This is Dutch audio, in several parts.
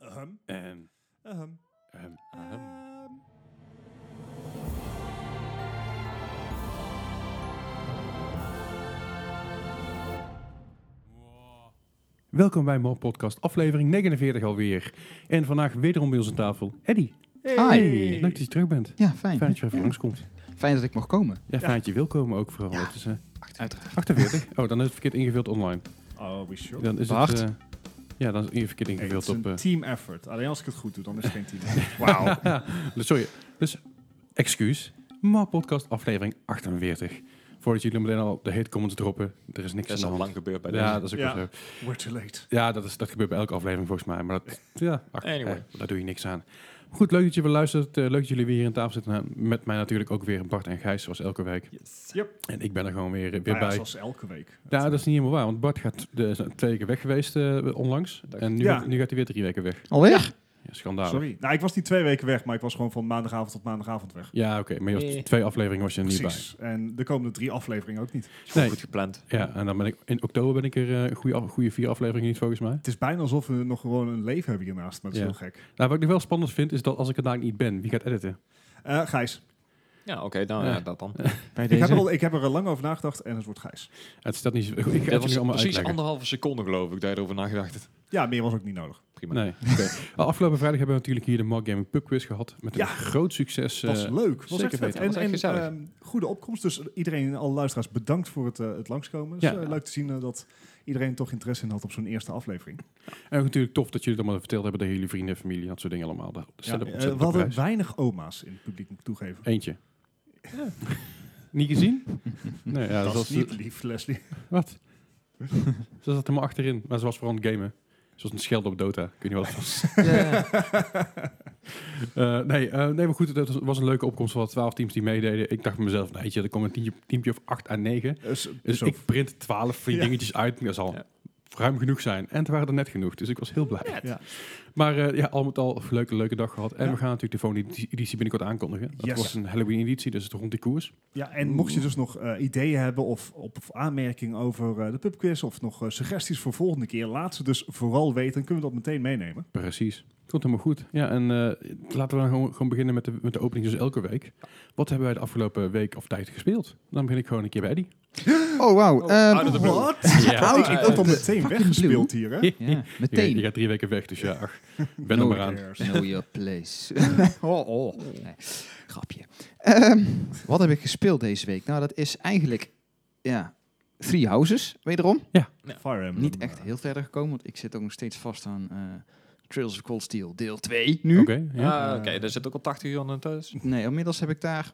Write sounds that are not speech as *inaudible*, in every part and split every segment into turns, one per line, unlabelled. Ahem.
Ehm,
Ahem.
ehm,
Ahem.
Welkom bij mijn podcast, aflevering 49 alweer. En vandaag wederom bij ons aan tafel, Eddy.
Hey.
Leuk dat je terug bent.
Ja, fijn.
Fijn dat je even
ja.
langskomt.
fijn dat ik mocht komen.
Ja, fijn dat je wil komen ook vooral.
Ja.
Het is, eh,
Uiteraard.
48? Oh, dan is het verkeerd ingevuld online.
Are we sure?
Dan is
Bart?
het... eh, ja, dan is het verkeerd
Hey, het
ingevuld
is een
op... eh,
team effort. Alleen als ik het goed doe, dan is het geen
*laughs*
team effort. Wauw.
Dus sorry, dus excuus, maar podcast aflevering 48. Voordat jullie meteen al de hate comments droppen, er is niks
Dat is
aan
al
de hand.
lang gebeurd bij
ja,
deze.
dat is ook
Ja.
wel zo.
We're too late.
Ja, dat, is, dat gebeurt bij elke aflevering volgens mij. Maar dat, ja, ach,
Anyway.
eh, daar doe je niks aan. Goed, leuk dat je weer luistert. eh, leuk dat jullie weer hier aan tafel zitten. Nou, met mij natuurlijk ook weer Bart en Gijs, zoals elke week.
Yep.
En ik ben er gewoon weer, weer
Nou ja,
bij.
zoals elke week.
Ja, dat is niet helemaal waar. Want Bart gaat de, is twee weken weg geweest eh, onlangs. En nu,
Ja.
gaat, nu gaat hij weer drie weken weg.
Alweer?
Ja, schandalig.
Sorry. Nou, ik was niet twee weken weg, maar ik was gewoon van maandagavond tot maandagavond weg.
Ja, oké. maar je was-
Nee.
twee afleveringen was je er niet bij.
Precies. En de komende drie afleveringen ook niet.
Nee.
Goed gepland.
Ja, en dan ben ik in oktober ben ik er eh, een goede, af- goede vier afleveringen niet volgens mij.
Het is bijna alsof we nog gewoon een leven hebben hiernaast, maar dat is
Ja.
heel gek.
Nou, wat ik nog wel spannend vind is dat als ik er daar niet ben, wie gaat editen?
Eh, Gijs,
Ja, oké, nou
Ja.
ja. dat dan.
Bij
ik heb, er al, ik heb er lang over nagedacht en het wordt Gijs.
Het staat niet zo. Ik ga het je nu
Dat was
allemaal
precies
uitleggen.
anderhalve seconde, geloof ik, dat je erover nagedacht hebt.
Ja, meer was ook niet nodig.
Prima.
Nee. Oké. *laughs* Nou, Afgelopen vrijdag hebben we natuurlijk hier de Mark Gaming Pub Quiz gehad. Met een
Ja.
groot succes. eh,
Het was leuk. Was
zeker
echt vet.
weten.
En,
Was echt
en,
gezellig.
ehm, goede opkomst. Dus iedereen, alle luisteraars, bedankt voor het, eh, het langskomen. Dus,
Ja.
eh, leuk te zien eh, dat iedereen toch interesse in had op zo'n eerste aflevering.
en ook natuurlijk tof dat jullie het allemaal verteld hebben tegen jullie vrienden en familie. Dat soort dingen allemaal. Daar
Ja,
stel ik
eh,
ontzettend
we
op
hadden
prijs.
weinig oma's in het publiek, moet ik toegeven.
Eentje. *laughs* niet
*laughs*
gezien? nee, ja,
dat
ze
is
was,
niet
*laughs*
lief, Leslie. *laughs*
Wat? ze zat helemaal achterin. Maar ze was vooral aan het gamen. Ze was een scheld op Dota. Kun je wel
*laughs*
Eh, nee, eh, nee, maar goed, het was- was een leuke opkomst van twaalf teams die meededen. Ik dacht bij mezelf, nee, jeetje, er komen een tientje, teampje of acht à negen.
Dus,
Dus
zo-
ik print twaalf van die
Ja.
dingetjes uit. Dat zal
Ja.
ruim genoeg zijn. En het waren er net genoeg, dus ik was heel blij.
Ja.
Maar eh, ja, al met al een leuke, leuke dag gehad. En
Ja.
we gaan natuurlijk de Phone-editie binnenkort aankondigen. Dat
Yes.
was een Halloween-editie, dus het rond die koers.
ja, en
Mm.
mocht je dus nog eh, ideeën hebben of, op- of aanmerkingen over eh, de pubquiz... of nog eh, suggesties voor volgende keer, laat ze dus vooral weten. en kunnen we dat meteen meenemen.
Precies. Komt helemaal goed. Ja, en eh, laten we dan gewoon, gewoon beginnen met de, met de opening, dus elke week. Wat hebben wij de afgelopen week of tijd gespeeld? Dan begin ik gewoon een keer bij Eddie.
*laughs* Oh, wauw. Ehm,
out of the blue.
Wat?
Ja.
Ja, ik
eh,
word al
de
meteen
fucking
weggespeeld hier, hè?
ja,
Je, je
meteen.
gaat drie weken weg, dus ja, ach, ben er maar aan.
Know your
*laughs*
place. *laughs* oh, oh. Nee, grapje. Ehm, wat heb ik gespeeld deze week? Nou, dat is eigenlijk... Ja, Three Houses, wederom.
Fire Emblem.
Niet echt heel verder gekomen, want ik zit ook nog steeds vast aan eh, Trails of Cold Steel deel 2 nu.
Oké, ja.
Ah, oké, daar zit ook al 80 uur aan thuis.
Nee, inmiddels heb ik daar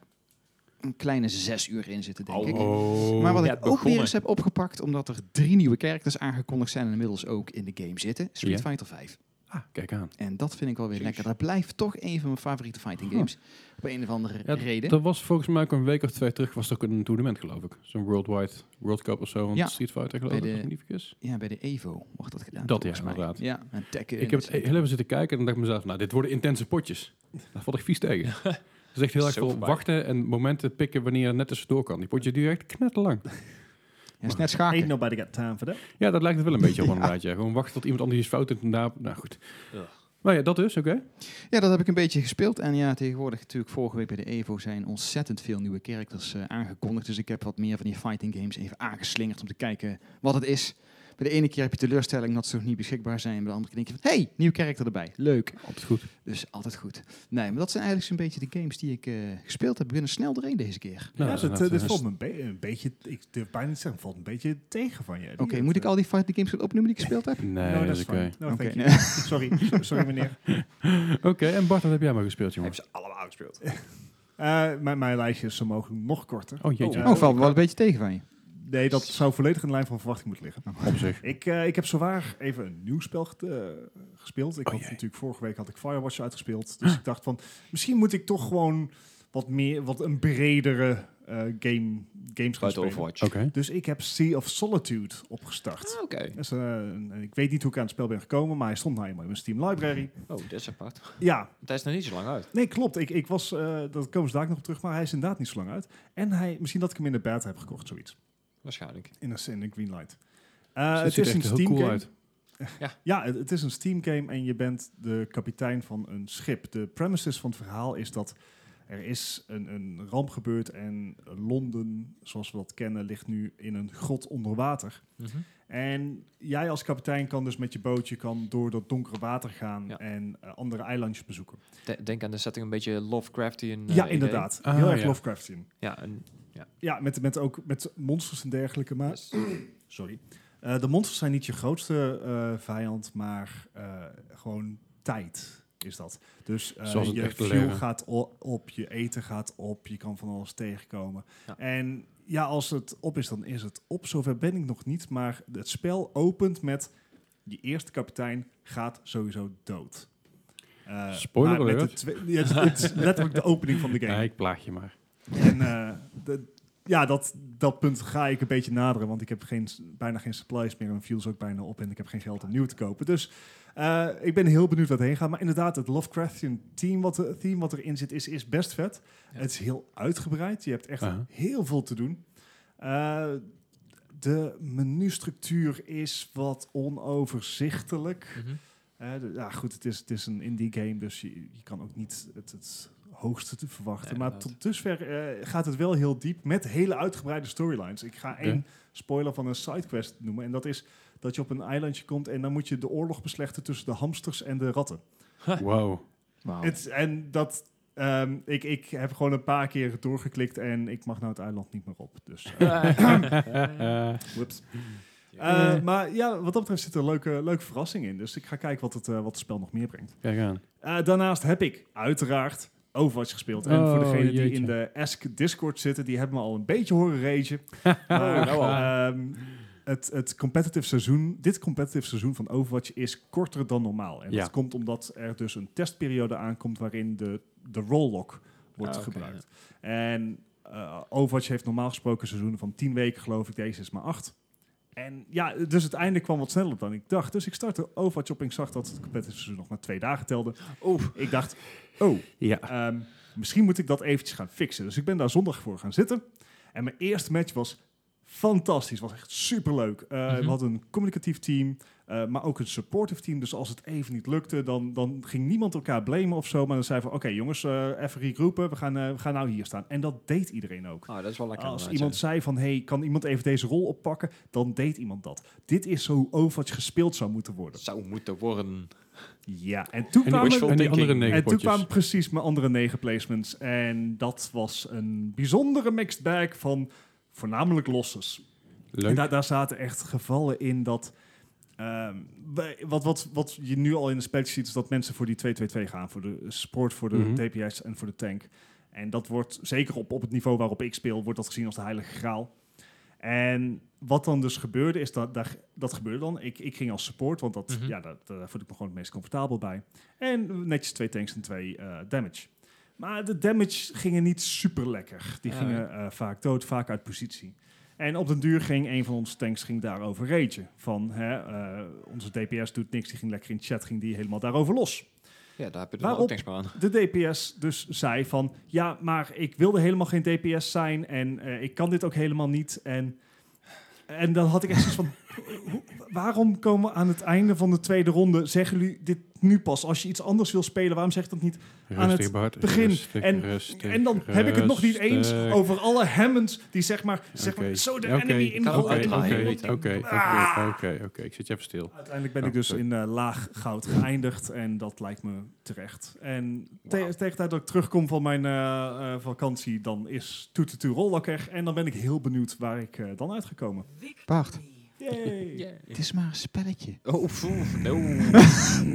een kleine zes uur in zitten, denk ik.
Oh.
Maar wat
Ja,
ik ook
begonnen.
weer eens heb opgepakt, omdat er drie nieuwe characters aangekondigd zijn en inmiddels ook in de game zitten, Street
Ja.
Fighter 5.
Ah, kijk aan.
En dat vind ik alweer
Precies.
lekker. Dat blijft toch een van mijn favoriete fighting games. Op een of andere
Ja,
reden.
Dat was volgens mij ook een week of twee terug, was er ook een toernooi, geloof ik. Zo'n Worldwide World Cup of zo, van
Ja.
Street Fighter, geloof ik,
Bij
als
de-
ik me niet vergis.
Ja, bij de Evo wordt dat gedaan.
Dat ja,
volgens mij.
inderdaad.
Ja, en Tekken.
Ik heb het heel even zitten kijken en dan dacht ik mezelf, nou, dit worden intense potjes. Dat valt ik vies tegen. Het is echt
*laughs*
heel erg
Zo
veel
voorbij.
wachten en momenten pikken wanneer je net tussendoor kan. Die potjes duren echt knetterlang. eh,
Ja, is net
Ain't
schaken.
nobody got time for that.
Nou,
Ja, dat lijkt het wel een
*laughs*
beetje op inderdaad. Ja. Gewoon wachten tot iemand anders iets fout doet en daar... Nou goed.
Ja.
Maar ja, dat dus, oké.
Ja, dat heb ik een beetje gespeeld. En ja, tegenwoordig natuurlijk vorige week bij de Evo zijn ontzettend veel nieuwe characters eh, aangekondigd. Dus ik heb wat meer van die fighting games even aangeslingerd om te kijken wat het is. Bij de ene keer heb je teleurstelling dat ze nog niet beschikbaar zijn. Bij de andere keer denk je van, hey, nieuw character erbij. Leuk.
Altijd goed.
Dus altijd goed. Nee, maar dat zijn eigenlijk zo'n beetje de games die ik eh, gespeeld heb. We kunnen snel doorheen deze keer.
Nou,
ja,
dat
dit,
is
eh, dit
een-
valt me een, be- een beetje, ik durf bijna niet te zeggen, valt een beetje tegen van je.
Oké, moet ik al die fighting games gaan opnoemen die ik gespeeld heb?
Nee,
Nee, no,
dat
that's
is oké.
fine. No,
Oké,
thank you.
nee. *laughs*
Sorry, sorry meneer.
Oké, en Bart, wat heb jij maar gespeeld, jongen?
Hebben ze allemaal gespeeld.
Eh, mijn, mijn lijstje is zo mogelijk nog korter.
Oh, jeetje.
eh,
Oh, valt me wel een beetje tegen van je.
Nee, dat zou volledig in de lijn van verwachting moeten liggen.
Oh.
Op zich.
Ik, eh, ik heb zowaar even een nieuw spel get- eh, gespeeld. Ik
Oh,
had
jee.
natuurlijk vorige week had ik Firewatch uitgespeeld. Dus ik dacht van, misschien moet ik toch gewoon wat meer, wat een bredere eh, game, games gaan
Buiten
spelen.
Overwatch.
Oké.
Dus ik heb Sea of Solitude opgestart.
Ah, Oké.
Dat is, eh, een- ik weet niet hoe ik aan het spel ben gekomen, maar hij stond nou eenmaal in mijn Steam library.
Oh, dit is apart.
Ja,
Het is nog niet zo lang uit.
Nee, klopt. Ik, ik was, eh dat komen ze daar ook nog op terug, maar hij is inderdaad niet zo lang uit. En hij, misschien dat ik hem in de beta heb gekocht, zoiets.
Waarschijnlijk.
In de, in de Greenlight. Eh,
Dus dit ziet
het is
er
een
echt heel
Steam
cool
game.
uit.
Ja, het, het is een Steam game en je bent de kapitein van een schip. De premises van het verhaal is dat er is een, een ramp gebeurd en Londen, zoals we dat kennen, ligt nu in een grot onder water.
Mhm.
En jij als kapitein kan dus met je bootje kan door dat donkere water gaan
Ja.
en eh, andere eilandjes bezoeken.
De- denk aan de setting een beetje Lovecraftian. eh,
ja,
idee.
inderdaad.
Ah,
Heel erg
ja.
Lovecraftian.
Ja, en,
Ja, met, met ook met monsters en dergelijke, maar
dus-
Sorry. Eh, de monsters zijn niet je grootste eh, vijand, maar eh, gewoon tijd is dat. Dus eh,
Zoals het
je
echt
fuel
leren.
gaat o- op, je eten gaat op, je kan van alles tegenkomen.
Ja.
En ja, als het op is, dan is het op. Zover ben ik nog niet, maar het spel opent met je eerste kapitein gaat sowieso dood. Eh,
Spoiler
maar met de
alert.
twe- ja, het, het
*laughs*
is letterlijk de opening van de game.
Ja, ik plaag je maar.
En eh, de- ja, dat, dat punt ga ik een beetje naderen, want ik heb geen, bijna geen supplies meer. Mijn fuels ook bijna op en ik heb geen geld om nieuw te kopen. Dus eh, ik ben heel benieuwd waar het heen gaat. Maar inderdaad, het Lovecraftian team wat, er- theme wat erin zit is, is best vet.
Ja.
Het is heel uitgebreid. Je hebt echt
Aha.
heel veel te doen. Eh, de menustructuur is wat onoverzichtelijk.
Mhm.
Eh, de- ja, goed, het is, het is een indie game, dus je, je kan ook niet het, het hoogste te verwachten.
Nee,
maar
inderdaad.
tot dusver eh, gaat het wel heel diep met hele uitgebreide storylines. Ik ga één spoiler van een sidequest noemen. En dat is dat je op een eilandje komt en dan moet je de oorlog beslechten tussen de hamsters en de ratten.
Wow.
Oh.
Wauw.
Het, en dat... ehm, ik, ik heb gewoon een paar keer doorgeklikt en ik mag nou het eiland niet meer op. Dus,
*laughs*
eh, whoops. Eh,
Nee.
Maar ja, wat dat betreft zit er een leuke, leuke verrassing in. Dus ik ga kijken wat het, eh, wat het spel nog meer brengt.
*laughs* Kijk aan.
Eh, daarnaast heb ik uiteraard Overwatch gespeeld. En
Oh,
voor degenen die
jeetje.
in de Ask Discord zitten, die hebben me al een beetje horen
*laughs*
ragen.
Oh,
maar
nou al.
ehm, het, het competitive seizoen, dit competitive seizoen van Overwatch is korter dan normaal. En
Ja.
dat komt omdat er dus een testperiode aankomt waarin de, de roll lock wordt
Ah, oké,
gebruikt. En eh, Overwatch heeft normaal gesproken seizoenen van 10 weken, geloof ik. Deze is maar 8. En ja, dus het einde kwam wat sneller dan ik dacht. Dus ik startte Overwatch op en ik zag dat het competitive seizoen nog maar twee dagen telde.
Oeh.
Ik dacht, oh,
Ja.
ehm, misschien moet ik dat eventjes gaan fixen. Dus ik ben daar zondag voor gaan zitten. En mijn eerste match was fantastisch. Was echt superleuk. Eh,
Mhm.
We hadden een communicatief team, eh, maar ook een supportive team. Dus als het even niet lukte, dan, dan ging niemand elkaar blamen of zo. Maar dan zei van, oké jongens, eh, even regroupen. We gaan, eh, we gaan nou hier staan. En dat deed iedereen ook.
Oh, dat is wel lekker.
Als
inderdaad,
iemand zei van, hey, kan iemand even deze rol oppakken? Dan deed iemand dat. Dit is zo hoe Overwatch gespeeld zou moeten
ja.
worden.
Zou moeten worden.
Ja, en toen
En die, en
kwamen...
die andere
thinking.
negen
En Eh, toen
potjes.
kwamen precies mijn andere negen placements. En dat was een bijzondere mixed bag van voornamelijk losses. En
Leuk.
daar, daar zaten echt gevallen in dat... ehm, wij- wat, wat, wat je nu al in de spelletjes ziet, is dat mensen voor die 2-2-2 gaan. Voor de support, voor de
Mhm.
DPS en voor de tank. En dat wordt, zeker op, op het niveau waarop ik speel, wordt dat gezien als de heilige graal. En wat dan dus gebeurde, is dat, daar, dat gebeurde dan. Ik, ik ging als support, want dat,
Mhm.
ja, daar, daar voel ik me gewoon het meest comfortabel bij. En netjes twee tanks en twee eh, damage. Maar de damage gingen niet super lekker. Die
Ah,
gingen eh, vaak dood, vaak uit positie. En op den duur ging een van onze tanks ging daarover ragen. Van, hè, eh, onze DPS doet niks, die ging lekker in chat, ging die helemaal daarover los
Ja, daar heb je er
Waarop-
ook niks meer aan.
de DPS dus zei van... ja, maar ik wilde helemaal geen DPS zijn... en eh, ik kan dit ook helemaal niet. En, en dan had ik echt zoiets van... *laughs* hoe- waarom komen we aan het einde van de tweede ronde... zeggen jullie dit nu pas? Als je iets anders wil spelen, waarom zeg je dat niet aan
Rustig,
het
Bart.
begin.
Rustig,
En-
rustig,
en dan heb ik het nog niet eens
rustig.
over alle Hammonds... die zeg maar, zeg maar
Oké.
zo de
Oké,
enemy in
kan ook
in-
uitdraaien.
in-
Oké,
Oké,
oké,
Ah.
oké, oké, oké. Ik zit je even stil.
Uiteindelijk ben
Oh,
ik dus
sorry.
in eh, laag goud geëindigd en dat lijkt me terecht. En te-
Wauw.
tegen de tijd dat ik terugkom van mijn eh, eh, vakantie, dan is Toet Toet Rollakker. En dan ben ik heel benieuwd waar ik eh, dan uitgekomen.
Bart,
Yay!
het is maar een spelletje. Oh
Oh, foe.
*laughs*
No.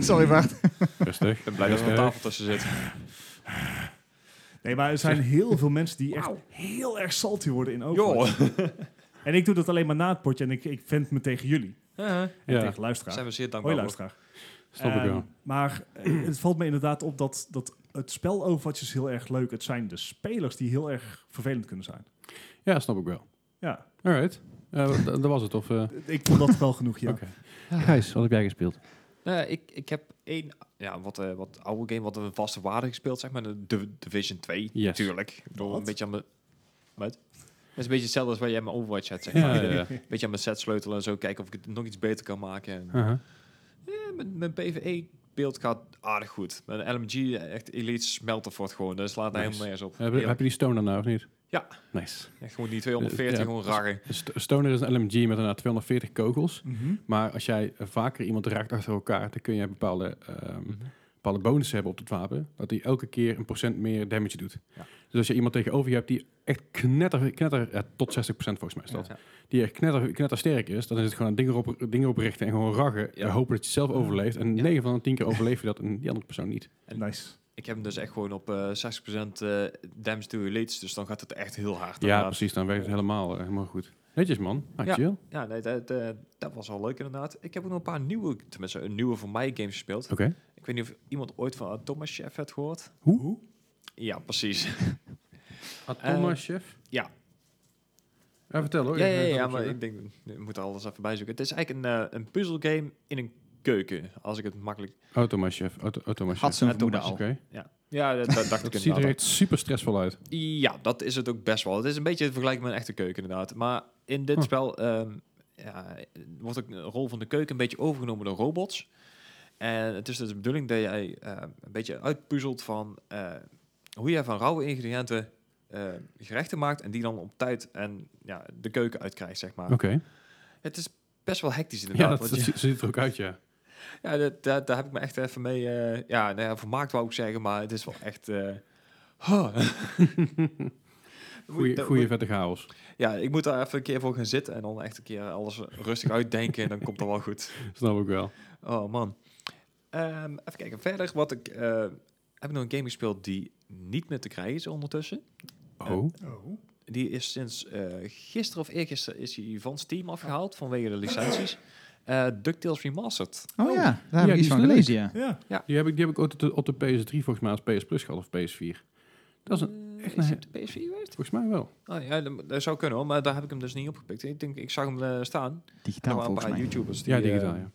Sorry Bart.
Rustig.
Ik
*laughs*
ben blij dat er een
Rustig.
tafel tussen zit.
Nee, maar er zijn heel veel mensen die echt
Wauw.
heel erg salty worden in
Joh.
Overwatch. En ik doe dat alleen maar na het potje en ik, ik vent me tegen jullie. En
Ja.
tegen luisteraar.
Zijn we zeer dankbaar.
Hoi
voor.
luisteraar.
Snap ik
Ehm,
wel.
Maar eh, het valt me inderdaad op dat, dat het spel Overwatch is heel erg leuk. Het zijn de spelers die heel erg vervelend kunnen zijn.
Ja, snap ik wel.
Ja.
Alright. Eh, d- dat was het, of... eh,
Ik vond dat wel genoeg, ja.
Oké. Gijs, wat heb jij gespeeld?
Eh, ik, ik heb één ja, wat, eh, wat oude game, wat een vaste waarde gespeeld, zeg maar. De Div- Division 2,
Yes.
natuurlijk. Ik bedoel,
Wat?
een beetje aan mijn... Wat? Dat is een beetje hetzelfde als waar jij mijn Overwatch had, zeg
Ja,
maar.
ja, ja.
Een beetje aan mijn set sleutelen en zo, kijken of ik het nog iets beter kan maken. En,
Aha.
mijn, mijn PvE-beeld gaat aardig goed. Mijn LMG, eh, echt Elite, smelt ervoort gewoon. Dus slaat daar
Nice.
helemaal nergens op.
Heb, je- heb je die stoner nou of niet?
Ja.
Nice.
Echt gewoon die 240
Ja.
gewoon raggen.
Een st- Stoner is een LMG met een 240 kogels.
Mhm,
Maar als jij eh, vaker iemand raakt achter elkaar, dan kun je bepaalde, ehm,
Mhm.
bepaalde bonussen hebben op het wapen. Dat hij elke keer een procent meer damage doet.
Ja.
Dus als je iemand tegenover je hebt die echt knetter, knetter ja, tot 60% volgens mij is dat.
Ja.
Die echt knetter, knettersterk is, dan is het gewoon een ding erop, ding erop richten en gewoon raggen.
Ja.
En hopen dat je zelf overleeft. En
Ja.
9 van de 10 keer overleef je dat en die andere persoon niet.
En-
Nice.
Ik heb hem dus echt gewoon op eh 60% eh damage to elites. Dus dan gaat het echt heel hard.
ja,
inderdaad.
precies. Dan werkt het helemaal, eh, helemaal goed. Netjes man. Ah,
Ja.
chill.
Ja, nee, dat, eh, dat was al leuk inderdaad. Ik heb ook nog een paar nieuwe, tenminste een nieuwe voor mij games gespeeld.
Oké.
Ik weet niet of iemand ooit van Thomas Chef heeft gehoord.
Hoe?
Ja, precies.
Atoma
Eh,
Chef?
ja.
Ja, vertel hoor.
ja,
Ik
ja,
ben
ja,
het aan het
maar ik
opzoeken.
denk, ik moet er alles even bij zoeken. Het is eigenlijk een, eh, een puzzelgame in een keuken, als ik het makkelijk...
Automa Chef. Auto, Automa Chef.
Had zijn
Ja,
vermoeden
Thomas,
al.
Oké.
Ja, dat, dat dacht ik
Het ziet er
inderdaad.
echt super stressvol uit.
Ja, dat is het ook best wel. Het is een beetje vergelijkbaar met een echte keuken inderdaad. Maar in dit
Huh.
spel ehm, ja, wordt ook de rol van de keuken een beetje overgenomen door robots. En het is dus de bedoeling dat jij eh, een beetje uitpuzzelt van eh, hoe jij van rauwe ingrediënten eh, gerechten maakt en die dan op tijd en ja, de keuken uitkrijgt, zeg maar.
Oké.
Het is best wel hectisch
Ja,
inderdaad.
dat,
want
dat
je-
zie- ziet er ook uit, ja.
ja, dat, dat- daar heb ik me echt even mee eh, ja, nou ja, vermaakt, wou ik zeggen, maar het is wel echt... eh, huh.
Goeie,
Dat-
goeie vette chaos.
Ja, ik moet daar even een keer voor gaan zitten en dan echt een keer alles rustig uitdenken en dan komt dat wel goed.
Snap ik wel.
Oh man. Ehm, even kijken, verder wat ik... eh, heb ik nog een game gespeeld die niet meer te krijgen is ondertussen.
Oh.
Oh.
Die is sinds eh, gisteren of eergisteren is hij van Steam afgehaald vanwege de licenties. Eh DuckTales Remastered.
Oh ja, daar
Ja,
heb ik
die
iets
is
van
leuk.
gelezen, ja.
Ja.
Die heb ik, die heb ik ook op de, op de PS3 volgens mij als PS Plus gehad of PS4. Dat is een,
Eh,
echt
is
een-
het de PS4 geweest?
volgens mij wel.
Oh, ja, dat, dat zou kunnen hoor, maar daar heb ik hem dus niet opgepikt. Ik denk, ik zag hem eh, staan. Er
Digitaal
waren Nou, een
volgens
paar
mij.
YouTubers die...
ja, digitaal,
eh,
ja.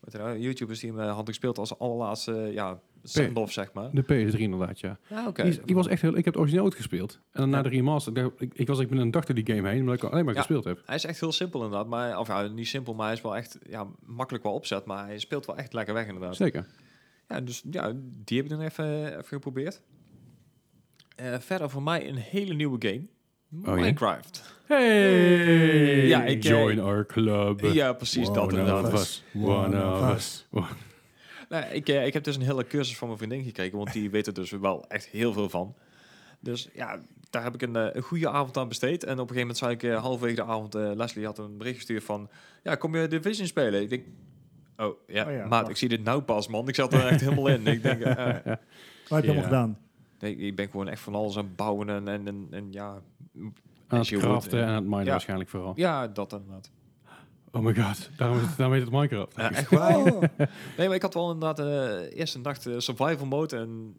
wat er nou, YouTubers die hem eh, hadden gespeeld als allerlaatste eh, ja, send-off, zeg maar.
De PS3 inderdaad, ja.
Ja, oké.
Die, is- die was echt heel... Ik heb het origineel ooit gespeeld. En dan
Ja.
na de remaster... daar- Ik, ik was ik ben een dag door die game heen, omdat ik alleen maar
Ja.
gespeeld heb.
Hij is echt heel simpel inderdaad, maar, of ja, niet simpel, maar hij is wel echt ja, makkelijk wel opzet, maar hij speelt wel echt lekker weg inderdaad.
Zeker.
Ja, dus ja, die heb ik dan even, even geprobeerd. Eh, verder voor mij een hele nieuwe game.
Oh, ja?
Minecraft.
Hey!
Ja, ik, eh,
Join our club.
Ja, precies
Wow,
dat
nou,
inderdaad.
dat was- One of us.
Nou, ik, eh, ik heb dus een hele cursus van mijn vriendin gekregen, want
*laughs*
die weet er dus wel echt heel veel van. Dus ja, daar heb ik een, eh, een goede avond aan besteed. En op een gegeven moment zei ik eh, halverwege de avond, eh, Leslie had een bericht gestuurd van, ja, kom je Division spelen? Ik denk, oh ja,
Oh ja,
maat,
wacht.
ik zie dit nou pas, man. Ik zat er echt helemaal in. Ik
*laughs*
denk, eh, eh,
Wat heb je
Ja.
allemaal gedaan?
nee, ik ben gewoon echt van alles aan het bouwen en, en, en, en ja,
Aan
Als
het
je wordt,
craften
ja.
en aan het minen
Ja.
waarschijnlijk vooral.
ja, dat inderdaad.
Oh my god, daarom, is het, daarom heet het Minecraft.
Ja, echt
*laughs*
waar? Nee, maar ik had wel inderdaad eh eerst een nacht eh, survival mode
*clears throat*
en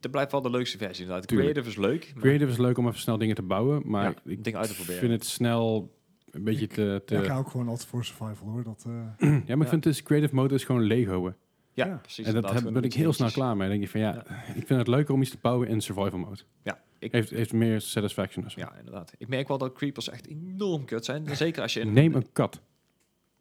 dat blijft wel de leukste versie inderdaad.
Tuurlijk.
Creative is leuk. maar-
Creative is leuk om even snel dingen te bouwen, maar
Ja,
ik
dingen uit te proberen.
vind het snel een beetje te... te
Ja,
ja,
ik hou ook gewoon altijd voor survival hoor. Dat, eh,
maar ik vind dus creative mode is gewoon Lego'en.
Ja,
Ja.
precies.
En dat
inderdaad,
heb,
gewoon
ben ik
iets
heel snel
dingetjes.
klaar mee. Dan denk je van ja, *laughs* ik vind het leuker om iets te bouwen in survival mode.
Ja, ik,
Heeft, heeft meer satisfaction. of zo.
ja, inderdaad. Ik merk wel dat creepers echt enorm kut zijn. Zeker als je... in-
Neem een kat.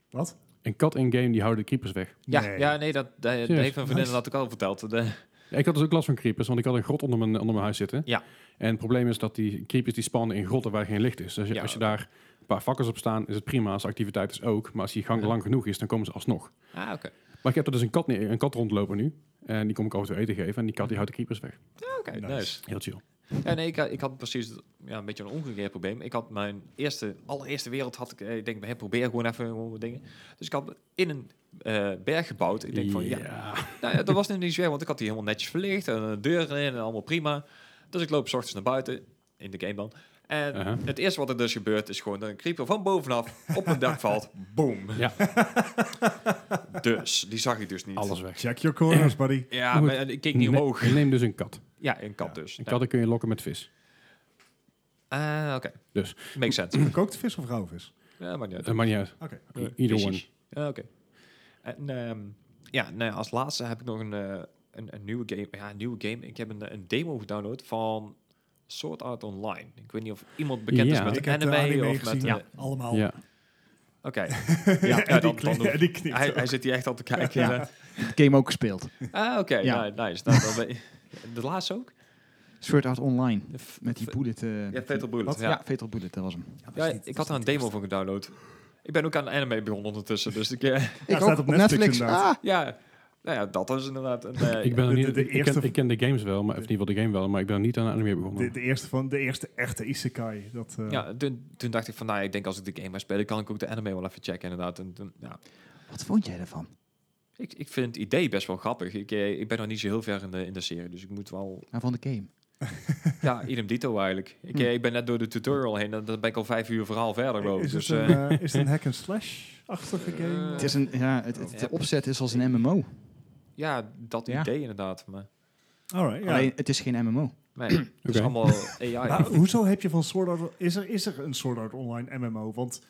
Wat?
Een kat in game die houden de creepers weg.
Ja,
Nee.
ja, nee, dat, dat, dat
Serieus?
heeft mijn vriendin dat ook al verteld. De,
Ja, ik had dus ook last van creepers, want ik had een grot onder mijn, onder mijn huis zitten.
Ja.
En het probleem is dat die creepers die spannen in grotten waar geen licht is. Dus als je,
Ja.
als je daar een paar vakkers op staan, is het prima. Als de activiteit is ook. Maar als die gang
Ja.
lang genoeg is, dan komen ze alsnog.
ah, oké.
Maar ik heb er dus een kat, neer, een kat rondlopen nu. En die kom ik over te eten geven. En die kat die houdt de creepers weg.
Ah, Oké,
Nice.
nice.
Heel chill.
Ja, nee, ik, ik had precies ja, een beetje een omgekeerd probleem. Ik had mijn eerste, allereerste wereld had ik, eh, ik denk, hey, probeer gewoon even gewoon wat dingen. Dus ik had in een eh, berg gebouwd. Ik denk van, ja, *laughs* nou, ja, dat was nu niet zwaar, want ik had die helemaal netjes verlicht en een deur erin en allemaal prima. Dus ik loop 's ochtends naar buiten, in de game dan. En
Aha.
het eerste wat er dus gebeurt is gewoon dat een creeper van bovenaf op mijn dak
*laughs*
valt. Boom.
Ja.
Dus, die zag ik dus niet.
Alles weg.
Check your corners, buddy. *clears throat*
Ja,
Je moet-
maar en ik keek niet
Ne-
omhoog.
Neem dus een kat.
Ja, een kat
Ja,
dus.
Een
Nou,
katten kun je lokken met vis.
Ah, oké.
Dus.
Makes sense.
Kookte vis of rauwe vis?
ja, maar niet uit.
Eh, maakt niet uit.
Oké.
I- Either one.
Precies. Ja, oké. En ehm, ja, nou ja, als laatste heb ik nog een, eh, een, een nieuwe game. Ja, een nieuwe game. Ik heb een, eh, een demo gedownload van Sword Art Online. Ik weet niet of iemand bekend
Ja.
is met
Ik heb de
anime,
anime
of met...
*laughs* gezien.
eh,
Allemaal.
Ja.
Oké.
*laughs*
Ja,
en die,
dan-
kni-
dan doe-
en *laughs* die knikt
Hij,
ook.
hij zit hier echt al te kijken.
Ja.
inderdaad.
Game ook gespeeld.
Ah, oké.
Ja.
nou, nice. Nou, dan ben je- *laughs* de laatste ook?
Sword Art Online.
De f-
Met die
f-
bullet. eh,
Ja, Peter Bullet.
Wat?
ja.
Ja.
Fatal Bullet, dat was hem.
Ja, dat is
Ja,
niet-
ik
dat
had
is
er een
niet
demo
eerst.
voor gedownload. Ik ben ook aan anime begonnen ondertussen, dus ik, eh, *laughs*
het
ik
staat
ook,
op Netflix inderdaad.
Ah,
ja, nou ja, dat is inderdaad een... eh,
*laughs* ik ben er
de-
niet,
de- de
ik, ken-
eerste-
ik ken, de games wel, maar, of in ieder geval de game wel, maar ik ben niet aan de anime begonnen.
De, de, eerste van, de eerste echte isekai. Dat, eh,
Ja, toen, toen dacht ik van, nou, ik denk als ik de game ga spelen, kan ik ook de anime wel even checken inderdaad. En toen, ja,
Ah, wat vond jij ervan?
ik, ik vind het idee best wel grappig. Ik, eh, ik ben nog niet zo heel ver in de, in de serie, dus ik moet
*laughs*
wel...
Nou, van de game.
Ja, idem dito eigenlijk. Ik, eh, ik ben net door de tutorial heen en dan ben ik al vijf uur verhaal verder geloof ik.
Is,
Dus,
het een,
eh,
eh, is het een
*laughs*
hack-and-slash-achtige game?
Eh,
Het is een, ja, het, het- de opzet is als een MMO.
ja, dat
Ja.
idee inderdaad. Maar
Alright, ja.
Alleen, het is geen MMO.
nee, het is
Oké.
allemaal AI.
*laughs*
Maar hoezo heb je van Sword Art... Is er, is er een Sword Art Online MMO? Want,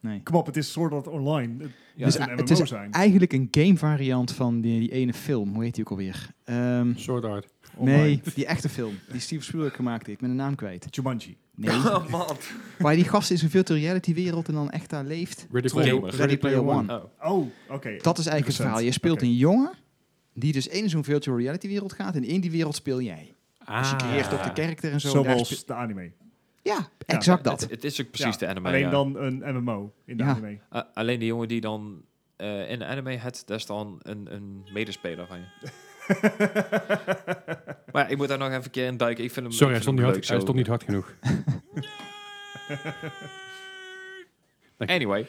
Nee.
kom op, het is Sword Art Online. Het
Ja.
moet
Dus,
een
eh, het
MMO
is-
zijn.
Eigenlijk een game variant van die, die ene film. Hoe heet die ook alweer? Ehm,
Sword Art.
Online.
nee, die echte film. Die Steve Spielberg gemaakt heeft. Ik ben de naam kwijt.
Jumanji.
Nee.
*laughs* Oh, man.
Waar die gast in zijn virtual reality wereld en dan echt daar leeft.
Ready
Troll.
Player,
Gamer.
Ready Player One.
Oh.
Oh, oké.
Dat is eigenlijk het verhaal. Je speelt
Oké.
een jongen die dus in zo'n virtual reality wereld gaat en in die wereld speel jij. Dus
Ah.
Ah.
je creëert ook de karakter en zo. en daar speel-
Zoals de anime.
Ja, exact dat.
Het, het is ook precies
Ja,
de anime.
Alleen
ja.
dan een MMO in de
*laughs*
Ja.
anime.
A- alleen de jongen die dan eh, in de anime het, dat is dan een, een medespeler van je.
*laughs*
maar ik moet daar nog even een keer in duiken. Ik vind hem,
Sorry, hij
ik
stond,
vind hem
niet hard, hij
leuk
stond
zo.
niet hard
*laughs*
genoeg.
Anyway,
*laughs*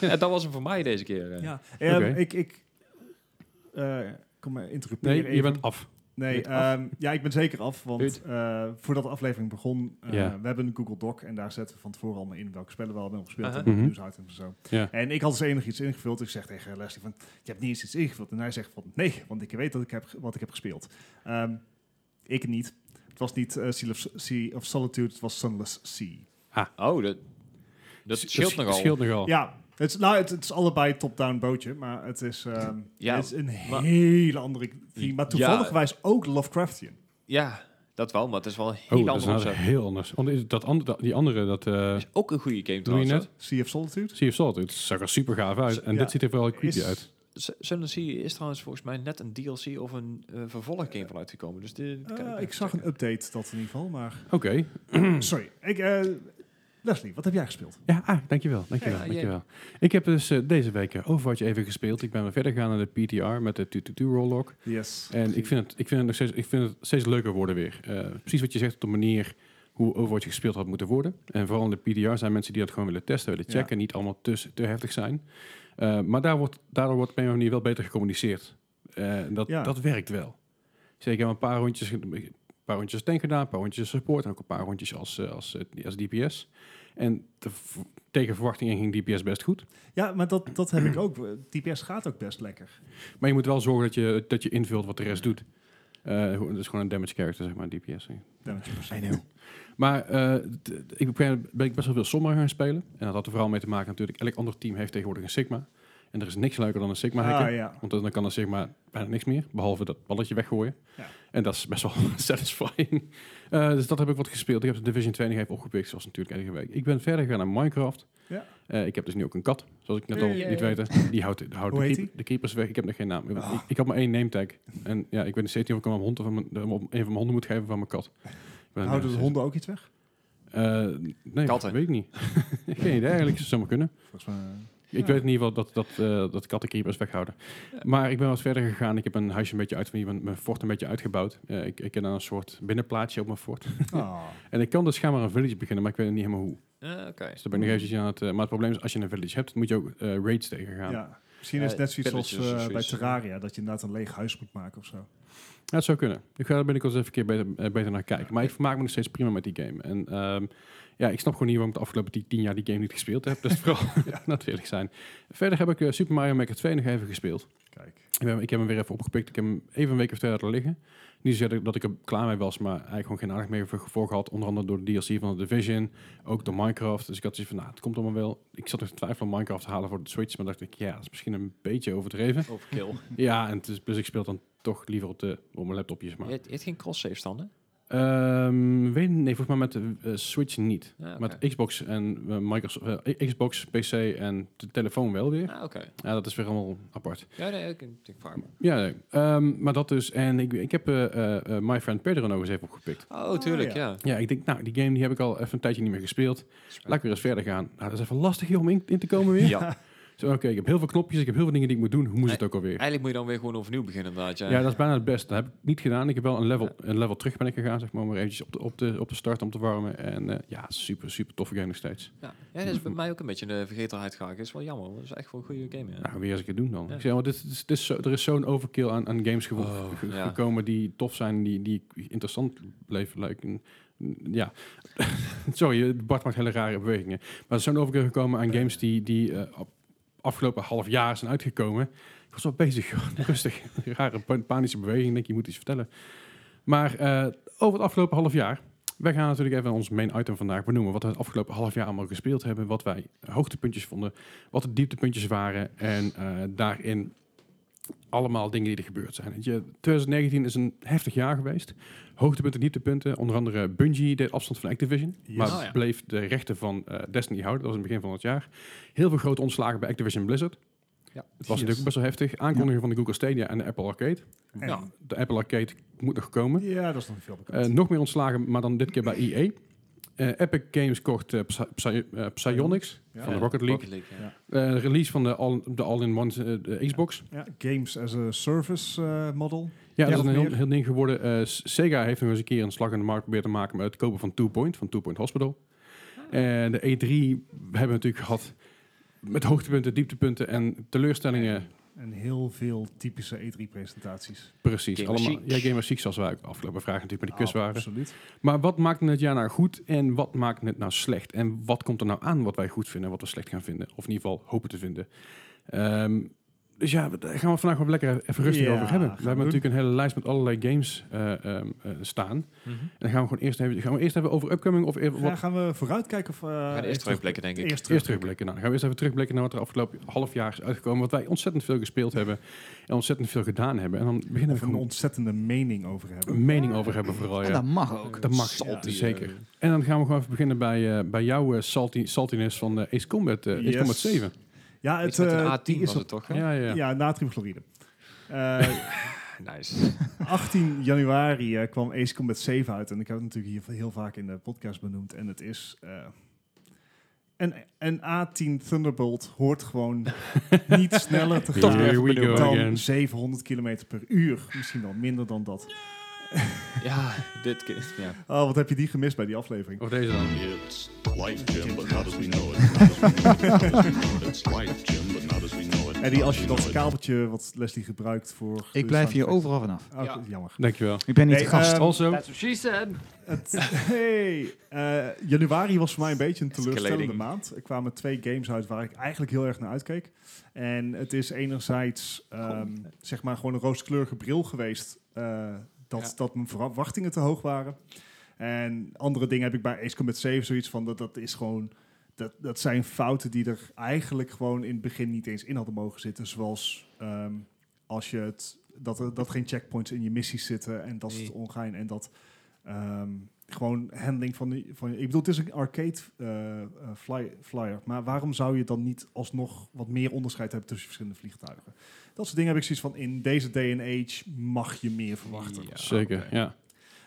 En dat was hem voor mij deze keer. eh.
Ja,
Oké.
ik... ik eh, kom maar, interrupeer
Nee, je
even.
bent af.
Nee,
je bent af.
ehm, ja, ik ben zeker af, want
Goed.
eh, voordat de aflevering begon, eh,
Ja.
we hebben een Google Doc en daar zetten we van tevoren allemaal in welke spellen we allemaal gespeeld
Aha.
hebben,
Mhm.
nieuwsitems en zo.
Ja.
En ik had als enige iets ingevuld. Ik zeg tegen Leslie van, je hebt niet eens iets ingevuld. En hij zegt van, nee, want ik weet dat ik heb, ge- wat ik heb gespeeld. Ehm, ik niet. Het was niet eh, sea, of, sea of Solitude, het was Sunless Sea.
Oh, dat, dat
S-
scheelt
sch-
nogal.
scheelt nogal.
Ja, het is, nou, het, het is allebei top-down bootje, maar het is, ehm,
Ja,
het is een
maar-
hele andere theme. Maar
Ja.
toevallig wijs ook Lovecraftian.
Ja, dat wel, maar het is wel een heel
Oh, dat is
ander
nou
opzet.
heel anders. Want is dat andere, dat- die andere, dat eh
is ook een goede game
doe je
trouwens.
net,
Sea of Solitude.
Sea of Solitude, het zag er super gaaf uit. En
Ja.
dit ziet er wel creepy
Is-
uit.
Z- Sun and Sea is trouwens volgens mij net een DLC of een eh, vervolggame van uitgekomen. Dus dit kan
Eh,
even
ik zag
checken.
een update dat in ieder geval, maar...
Oké.
Sorry, ik, eh, Leslie, wat heb jij gespeeld?
Ja, ah, dankjewel. Dankjewel,
Ja,
dankjewel. Ik heb dus eh, deze week eh, Overwatch even gespeeld. Ik ben weer verder gegaan naar de PTR met de 222 rolllock.
Yes.
En ik vind, het, ik, vind het nog steeds, ik vind het steeds leuker worden weer. Eh, precies wat je zegt op de manier hoe Overwatch gespeeld had moeten worden. En vooral in de PDR zijn mensen die dat gewoon willen testen, willen
Ja.
checken. Niet allemaal te, te heftig zijn. Eh, maar daar wordt, daardoor wordt op een of andere manier wel beter gecommuniceerd. Eh, en dat,
Ja.
dat werkt wel. Zeker hebben een paar rondjes, ge- een paar rondjes tank gedaan, een paar rondjes support... en ook een paar rondjes als, eh, als, eh, als DPS. En te- tegen verwachting in ging DPS best goed.
Ja, maar dat, dat heb ik ook. DPS gaat ook best lekker.
Maar je moet wel zorgen dat je, dat je invult wat de rest doet. Eh, ho- dat is gewoon een damage character, zeg maar, DPS.
Damage per se.
Maar eh, d- d- ik op een gegeven moment ben ik best wel veel Sombra gaan spelen. En dat had er vooral mee te maken natuurlijk. Elk ander team heeft tegenwoordig een Sigma. En er is niks leuker dan een Sigma hacken.
Ah, ja.
Want dan kan een Sigma bijna niks meer. Behalve dat balletje weggooien.
Ja.
En dat is best wel *laughs* satisfying. Eh, dus dat heb ik wat gespeeld. Ik heb de Division 2 nog even opgepikt. Zoals natuurlijk elke week. Ik ben verder gegaan naar Minecraft.
Ja.
Eh, ik heb dus nu ook een kat. Zoals ik net al
Hey.
niet weten. Die houdt, houdt
Hoe
de,
heet
keep-
die? Oh.
de keepers weg. Ik heb nog geen naam. Ik, ik had maar één name tag. En ja, ik weet niet steeds niet of ik hem aan mijn hond of aan mijn, een van mijn honden moet geven van mijn kat. Ik ben- eh,
Houden de
ja,
honden ook iets weg?
eh, nee,
Katten.
weet ik niet. *laughs* Geen idee eigenlijk, ze zou maar kunnen.
Volgens mij.
Ik weet in ieder geval dat, dat, eh dat kattenkeepers weghouden. Maar ik ben wat verder gegaan. Ik heb mijn huisje een beetje uit, mijn, mijn fort een beetje uitgebouwd. Eh, ik, ik ken daar een soort binnenplaatsje op mijn fort.
Ah.
En ik kan dus schijnbaar een village beginnen, maar ik weet niet helemaal hoe.
Eh, Oké.
Dus daar ben ik nog eventjes aan het... eh, maar het probleem is, als je een village hebt, moet je ook eh, raids tegengaan. Ja.
Ja. Misschien is het net zoiets
Eh,
als
pilletjes of
eh, bij
zoiets.
Terraria, dat je inderdaad een leeg huis moet maken of zo.
dat zou kunnen. Ik ga daar binnenkort eens even een keer beter, eh, beter naar kijken. Maar ik vermaak me nog steeds prima met die game. En ehm, ja, ik snap gewoon niet waarom ik de afgelopen ti- tien jaar die game niet gespeeld heb. Dus *laughs* vooral natuurlijk zijn. Verder heb ik eh, Super Mario Maker 2 nog even gespeeld.
Kijk.
Ik, ben- ik heb hem weer even opgepikt. Ik heb hem even een week of twee laten liggen. Niet zozeer dat ik- dat ik er klaar mee was, maar eigenlijk gewoon geen aandacht meer voor, voor gehad. Onder andere door de DLC van de Division, ook door Minecraft. Dus ik had zoiets van, nou, het komt allemaal wel. Ik zat nog te twijfelen om Minecraft te halen voor de Switch, maar dacht ik, ja, dat is misschien een beetje overdreven.
Overkill.
*laughs* Ja, en het is- dus ik speel dan toch liever op, de, op mijn laptopjes. Maar
Je hebt je hebt geen cross-save standen?
Ehm, weet, nee, volgens mij met de eh, Switch niet.
Ja, Ah, oké.
Met Xbox en eh, Microsoft, eh, Xbox, PC en de telefoon wel weer.
Ah, oké.
Ja, dat is weer allemaal apart.
Ja, nee, ik, ik vraag me.
Ja, nee. Ehm, maar dat dus. En ik, ik heb eh, eh, eh, My Friend Pedro nog eens even opgepikt.
Oh, tuurlijk,
ja.
ja.
Ja, ik denk, nou, die game die heb ik al even een tijdje niet meer gespeeld. Laat ik weer eens verder gaan. Nou, dat is even lastig hier om in, in te komen weer.
Ja.
Zo, Oké, ik heb heel veel knopjes, ik heb heel veel dingen die ik moet doen. Hoe moest het ook alweer?
Eigenlijk moet je dan weer gewoon overnieuw beginnen, inderdaad. Ja,
Ja, dat is bijna het beste. Dat heb ik niet gedaan. Ik heb wel een level, een level terug ben ik gegaan, zeg maar, om er eventjes op de, op de, op de start om te warmen. En eh, ja, super, super toffe game nog steeds.
Ja. Ja, dat is bij mij ook een beetje een vergetelheid geraakt. Dat is wel jammer, want dat is echt wel een goede game. Ja.
Nou, weer eens een keer doen dan.
Ja.
Ik zeg, maar, dit, dit, is- dit is zo, er is zo'n overkill aan, aan games gevo-
Oh,
ge-
ja.
gekomen die tof zijn, die, die interessant bleven lijken. Ja, *laughs* sorry, eh, Bart maakt hele rare bewegingen. Maar er is zo'n overkill gekomen aan games die, die eh, op- afgelopen half jaar zijn uitgekomen. Ik was wel bezig, gewoon *laughs* rustig. Rare pa- panische beweging, Ik denk je moet iets vertellen. Maar eh, over het afgelopen half jaar, wij gaan natuurlijk even ons main item vandaag benoemen. Wat we het afgelopen half jaar allemaal gespeeld hebben, wat wij hoogtepuntjes vonden, wat de dieptepuntjes waren en eh, daarin allemaal dingen die er gebeurd zijn. Weet je, 2019 is een heftig jaar geweest. Hoogtepunten, dieptepunten. Onder andere Bungie deed afstand van Activision,
Yes.
maar
Oh ja.
bleef de rechten van eh, Destiny houden. Dat was in het begin van het jaar. Heel veel grote ontslagen bij Activision Blizzard.
Ja.
Het was natuurlijk best wel heftig. Aankondiging van de Google Stadia en de Apple Arcade.
En-
Ja.
De Apple Arcade moet nog komen.
Ja, dat is nog niet veel
Eh,
bekend.
nog meer ontslagen, maar dan dit keer bij EA. Eh, Epic Games kocht eh, Psy- Psy- eh, Psyonix
Ja.
van de Rocket League.
ja.
Eh, release van de all- de all-in-one eh, de Xbox.
ja, games as a service eh, model.
Ja, dat
nog
is een heel,
meer.
heel ding geworden. Eh, S- Sega heeft nog eens een keer een slag in de markt proberen te maken met het kopen van Two Point, van Two Point Hospital.
Ah.
En de E3 hebben we natuurlijk gehad met hoogtepunten, dieptepunten en teleurstellingen.
En heel veel typische E E3-presentaties.
Precies.
Game
allemaal,
Chic.
ja, Gamer Chic, zoals wij ook afgelopen vraag natuurlijk met de
Ah,
kus waren.
Absoluut.
Maar wat maakt het jaar nou goed en wat maakt het nou slecht? En wat komt er nou aan wat wij goed vinden en wat we slecht gaan vinden? Of in ieder geval hopen te vinden. Ehm, dus ja, daar gaan we vandaag wel lekker even rustig
Ja,
over hebben. We
gaan we
hebben natuurlijk een hele lijst met allerlei games eh, ehm, eh, staan. En
Mhm.
dan gaan we gewoon eerst even, gaan we eerst even over upcoming of even
Ja,
wat
gaan we vooruitkijken of... eh,
We gaan eerst terugblikken, denk ik.
Eerst
eerst
terug.
terugblikken. Nou, dan gaan we eerst even terugblikken naar wat er afgelopen half jaar is uitgekomen. Wat wij ontzettend veel gespeeld hebben en ontzettend veel gedaan hebben. En dan beginnen Mm. we
Of een
gewoon
ontzettende mening over hebben.
een mening over hebben vooral.
En
Ja.
dat mag ook.
Oh, Dat mag,
Salty,
ja,
eh,
zeker. En dan gaan we gewoon even beginnen bij, eh, bij jouw eh, salty, saltiness van eh, Ace Combat, eh, Ace
Yes.
Combat 7.
Ja, het,
Iets met
eh,
een
die
A10
is
was
op-
het toch? hè?
Ja, ja, ja.
Ja, natriumchloride.
*laughs*
Eh,
Nice. *laughs*
18 januari eh, kwam Ace Combat 7 uit. En ik heb het natuurlijk hier heel vaak in de podcast benoemd. En het is... eh, een, een A10 Thunderbolt hoort
*laughs*
gewoon niet sneller te
Here
gaan.
we go again.
dan 700 km per uur. Misschien wel minder dan dat.
ja, dit keer. Ja.
Oh, wat heb je die gemist bij die aflevering?
Of deze dan.
It's life, Jim, but not as we know it. Not as we know it. It's life, Jim, but not as we know it.
En die, als je
Not as
dat
we know it.
kabeltje wat Leslie gebruikt voor...
Ik blijf hier
over.
overal vanaf.
Oh,
Ja.
Jammer.
Dankjewel.
Ik ben niet
Nee,
de gast.
ehm,
Also,
That's what she said.
Het, hey, eh, januari was voor mij een beetje een
Escalating.
teleurstellende maand. Er kwamen twee games uit waar ik eigenlijk heel erg naar uitkeek. En het is enerzijds ehm, zeg maar gewoon een rooskleurige bril geweest eh, dat,
Ja.
dat mijn verwachtingen te hoog waren. En andere dingen heb ik bij Ace Combat 7 zoiets van dat, dat is gewoon. Dat, dat zijn fouten die er eigenlijk gewoon in het begin niet eens in hadden mogen zitten. Zoals ehm, als je het, dat, er, dat geen checkpoints in je missies zitten en dat is het
Nee.
ongein. En dat ehm, gewoon handling van, die- van... Ik bedoel, het is een arcade eh, eh, fly- flyer. Maar waarom zou je dan niet alsnog wat meer onderscheid hebben tussen verschillende vliegtuigen? Dat soort dingen heb ik zoiets van, in deze day and age mag je meer verwachten.
Ja,
zeker,
oké.
ja.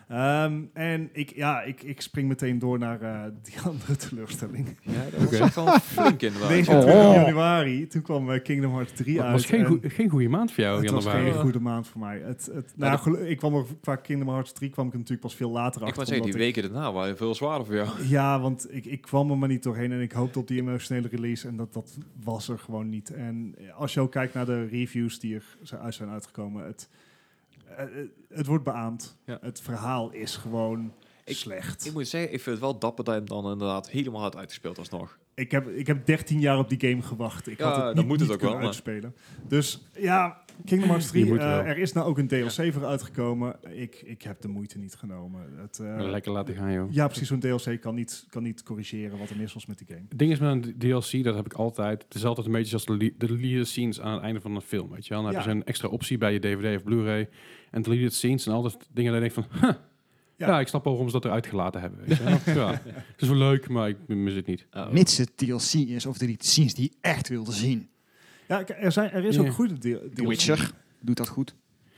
Ehm, en ik, ja, ik, ik spring meteen door naar eh, die *laughs* andere teleurstelling.
Ja, dat was echt wel flink inderdaad.
29
Oh.
januari, toen kwam eh, Kingdom Hearts 3
Het
uit.
was geen,
en
goe- geen goede maand voor jou,
het was
januari.
geen goede maand voor mij. Het, het, nou,
oh, dat-
gelu- ik kwam er, qua Kingdom Hearts 3 kwam ik er natuurlijk pas veel later
Ik
achter.
wou zeggen, die
omdat ik-
weken daarna waren veel zwaarder voor jou.
Ja, want ik, ik kwam er maar niet doorheen en ik hoopte op die emotionele release en dat, dat was er gewoon niet. En als je ook kijkt naar de reviews die er zijn- uit zijn uitgekomen, het, eh, het wordt beaamd.
Ja.
Het verhaal is gewoon
Ik-
slecht.
Ik moet zeggen, ik vind het wel dapper dat je hem dan inderdaad helemaal had uitgespeeld alsnog.
Ik heb, ik heb 13 jaar op die game gewacht. Ik
Ja,
had het
dan
niet,
moet het
niet
ook wel,
kunnen
maar-
uitspelen. Dus ja, Kingdom Hearts 3.
Je moet
eh,
wel.
er is nou ook een DLC voor uitgekomen. Ik, ik heb de moeite niet genomen. Het, eh,
Lekker laten gaan, joh.
ja, precies. Zo'n DLC kan niet, kan niet corrigeren wat er mis was met die game.
Het ding is met een DLC, dat heb ik altijd. Het is altijd een beetje als de, le- de deleted scenes aan het einde van een film. Weet je wel? Nou, Dan
Ja.
hebben ze een extra optie bij je DVD of Blu-ray. En deleted scenes zijn altijd dingen dat je denkt van... Huh,
Ja.
Ja. ik snap wel waarom ze dat eruit gelaten hebben. Weet je wel.
*laughs*
ja. Het is wel leuk, maar ik mis het niet.
Oh.
Mits het DLC is of de DLC's die je echt wilde zien.
Ja, k- er, zijn, er is
Ja.
ook goede deel.
The
deels-
Witcher doet dat goed.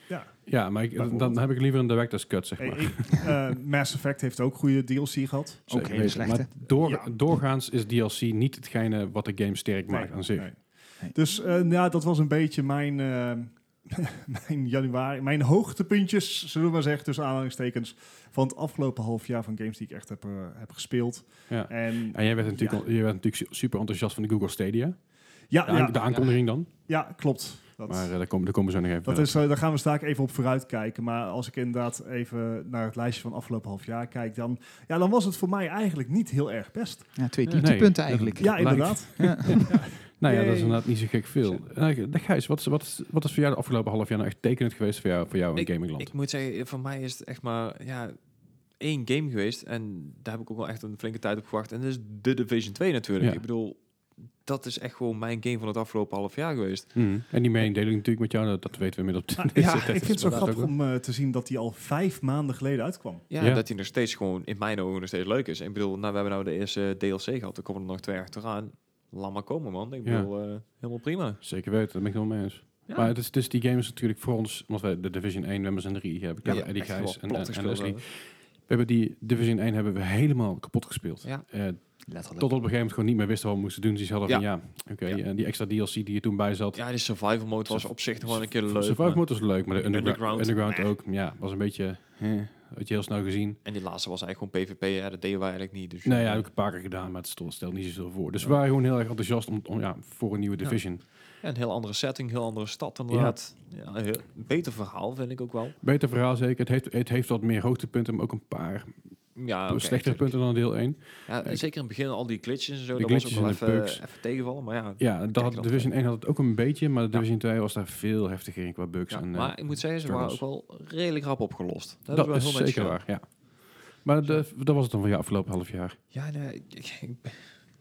Ja.
Ja, maar ik- dan- dan
Bijvoorbeeld.
heb ik liever een director's cut, zeg
Eh,
maar.
ik- eh, Mass Effect heeft ook goede DLC gehad.
Zeker
Oké,
weten.
slechte.
Maar door,
Ja.
doorgaans is DLC niet hetgene wat de game sterk maakt
Nee,
aan zich.
nee.
Nee.
Dus eh, nou, ja, dat was een beetje mijn, eh, *laughs* mijn januari, mijn hoogtepuntjes, zullen we maar zeggen, tussen aanhalingstekens, van het afgelopen half jaar van games die ik echt heb, eh, heb gespeeld.
Ja.
En
En jij werd, natuurlijk,
Ja.
al- jij werd natuurlijk su- super enthousiast van de Google Stadia. De,
ja,
aan-
ja,
de aankondiging dan.
ja, klopt. Dat,
Maar eh, daar, komen, daar komen we zo nog even
dat
op.
is, eh, daar gaan we straks even op vooruit kijken. Maar als ik inderdaad even naar het lijstje van afgelopen half jaar kijk, dan, ja, dan was het voor mij eigenlijk niet heel erg best.
Ja, twee
Nee.
punten eigenlijk.
Ja, inderdaad.
Nou ja, dat is
Yay.
inderdaad niet zo gek veel. Nou, Gijs, wat is, wat, is, wat is voor jou de afgelopen half jaar nou echt tekenend geweest voor jou, voor jou in
Ik-
gamingland?
Ik moet zeggen, voor mij is het echt maar ja, één game geweest. En daar heb ik ook wel echt een flinke tijd op gewacht. En dat is The Division 2 natuurlijk.
Ja.
Ik bedoel, dat is echt gewoon mijn game van het afgelopen half jaar geweest.
Mhm. En die mededeling natuurlijk met jou, dat, dat weten we *laughs* inmiddels.
Maar
op deze
Ah, ja, ik
tijd.
vind het zo
Dus, Dat is
grappig
ook
om eh, te zien dat die al vijf maanden geleden uitkwam.
Ja,
Ja.
dat hij nog steeds gewoon, in mijn ogen, nog steeds leuk is. Ik bedoel, nou, we hebben nou de eerste DLC gehad. Er komen er nog twee achteraan. Laat maar komen, man. Ik
Ja.
bedoel, eh, helemaal prima.
wel- Zeker weten, daar ben ik het wel mee eens.
Ja.
Maar het is, het is die game is natuurlijk voor ons, want wij de Division 1, we hebben zijn drie, hebben
Ja,
ja, Eddie
echt wel
Gijs en,
plat
en- en
gespeeld
Leslie.
hebben.
We hebben die Division 1 hebben we helemaal kapot gespeeld.
Ja.
Eh,
Letterlijk.
Tot op een gegeven moment gewoon niet meer wisten wat we moesten doen. Dus die hadden
Ja.
van ja, oké.
Ja.
En die extra DLC die er toen bij zat.
Ja, die survival mode was
Surv-
op zich nog wel een keer leuk.
Survival
maar-
Mode was leuk, maar de undergra-
Underground.
underground, ook. Ja, was een beetje, eh, had je heel snel gezien.
En die laatste was eigenlijk gewoon PvP. Ja, dat deden wij eigenlijk niet. Dus
Nou ja, heb ik een paar keer gedaan, maar het stond- stelt niet zoveel voor. Dus we waren gewoon heel erg enthousiast om, om, ja, voor een nieuwe
Ja.
division.
Ja, een heel andere setting, heel andere stad inderdaad. Ja. een heel- beter verhaal vind ik ook wel.
Beter verhaal zeker. Het heeft, het heeft wat meer hoogtepunten, maar ook een
Ah,
paar
Ja, oké,
slechtere
tuurlijk.
punten dan deel 1.
Ja, en zeker in het begin al die glitches en zo.
De
dat was ook
glitches
wel
en de
even,
bugs.
even tegenvallen. Maar ja,
Ja, dat
Kijk
had,
dan.
Division 1 had het ook een beetje, maar de Division 2 was daar veel heftiger in qua bugs.
ja,
en, eh,
maar ik moet zeggen, ze waren ook
struggles.
wel redelijk rap opgelost. Dat,
dat
wel
is
heel netjes
zeker
gedaan.
waar, ja. Maar de, dat was het dan van je afgelopen half jaar.
Ja, nee, ik- ik- ik-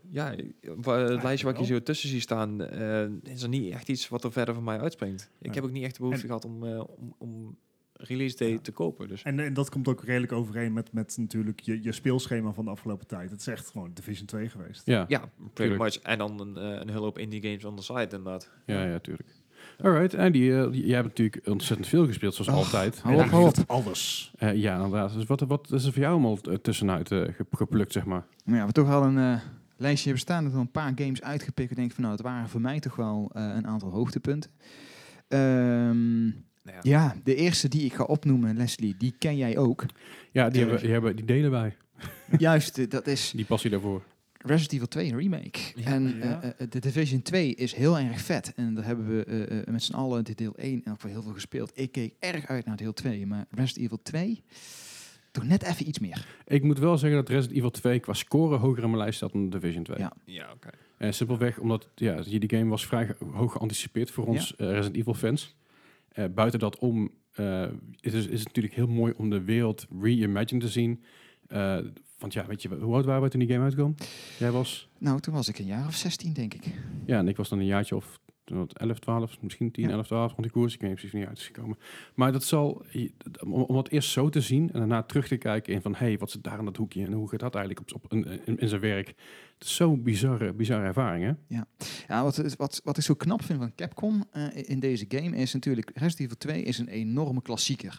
ja ik- wa- het lijstje waar ik hier zo tussen zie staan, eh, is er niet echt iets wat er verder van mij uitspringt. Ik
Nee.
heb ook niet echt de behoefte
En-
gehad om, eh, om, om release day
Ja.
te kopen. Dus
En, en dat komt ook redelijk overeen met, met natuurlijk je, je speelschema van de afgelopen tijd. Het is echt gewoon Division 2 geweest.
Ja, ja,
ja, pretty
tuurlijk.
much. En dan een, eh, een hele hoop indie games on the side inderdaad.
ja, tuurlijk. Alright, en die, eh, j- jij hebt natuurlijk ontzettend veel gespeeld, zoals
Och,
altijd.
hou op,
Eh,
hou op.
Alles.
eh, ja, inderdaad. Dus wat, wat is er voor jou allemaal eh, tussenuit eh, ge- geplukt, zeg maar?
Nou ja, we toch al een eh, lijstje hebben staan. Dat we een paar games uitgepikt. Ik denk van nou, het waren voor mij toch wel eh, een aantal hoogtepunten. Ehm,
Nou ja.
ja, de eerste die ik ga opnoemen, Leslie, die ken jij ook.
Ja, die,
Tuurlijk.
hebben, die, hebben, die delen wij.
Juist, eh, dat is
Die passie daarvoor.
Resident Evil 2 Remake.
Ja.
en eh,
Ja.
eh, de Division 2 is heel erg vet. En daar hebben we eh, eh, met z'n allen de deel 1 en ook wel heel veel gespeeld. Ik keek erg uit naar deel 2, maar Resident Evil 2 toch net even iets meer.
Ik moet wel zeggen dat Resident Evil 2 qua score hoger in mijn lijst staat dan Division 2.
Ja.
Ja, oké.
Eh, simpelweg omdat ja, die game was vrij ge- hoog geanticipeerd voor ons eh, Resident Evil fans. Eh, buiten dat om eh, is, is het natuurlijk heel mooi om de wereld reimagined te zien. Eh, want ja, weet je, hoe oud waren we toen die game uitkwam? Jij was,
Nou, toen was ik een jaar of 16, denk ik.
ja, en ik was dan een jaartje of toen was het 11, 12, misschien 10,
Ja.
11, 12 rond die koers. Ik weet niet precies wanneer het is gekomen. Maar dat zal, je- dat- om, om dat eerst zo te zien en daarna terug te kijken in van, hé, hey, wat zit daar in dat hoekje en hoe gaat dat eigenlijk op, op, in, in- in zijn werk? Het is zo'n bizarre, bizarre ervaring, hè?
Ja, wat, wat, wat ik zo knap vind van Capcom eh, in deze game is natuurlijk... Resident Evil 2 is een enorme klassieker.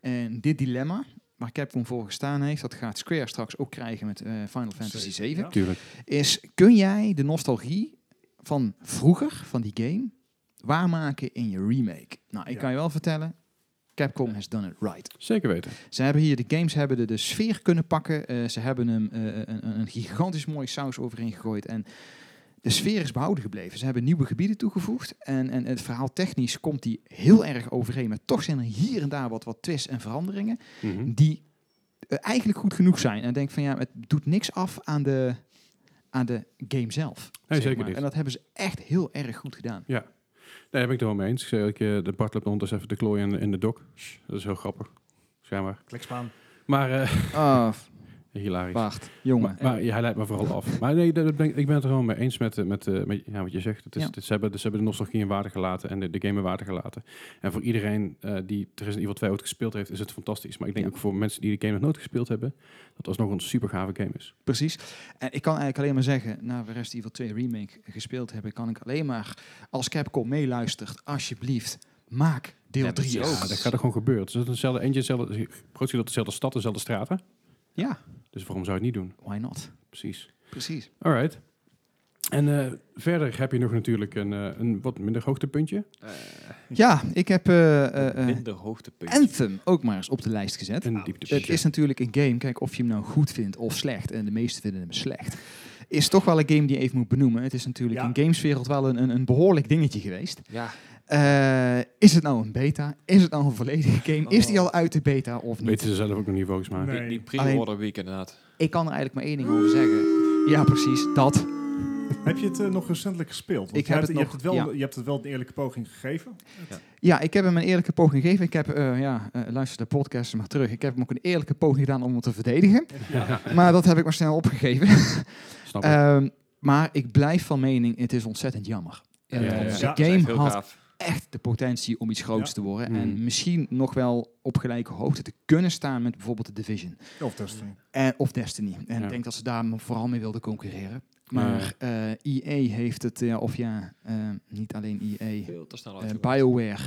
En dit dilemma waar Capcom voor gestaan heeft... dat gaat Square straks ook krijgen met eh, Final Fantasy 7.
Ja.
Tuurlijk.
Is, kun jij de nostalgie van vroeger, van die game... waarmaken in je remake? Nou, ik
Ja.
kan je wel vertellen... Capcom has done it right.
Zeker weten.
Ze hebben hier, de games hebben de, de sfeer kunnen pakken. Eh, ze hebben hem eh, een, een- een gigantisch mooie saus overheen gegooid. En de sfeer is behouden gebleven. Ze hebben nieuwe gebieden toegevoegd. En, en het verhaal technisch komt die heel erg overeen. Maar toch zijn er hier en daar wat, wat twists en veranderingen.
Mhm.
Die eh, eigenlijk goed genoeg zijn. En ik denk van ja, het doet niks af aan de, aan de game zelf. zeg
zeker
maar.
niet.
En dat hebben ze echt heel erg goed gedaan.
Daar heb ik het wel mee eens. Ik zei ook, eh, de Bart loopt ondertussen even de klooi in, in de dok. Shh, Dat is heel grappig. Schijnbaar.
Klikspaan.
Maar eh, *laughs*
Ah, f-
Hilarisch.
Wacht, jongen.
Maar, maar ja, hij leidt me vooral af. Maar nee, dat, dat ben, ik- ik ben het er gewoon mee eens met, eh, met, eh, met ja, wat je zegt. Het is,
Ja.
het- ze, hebben, ze hebben de nostalgie in waarde gelaten en de, de game in waarde gelaten. En voor iedereen eh, die Resident Evil 2 ooit gespeeld heeft, is het fantastisch. Maar ik denk
Ja.
ook voor mensen die de game nog nooit gespeeld hebben, dat alsnog een super gave game is.
Precies. En ik kan eigenlijk alleen maar zeggen, na we Resident Evil 2 Remake gespeeld hebben, kan ik alleen maar, als Capcom meeluistert, alsjeblieft, maak deel
Ja, dat
3
is-
ook.
Ja, dat gaat er gewoon gebeuren. Het is hetzelfde engine, hetzelfde, produceert op dezelfde stad, dezelfde straten.
Ja,
Dus waarom zou je het niet doen?
why not?
Precies.
Precies.
Alright. En eh, verder heb je nog natuurlijk een, eh, een wat minder hoogtepuntje.
Ja, ik heb eh, eh, eh,
Minder hoogtepunt.
Anthem ook maar eens op de lijst gezet.
Een dieptepuntje.
Nou, Het is natuurlijk een game, kijk of je hem nou goed vindt of slecht, en de meesten vinden hem slecht, is toch wel een game die je even moet benoemen. Het is natuurlijk
Ja.
in gameswereld wel een, een, een behoorlijk dingetje geweest.
Ja,
Eh, is het nou een beta? Is het nou een volledige game? Is die
Oh.
al uit de beta of niet?
Weten ze zelf ook nog niet volgens mij.
Nee.
die, die
Alleen-
pre-order week inderdaad.
Ik kan er eigenlijk maar één ding over zeggen. Ja, precies, dat.
Heb je het eh, nog recentelijk gespeeld? Want
Ik
je
heb het
hebt- je
nog-
hebt wel,
ja.
Je hebt het wel een eerlijke poging gegeven.
Ja, ik heb hem een eerlijke poging gegeven. Ik heb, eh, ja, eh, luister de podcast maar terug. Ik heb hem ook een eerlijke poging gedaan om hem te verdedigen. Maar dat heb ik maar snel opgegeven.
Snap ik.
Ehm, maar ik blijf van mening, het is ontzettend jammer.
Ja,
Ja,
dat klopt.
ja,
ja.
Dat is echt
Game
heel
had-
gaaf.
Echt de potentie om iets groots
Ja.
te worden.
Mm.
En misschien nog wel op gelijke hoogte te kunnen staan met bijvoorbeeld de Division.
Of Destiny.
En, of Destiny. En
Ja.
ik denk dat ze daar vooral mee wilden concurreren. Maar eh EA heeft het, ja, of ja, eh, niet alleen EA.
Veel te snel
Eh,
uitgebracht.
BioWare.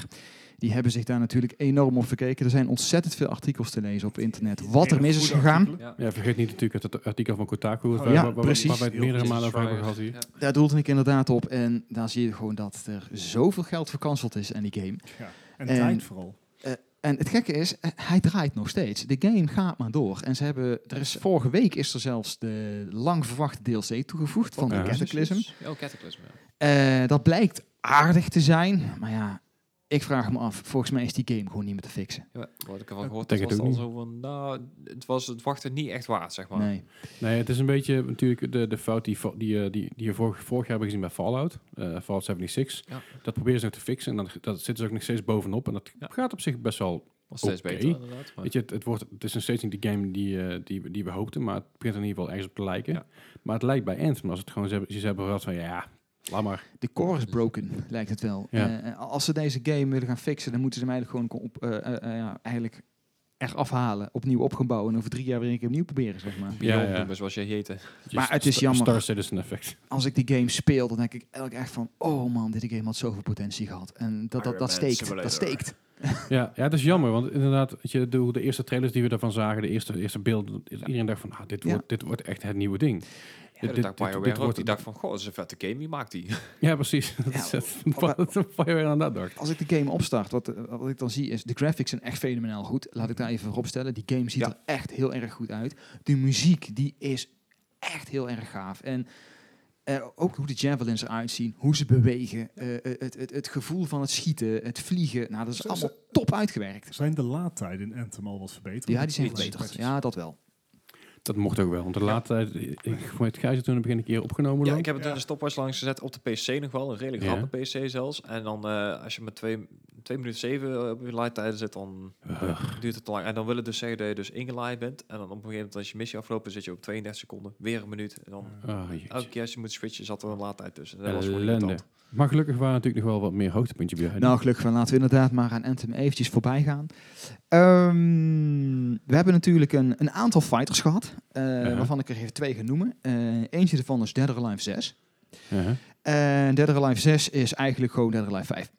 Die hebben zich daar natuurlijk enorm op verkeken. Er zijn ontzettend veel artikels te lezen op internet. Wat er mis is gegaan,
Ja.
Ja, vergeet niet natuurlijk het artikel van Kotaku, waar,
Oh,
waar-
ja,
waar- waar-
precies.
waar wij het
Heel
meerdere
goed.
malen over hebben gehad hier.
Ja.
daar doelde ik inderdaad op. En daar zie je gewoon dat er zoveel geld verkanseld is aan die game.
Ja. En,
En-
tijd vooral.
En het gekke is, eh, hij draait nog steeds. De game gaat maar door. En ze hebben, er is, vorige week is er zelfs de lang verwachte DLC toegevoegd van
Ja.
de Cataclysm.
Ja, oh, Cataclysm. ja.
Eh, dat blijkt aardig te zijn. Maar ja, ik vraag me af. Volgens mij is die game gewoon niet meer te fixen.
Ja, wat ik ervan gehoord
denk
heb,
het
was het
ook
al zo van, nou, het was het wachten niet echt waard, zeg maar.
Nee.
Nee, het is een beetje natuurlijk de, de fout die, vo- die, eh, die, die je vorig, vorig jaar hebben gezien bij Fallout, eh, Fallout 76.
Ja.
Dat proberen ze nog te fixen en dan, dat zitten ze ook nog steeds bovenop. En dat
Ja.
gaat op zich best wel...
Was steeds
Oké.
beter, inderdaad. Maar
Weet je, het, het, wordt, het is nog steeds niet de game die, eh, die, die we hoopten, maar het begint in ieder geval ergens op te lijken.
Ja.
Maar het lijkt bij Anthem, als het gewoon ze hebben, ze hebben gehad van ja, laat maar.
De core is
Mhm.
broken, lijkt het wel.
Ja.
Eh, als ze deze game willen gaan fixen, dan moeten ze hem eigenlijk gewoon op, eh eh, eh, ja, eigenlijk echt afhalen, opnieuw opgebouwen en over drie jaar weer een keer opnieuw proberen, zeg maar.
Ja,
Beyond
ja.
Numbers, zoals je heette.
Just
het is
Sta-
jammer.
Star Citizen effect. *laughs*
Als ik die game speel, dan denk ik elk echt van, oh man, dit game had zoveel potentie gehad. En dat, dat,
Iron
dat
Man
steekt,
Simulator.
dat steekt.
ja, ja, het is jammer, want inderdaad, weet je, de, de eerste trailers die we daarvan zagen, de eerste, de eerste beelden, iedereen dacht van, ah, dit,
Ja.
wordt, dit wordt echt het nieuwe ding.
Ja, dat dacht BioWare ook.
wordt-
Die dacht van, goh, dat is een vette game, wie maakt die?
Ja, precies. *laughs* Dat is het. Wat een Bioware aan dat dacht.
Als ik de game opstart, wat, eh, wat ik dan zie is, de graphics zijn echt fenomenaal goed. Laat ik daar even voor opstellen. Die game ziet
Ja.
er echt heel erg goed uit. De muziek, die is echt heel erg gaaf. En eh, ook hoe de javelins eruit zien, hoe ze bewegen, eh, het, het, het gevoel van het schieten, het vliegen. Nou, dat is
Zo-
allemaal top uitgewerkt.
Zijn de laadtijden in Anthem al wat verbeterd?
Ja, die zijn
Met
verbeterd.
patches.
Ja, dat wel.
Dat mocht ook wel. Want de laatste tijd, ik ik- met Gijs toen heb ik een keer opgenomen.
Ja,
dan.
ik heb het
Ja.
in de stopwatch langs gezet op de PC nog wel. Een redelijk
Ja.
harde PC zelfs. En dan eh, als je met 2 minuten 7 op je laadtijden zit, dan
Ugh.
duurt het te lang. En dan wil het dus zeggen dat je dus ingelaaid bent. En dan op een gegeven moment als je missie afgelopen zit je op 32 seconden. Weer een minuut. En dan
Ah, jeetje.
elke keer als je moet switchen zat er een laadtijd tussen. En Dat was gewoon
Ellende.
irritant.
Maar gelukkig waren natuurlijk nog wel wat meer hoogtepuntje bij.
Nou, gelukkig wel. Laten we inderdaad maar aan Anthem eventjes voorbij gaan. Ehm, we hebben natuurlijk een, een aantal fighters gehad, eh,
Ja.
waarvan ik er even twee ga noemen. Eh, eentje daarvan is Dead or Alive 6.
Uh-huh.
En Dead or Alive 6 is eigenlijk gewoon Dead or Alive 5.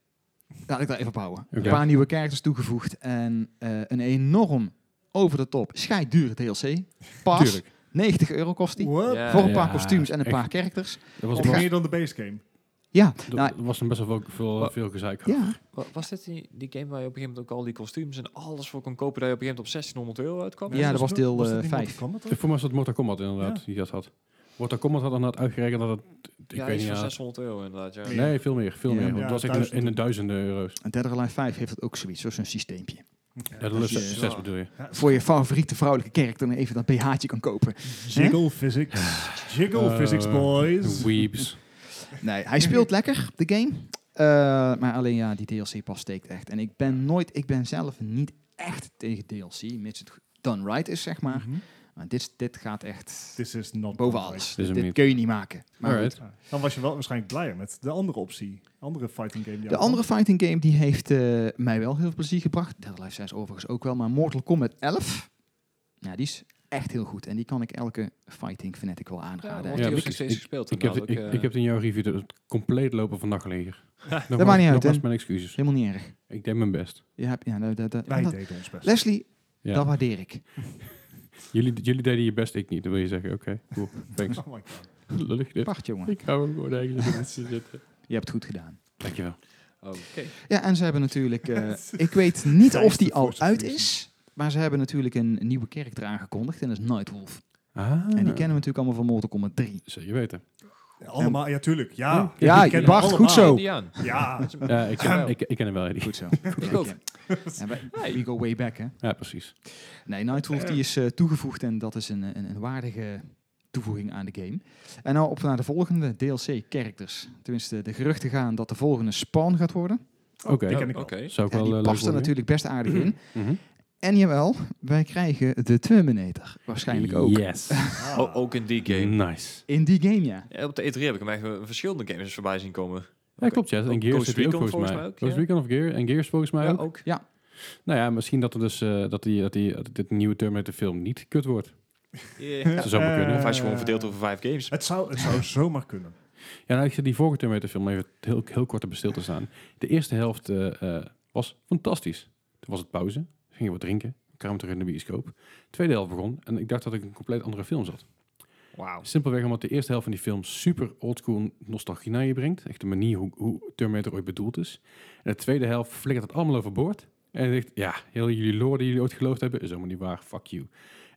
Laat ik daar even op houden.
Oké.
Een paar nieuwe characters toegevoegd en eh, een enorm over de top scheiddure DLC. Pas
Tuurlijk.
90 euro kost die.
What?
Ja,
voor een
ja,
paar kostuums en een
echt.
paar characters.
Dat was,
Of
nog-
meer dan de base game.
Ja,
dat
nou,
was een best wel veel, veel, veel gezeik.
ja,
Wa- Was dit die, die game waar je op een gegeven moment ook al die kostuums en alles voor kon kopen, dat je op een gegeven moment op 1600 euro uitkwam?
Ja, dat was deel,
dat
eh,
niet Mortal
vijf.
Kombat ook?
Voor mij was dat Mortal Kombat inderdaad,
Ja.
die dat had. Mortal Kombat had inderdaad uitgerekend dat het... Ik
ja,
weet
iets
niet,
van
ja,
600 euro inderdaad. Ja.
Nee.
Nee, veel meer. Veel
Ja.
meer. Want
Ja,
het was echt in de- in de
duizenden.
duizenden euro's.
en Dead or Alive 5 heeft het ook zoiets, zo'n systeempje.
Ja, de
dat
lust
is-
succes bedoel je.
Ja,
Voor je favoriete vrouwelijke character even dat BH'tje kan kopen.
Jiggle physics. Jiggle
Eh,
physics, boys.
Weeps.
Nee, hij speelt lekker, de game. Eh, maar alleen ja, die DLC pas steekt echt. En ik ben nooit, ik ben zelf niet echt tegen DLC, mits het done right is, zeg maar.
Mhm.
Maar dit, dit gaat echt
This is not
boven
Counter-Strike.
alles.
Dit is
Dit,
hem niet.
kun je niet maken. Maar
Alright.
goed.
Ja. Dan was je wel waarschijnlijk blijer met de andere optie. Andere fighting game. Die
De andere fighting game die heeft eh, mij wel heel veel plezier gebracht. Dead or Alive 6 overigens ook wel. Maar Mortal Kombat 11, ja, die is echt heel goed. En die kan ik elke fighting fanatic wel
Ja,
aanraden.
ja,
precies.
wordt steeds
Ik-
gespeeld. eh,
Ik heb, het- ik, ik heb het in jouw review het compleet lopen van nacht liggen. Nogmaals-
maakt niet uit,
nogmaals
hè?
mijn excuses.
Helemaal niet erg.
Ik deed mijn best.
Je hebt, ja, dat, dat, dat-
Wij
dat-
deden ons best.
Leslie,
Ja.
dat waardeer ik.
Jullie, jullie deden je best, ik niet. Dan wil je zeggen, oké, cool, thanks.
*laughs*
*laughs* Oh my god.
Lullig dit.
Apart, jongen.
Ik hou hem gewoon eigenlijk in de mensen zitten.
Je hebt het goed gedaan.
Dankjewel.
oh, Oké.
Ja, en ze hebben natuurlijk... eh, ik weet niet of die al
Gijs de
uit
Force
is. Maar ze hebben natuurlijk een nieuwe character aangekondigd. En dat is Nightwolf.
Ah,
En die kennen we natuurlijk allemaal van Mortal Kombat 3.
Zeker weten.
Ja, Allemaal, ja tuurlijk. Ja,
Ja, ja,
die kennen we
Bart,
allemaal.
goed zo.
Die aan.
Ja,
*laughs*
Ja, ik, ken, ik, ik ken hem wel, Eddie.
Goed zo.
Ik ook.
Ja, we, we go way back, hè?
Ja, precies.
Nee, Nightwolf die is eh, toegevoegd en dat is een, een, een waardige toevoeging aan de game. En nou op naar de volgende DLC-characters. Tenminste, de geruchten gaan dat de volgende Spawn gaat worden.
Oké,
die ken ik wel.
Oké.
zou ik
En
wel
die
eh,
past er
leuk vinden.
natuurlijk best aardig in.
Mhm.
En jawel, wij krijgen de Terminator waarschijnlijk ook.
Yes.
Ah.
Oh,
O- Ook in die game.
nice.
In die game, ja.
Ja, op de E3 heb ik hem echt eh, verschillende games voorbij zien komen.
Ja, klopt, ja. En
Ook
Gears
Ghost
zit die ook
Recon
volgens mij.
volgens mij ook,
Ghost
ja.
Recon of Gear en Gears volgens mij
Ja,
ook.
ook.
Nou ja, misschien dat er dus eh, dat die, dat die dat dit nieuwe Terminator film niet kut wordt.
Yeah.
Dat zou maar kunnen.
Eh,
Of als je gewoon verdeelt over vijf games.
Het zou, het
*laughs*
zou zomaar kunnen.
Ja, nou, ik zit die vorige Terminator film even heel, heel kort op stil te staan. De eerste helft eh, eh, was fantastisch. Toen was het pauze, gingen we wat drinken, kwamen terug in de bioscoop. tweede helft begon en ik dacht dat ik in een compleet andere film zat.
Wauw.
Simpelweg omdat de eerste helft van die film super oldschool nostalgie naar je brengt. Echt de manier hoe, hoe Terminator ooit bedoeld is. En de tweede helft flikkert het allemaal overboord. En je denkt, ja, heel jullie lore die jullie ooit geloofd hebben, is helemaal niet waar. Fuck you.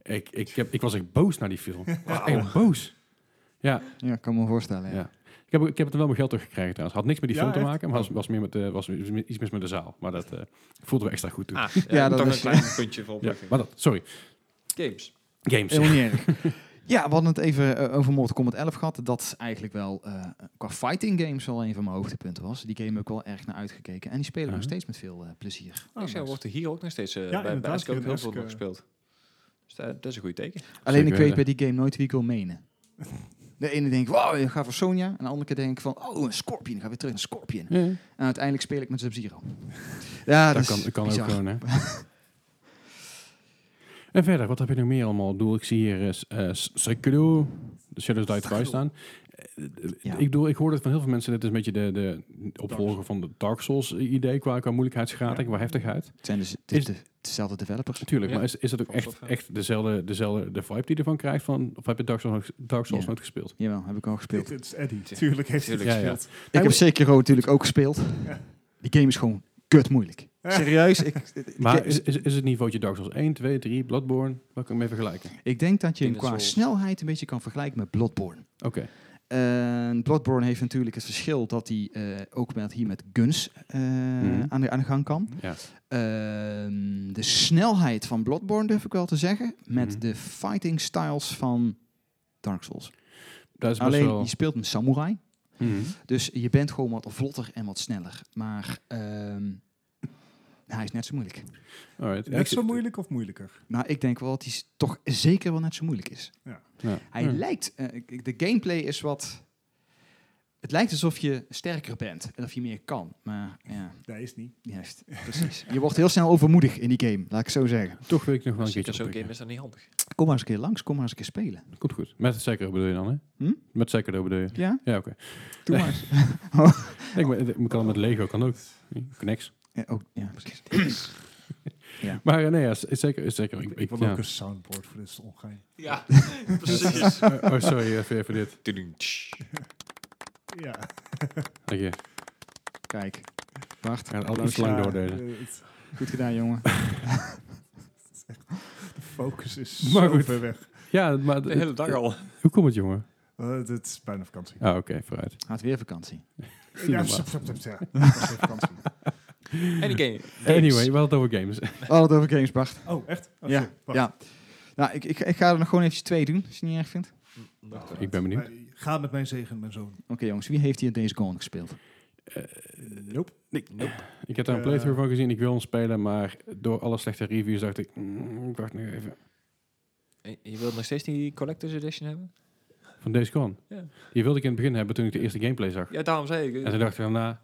Ik, ik, heb, ik was echt boos naar die film. Ik was echt boos. Ja,
Ja, kan me voorstellen. Ja.
Ja. ik heb, ik heb het wel mijn geld teruggekregen trouwens. Had niks met die
Ja,
film te
echt?
maken, maar was, was, meer met, eh, was iets mis met de zaal. Maar dat eh voelde we extra goed toe.
Ah,
Ja,
ja,
dat
toch
is-
een klein puntje voor
*laughs* ja,
opmerking.
maar dat, sorry.
Games.
Games.
Helemaal niet erg.
*laughs*
Ja, we hadden het even eh, over Mortal Kombat 11 gehad. Dat is eigenlijk wel eh, qua fighting games wel een van mijn hoogtepunten was. Die game heb ik wel erg naar uitgekeken. En die spelen we nog
Mhm.
steeds met veel eh, plezier.
Ah,
ik zei,
nice.
wordt er hier ook nog steeds eh, bij, bij
inderdaad,
Ask ook
in
heel
Ask,
veel nog
eh,
gespeeld. Dus dat, dat is een goed teken.
Alleen ik
Zeker
weet bij
weten.
die game nooit wie ik wil menen. De ene denkt, wow, ik ga voor Sonya. En de andere keer denk ik van, oh, een Scorpion. Ik ga weer terug naar Scorpion.
Ja, dat,
En uiteindelijk speel ik met Sub-Zero. Ja, dat,
kan,
is
dat kan ook
bizar. *laughs*
gewoon, hè. en verder, wat heb je nog meer allemaal? Ik bedoel, ik zie hier eh, s- eh Sekiro, de Shadows Die Twice staan. Eh, eh,
Ja.
Ik bedoel, ik hoorde het van heel veel mensen. Dit is een beetje de, de opvolger van de Dark Souls idee qua, qua moeilijkheidsgraad en qua heftigheid.
Het zijn dus het is de, dezelfde developers.
Natuurlijk,
Ja.
maar is, is dat ook
Van
echt,
software.
echt dezelfde, dezelfde de vibe die je ervan krijgt? Van, of heb je Dark Souls, Dark Souls
Ja.
nooit gespeeld?
Jawel, heb ik al gespeeld.
Dit dit is Eddie. Tuurlijk heeft hij het
Tuurlijk,
ja,
gespeeld.
Ik heb Sekiro natuurlijk ook gespeeld. Die game is gewoon kut moeilijk. Serieus, ik,
Maar
ik-
is, is, is het niveautje Dark Souls 1, 2, 3, Bloodborne? Waar kan ik hem mee vergelijken?
ik denk dat je hem
Demon
qua
Souls.
snelheid een beetje kan vergelijken met Bloodborne.
Oké.
En Bloodborne heeft natuurlijk het verschil dat hij eh, ook met, hier met guns eh,
Mhm.
aan, de, aan de gang kan.
Ja.
Ehm, de snelheid van Bloodborne durf ik wel te zeggen. Met
Mhm.
de fighting styles van Dark Souls.
Dat is best
Alleen
wel...
je speelt een samurai.
Mhm.
Dus je bent gewoon wat vlotter en wat sneller. Maar ehm, hij is net zo moeilijk.
Alright.
Net zo
Ik-
moeilijk of moeilijker?
Nou, ik denk wel dat hij s- toch zeker wel net zo moeilijk is.
Ja.
Hij
Ja.
lijkt, eh, ik- ik- de gameplay is wat. Het lijkt alsof je sterker bent en of je meer kan. Maar ja,
Nee, is niet.
juist. Precies. Je wordt heel snel overmoedig in die game, laat ik het zo zeggen.
Toch wil ik nog wel een
Als je
keertje
zo'n game
oppikken.
is dat niet handig.
Kom maar eens een keer langs, kom maar eens een keer spelen.
Komt goed. Met het Sekiro bedoel je dan, hè?
Hm?
Met Sekiro bedoel je?
Ja,
Ja, oké.
doe maar eens.
Nee, maar ik kan met Lego, kan ook. Niks.
Ja, ook, ja, precies.
Maar eh, nee, ja, zeker. zeker. Ik,
Ik
ik,
wil
ja.
ook een soundboard voor dit is ongein.
*laughs* Ja,
*laughs*
precies.
Eh, oh, sorry, even, even dit.
Tudum, tsch.
Ja.
Dank je.
Kijk. Wacht,
We gaan al iets lang door deze.
eh,
goed gedaan, jongen.
De focus is
Maar
*laughs* maar
goed.
ver weg.
Ja, maar...
De hele dag al.
Hoe komt het, jongen?
Eh, dit is bijna vakantie.
Ah, oké, vooruit.
Had weer vakantie.
Ja,
maar.
stop, stop, stop, stop. *laughs* Ja, dat is vakantie.
En die game.
Anyway, we hadden het over games.
We hadden het over games, Bart.
Oh, echt? Oh,
ja,
shit, wacht.
ja. Nou, ik, ik, ik ga er nog gewoon eventjes twee doen, als je het niet erg vindt.
Ik ben benieuwd.
Maar eh, Ga met mijn zegen, mijn zoon.
Oké, jongens, wie heeft hier Days Gone gespeeld?
Nope.
Ik heb daar een
Eh,
playthrough van gezien. Ik wil hem spelen, maar door alle slechte reviews dacht ik... mm, ik wacht nu even.
En Je wilt nog steeds die Collector's Edition hebben?
Van Days Gone.
Ja.
Die wilde ik in het begin hebben toen ik de eerste gameplay zag.
Ja, daarom zei ik. eh,
En toen dacht ik nou, daarna,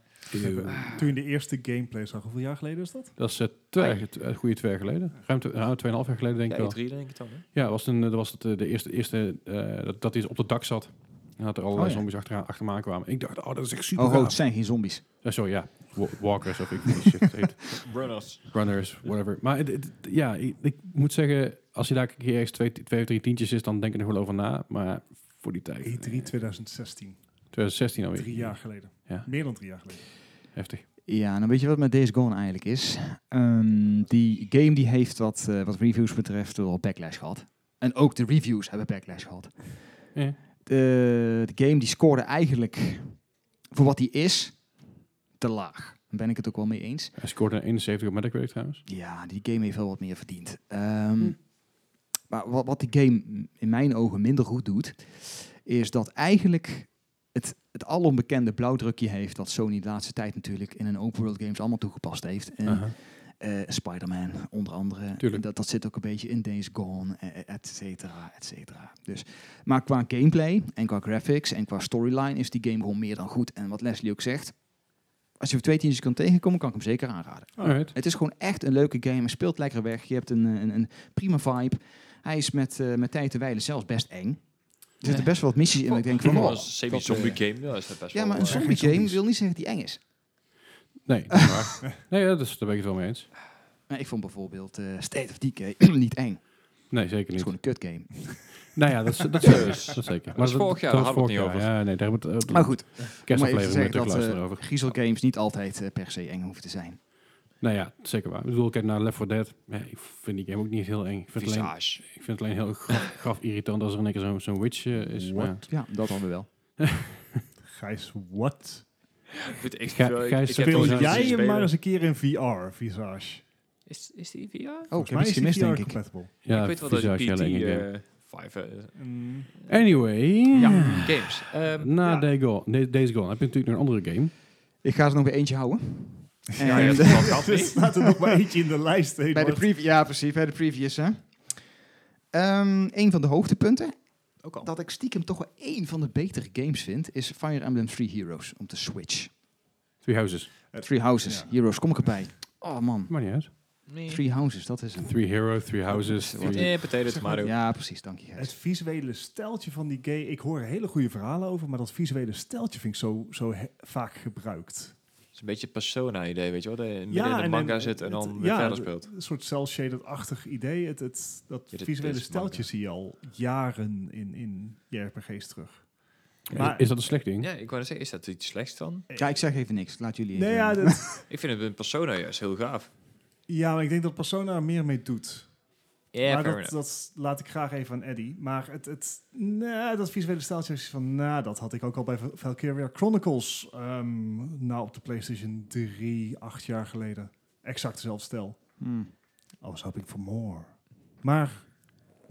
*laughs*
Toen je de eerste gameplay zag, hoeveel jaar geleden is dat?
dat is eh, twee, een goede twee jaar geleden. Ruim, twe- ruim tweeënhalf jaar geleden denk ik
ja,
wel.
E3 E denk ik dan. Hè?
Ja, was toen, eh, dat was het, eh, de eerste, eerste eh, dat, dat hij op het dak zat. En dat er allerlei
Oh, ja.
zombies achteraan, achteraan kwamen. Ik dacht, oh, dat is echt super
Oh, ho,
gaaf.
het zijn geen zombies.
Eh, sorry, ja. Wa- Walkers of ik weet niet hoe die shit heet.
Runners.
Runners, whatever. Maar het- het- ja, ik, ik moet zeggen, als je daar een keer ergens twee, twee of drie tientjes is, dan denk ik er nog wel over na. Maar voor die tijd. eh,
E3 2016,
2016 alweer.
drie jaar geleden.
Ja.
Meer dan drie jaar geleden.
Heftig.
Ja, dan weet je wat met Days Gone eigenlijk is. Ehm, die game die heeft wat, eh, wat reviews betreft wel backlash gehad. En ook de reviews hebben backlash gehad.
Ja.
De, de game die scoorde eigenlijk voor wat die is te laag. Daar ben ik het ook wel mee eens.
Hij scoorde een 71 op Metacritic trouwens.
Ja, die game heeft wel wat meer verdiend. Ehm,
Hm.
Maar wat, wat die game in mijn ogen minder goed doet, is dat eigenlijk het, het alombekende blauwdrukje heeft dat Sony de laatste tijd natuurlijk in een open world games allemaal toegepast heeft. En
Aha.
eh, Spider-Man onder andere.
Tuurlijk.
Dat, dat zit ook een beetje in Days Gone, eh, et cetera, et cetera. Dus, maar qua gameplay en qua graphics en qua storyline is die game gewoon meer dan goed. En wat Leslie ook zegt, als je voor twee tientjes kan tegenkomen, kan ik hem zeker aanraden.
Alright.
Het is gewoon echt een leuke game. Hij speelt lekker weg. Je hebt een, eh, een, een prima vibe. Hij is met, eh met tijd te wijlen zelfs best eng. Er zitten best wel wat missies in. dat Ik denk van,
Dat
oh,
is een semi-zombie game. Ja, is dat best
ja,
wel,
maar een
eh,
zombie game wil niet zeggen dat die eng is.
Nee, dat is waar. nee ja, dat is, daar ben ik het wel mee eens.
Maar ik vond bijvoorbeeld eh, State of Decay *clears throat* niet eng. Het
Nee, zeker
is
niet.
gewoon een kut game.
Nou ja, dat, is- dat, is- dat is zeker. Maar
was dus- vorig jaar,
dat
daar
was
hadden we het
vorig
niet
jaar. Ja, nee, daar hebben we het
Maar
uh,
goed, maar even te
kerstaflevering
zeggen
met terug
dat
luisteren
eh
over.
griezelgames niet altijd eh, per se eng hoeven te zijn.
Nou ja, zeker waar. Ik bedoel, kijk naar Left 4 Dead. Ja, ik vind die game ook niet heel eng. Ik vind, het alleen,
Visage.
ik vind het alleen heel graf, graf irritant als er een keer zo'n zo'n witch eh, is. Maar, ja.
Ja, dat dan weer wel.
Gijs, what?
Goed, ik,
Gij-
ik- ik
Gijs,
heb
speel
wel
Wil
eens
jij
gezien
hem maar eens
spelen.
een keer in VR, Visage?
Is, is die E VR?
Oh, ik
Volgens
heb
mij
iets
is die
gemist,
VR
denk ik.
compatible.
ja,
ik weet wel dat die
Visage, heel
PT
enge game.
eh 5 eh,
Mm.
Anyway,
Ja, games. Ehm,
na
ja.
Day Gone, nee, Days Gone heb je natuurlijk nog een andere game.
Ik ga er nog weer eentje houden.
*laughs*
En
Ja,
*laughs*
je hebt
eh,
het al gehad,
Er
niet?
staat er nog maar eentje in de lijst. hè,
bij de
Bart.
preview, ja, precies, bij de previews. Hè. Ehm, een van de hoogtepunten,
Ook al.
dat ik stiekem toch wel één van de betere games vind, is Fire Emblem Three Heroes om te Switch.
Three Houses.
Three Houses,
Ja.
Heroes, kom ik erbij. Oh man,
Maar niet uit.
Nee.
Three Houses, dat is hem.
Three Hero, Three Houses.
Ja.
Three... Eh,
Nee, potato, tomato.
Ja, precies, dank je. Gijs.
Het visuele steltje van die game, ik hoor hele goede verhalen over, maar dat visuele steltje vind ik zo, zo he- vaak gebruikt.
Het is een beetje persona-idee, weet je wel? Dat je midden in de manga zit en dan
het-
weer
ja,
verder speelt.
Een soort cel-shaded-achtig idee. Het, het, dat
Ja, dit-
visuele
dit is manga.
steltje zie je al jaren in, in JRPG's terug. Maar- Eh,
Is dat een slecht ding?
Ja, ik wou net zeggen, is dat iets slechts dan?
Ja, ik zeg even niks, laat jullie even.
Nee, ja, dat, *laughs*
Ik vind het een persona juist heel gaaf.
ja, maar ik denk dat Persona er meer mee doet.
Ja, fair
maar dat,
enough.
dat laat ik graag even aan Eddie. Maar het, het, nee, dat visuele steltje is van, nou, dat had ik ook al bij Val- Valkyria Chronicles. ehm, nou, op de PlayStation 3, acht jaar geleden. Exact dezelfde stijl.
Hmm.
I was hoping for more. Maar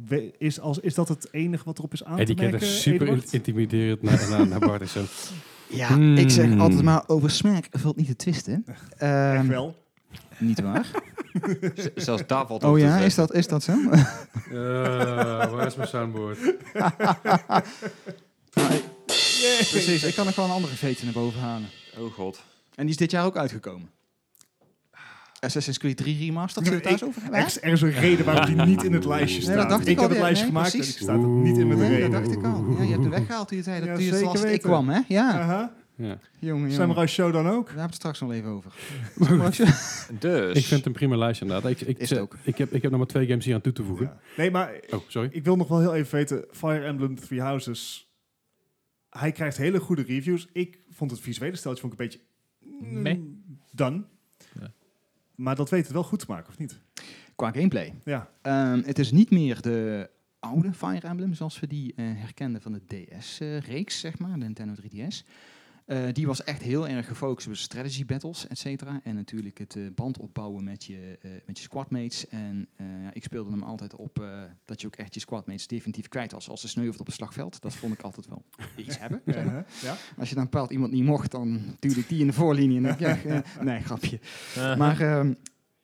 we- is, als, is dat het enige wat erop is aan
Eddie
te
kijkt
merken,
echt super
Eduard?
intimiderend naar, naar, naar Bart en *laughs* zo.
Ja, ik zeg
Hmm.
altijd maar over smaak valt niet te *laughs* twisten.
Echt
Ehm,
wel.
Niet *laughs* waar?
Z- Zelfs daar valt op
Oh
te
ja,
zeggen.
is dat, is dat zo?
Eh, waar is mijn soundboard?
*laughs* Precies, ik kan er gewoon een andere veten naar boven halen.
Oh god.
En die is dit jaar ook uitgekomen. Assassin's Creed 3 Remastered, zullen we het daar eens over hebben?
Er is- er is een reden waarom die niet in het lijstje
Nee,
staat.
dat dacht ik
ik
al,
heb het
ja,
lijstje
nee,
gemaakt
precies.
en ik sta er niet in met de
Nee,
reden.
dat dacht ik al. Ja, je hebt hem weggehaald toen je zei dat
Ja,
toen je het
zeker
last ik
weten.
kwam, hè? Ja,
Aha.
Ja.
jongen, jongen.
Samurai Show dan ook?
Daar hebben we het straks nog even over.
Dus.
Ik vind het een prima lijstje inderdaad. Ik, ik,
Is het ook.
Ik, heb, ik heb nog maar twee games hier aan toe te voegen.
Ja. Nee, maar
Oh, sorry.
ik wil nog wel heel even weten. Fire Emblem Three Houses. Hij krijgt hele goede reviews. Ik vond het visuele steltje vond ik een beetje... mm,
Meh.
Dan.
Ja.
Maar dat weet het wel goed te maken, of niet?
Qua gameplay.
Ja.
Ehm, het is niet meer de oude Fire Emblem, zoals we die eh, herkenden van de DS-reeks, zeg maar, de Nintendo 3DS. Eh, die was echt heel erg gefocust op strategy battles, et cetera. En natuurlijk het eh, band opbouwen met je, eh, met je squadmates. En eh, ja, ik speelde hem altijd op eh, dat je ook echt je squadmates definitief kwijt was als ze sneuvelt op het slagveld. Dat vond ik altijd wel iets hebben. zeg maar.
Ja. ja.
Als je dan bepaald iemand niet mocht, dan duwde ik die in de voorlinie. En dan, ja, eh, nee, grapje. Maar ehm,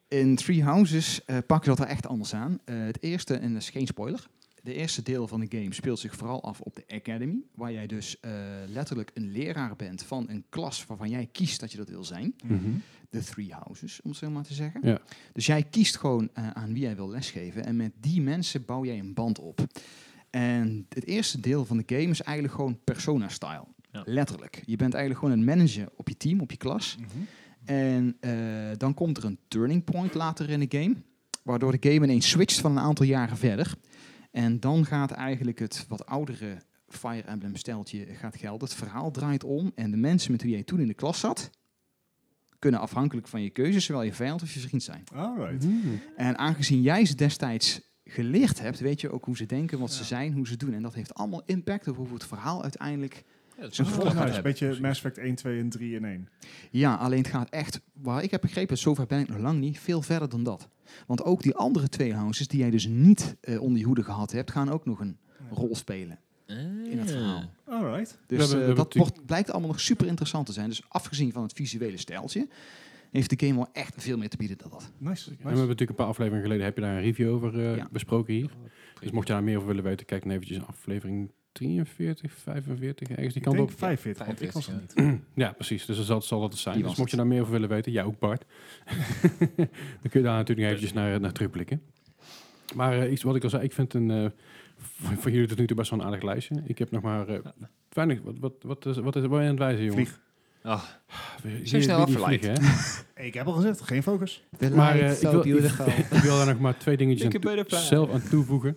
in Three Houses eh pakken ze dat er echt anders aan. Eh, het eerste, en dat is geen spoiler, de eerste deel van de game speelt zich vooral af op de Academy, waar jij dus eh, letterlijk een leraar bent van een klas waarvan jij kiest dat je dat wil zijn.
Mhm.
De Three Houses, om het zo maar te zeggen.
Ja.
Dus jij kiest gewoon eh, aan wie jij wil lesgeven en met die mensen bouw jij een band op. En het eerste deel van de game is eigenlijk gewoon persona-style.
Ja.
Letterlijk. Je bent eigenlijk gewoon een manager op je team, op je klas.
Mhm.
En eh, dan komt er een turning point later in de game. Waardoor de game ineens switcht van een aantal jaren verder. En dan gaat eigenlijk het wat oudere Fire Emblem steltje gaat gelden. Het verhaal draait om. En de mensen met wie jij toen in de klas zat... kunnen afhankelijk van je keuzes zowel je vijand of je vriend zijn.
Alright.
Mhm.
En aangezien jij ze destijds geleerd hebt... weet je ook hoe ze denken, wat ze zijn, hoe ze doen. En dat heeft allemaal impact op hoe het verhaal uiteindelijk...
Ja, dat is
Zo'n
wel-
volg-
Volgens
gaat
mij Ah, nou, is een
hebben,
beetje Mass Effect 1, 2 en 3 in 1.
Ja, alleen het gaat echt, waar ik heb begrepen, zover ben ik nog lang niet, veel verder dan dat. Want ook die andere twee houses die jij dus niet eh, onder je hoede gehad hebt, gaan ook nog een rol spelen
Ah,
in het verhaal.
Alright.
hebben-
Dus
we
eh,
hebben
dat
natuurlijk-
wordt, blijkt allemaal nog super interessant te zijn. Dus afgezien van het visuele stijltje, heeft de game wel echt veel meer te bieden dan dat.
Nice.
En we hebben natuurlijk een paar afleveringen geleden heb je daar een review over eh,
Mm-hmm. Ja.
besproken hier. Dus mocht je daar meer over willen weten, kijk dan eventjes aflevering 43, 45, ergens die
Ik
kant
denk
op.
45, want ik was er niet.
*clears throat* Ja, precies. Dus dat zal, zal dat het zijn.
Die
Dus
was
mocht je daar meer over willen weten, jij ook Bart, *laughs* dan kun je daar natuurlijk eventjes naar, naar terugblikken. Maar eh, iets wat ik al zei, ik vind een, eh, voor voor jullie tot nu toe best wel een aardig lijstje. Ik heb nog maar eh, weinig, wat, wat, wat, is, wat, is, wat ben je aan het wijzen, jongen?
Vlieg.
Ah,
Zo
snel afgeleid.
Ik heb al gezegd, geen focus.
Maar eh, ik, wil, ik, *laughs* ik wil daar nog maar twee dingetjes
Dikke bij de
aan,
paal.
zelf aan toevoegen.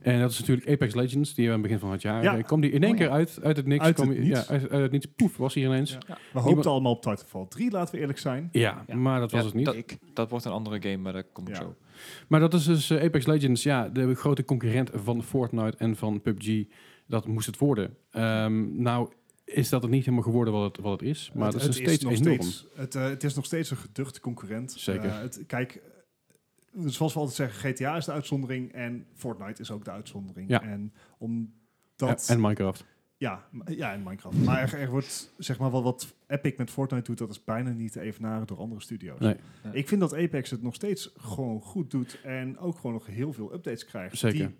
en dat is natuurlijk Apex Legends, die we aan het begin van het jaar...
Ja.
eh, kwam die in één
Oh ja.
keer uit, uit het niks.
Uit
kwam
het
die-
niets.
Ja, uit, uit het niets. Poef, was hier ineens.
Ja.
Ja,
We hoopten allemaal op Titanfall 3, laten we eerlijk zijn.
Ja.
maar dat was
Ja,
het niet.
Dat, dat wordt een andere game, maar dat komt
Ja.
zo.
Maar dat is dus eh, Apex Legends, ja, de grote concurrent van Fortnite en van PUBG. Dat moest het worden. Ehm, nou is dat het niet helemaal geworden wat het, wat het is. Maar
het,
dat is nog
het
steeds
nog
enorm.
steeds- het, eh, het is nog steeds een geduchte concurrent.
Zeker.
Eh, het, kijk, eh, zoals we altijd zeggen, GTA is de uitzondering en Fortnite is ook de uitzondering.
Ja.
En omdat...
Ja, en Minecraft.
Ja, m- ja, in Minecraft. Maar er, er wordt, zeg maar, wel wat Epic met Fortnite doet, dat is bijna niet te evenaren door andere studio's.
Nee.
Ja.
Ik vind dat Apex het nog steeds gewoon goed doet en ook gewoon nog heel veel updates krijgt.
Zeker.
Die,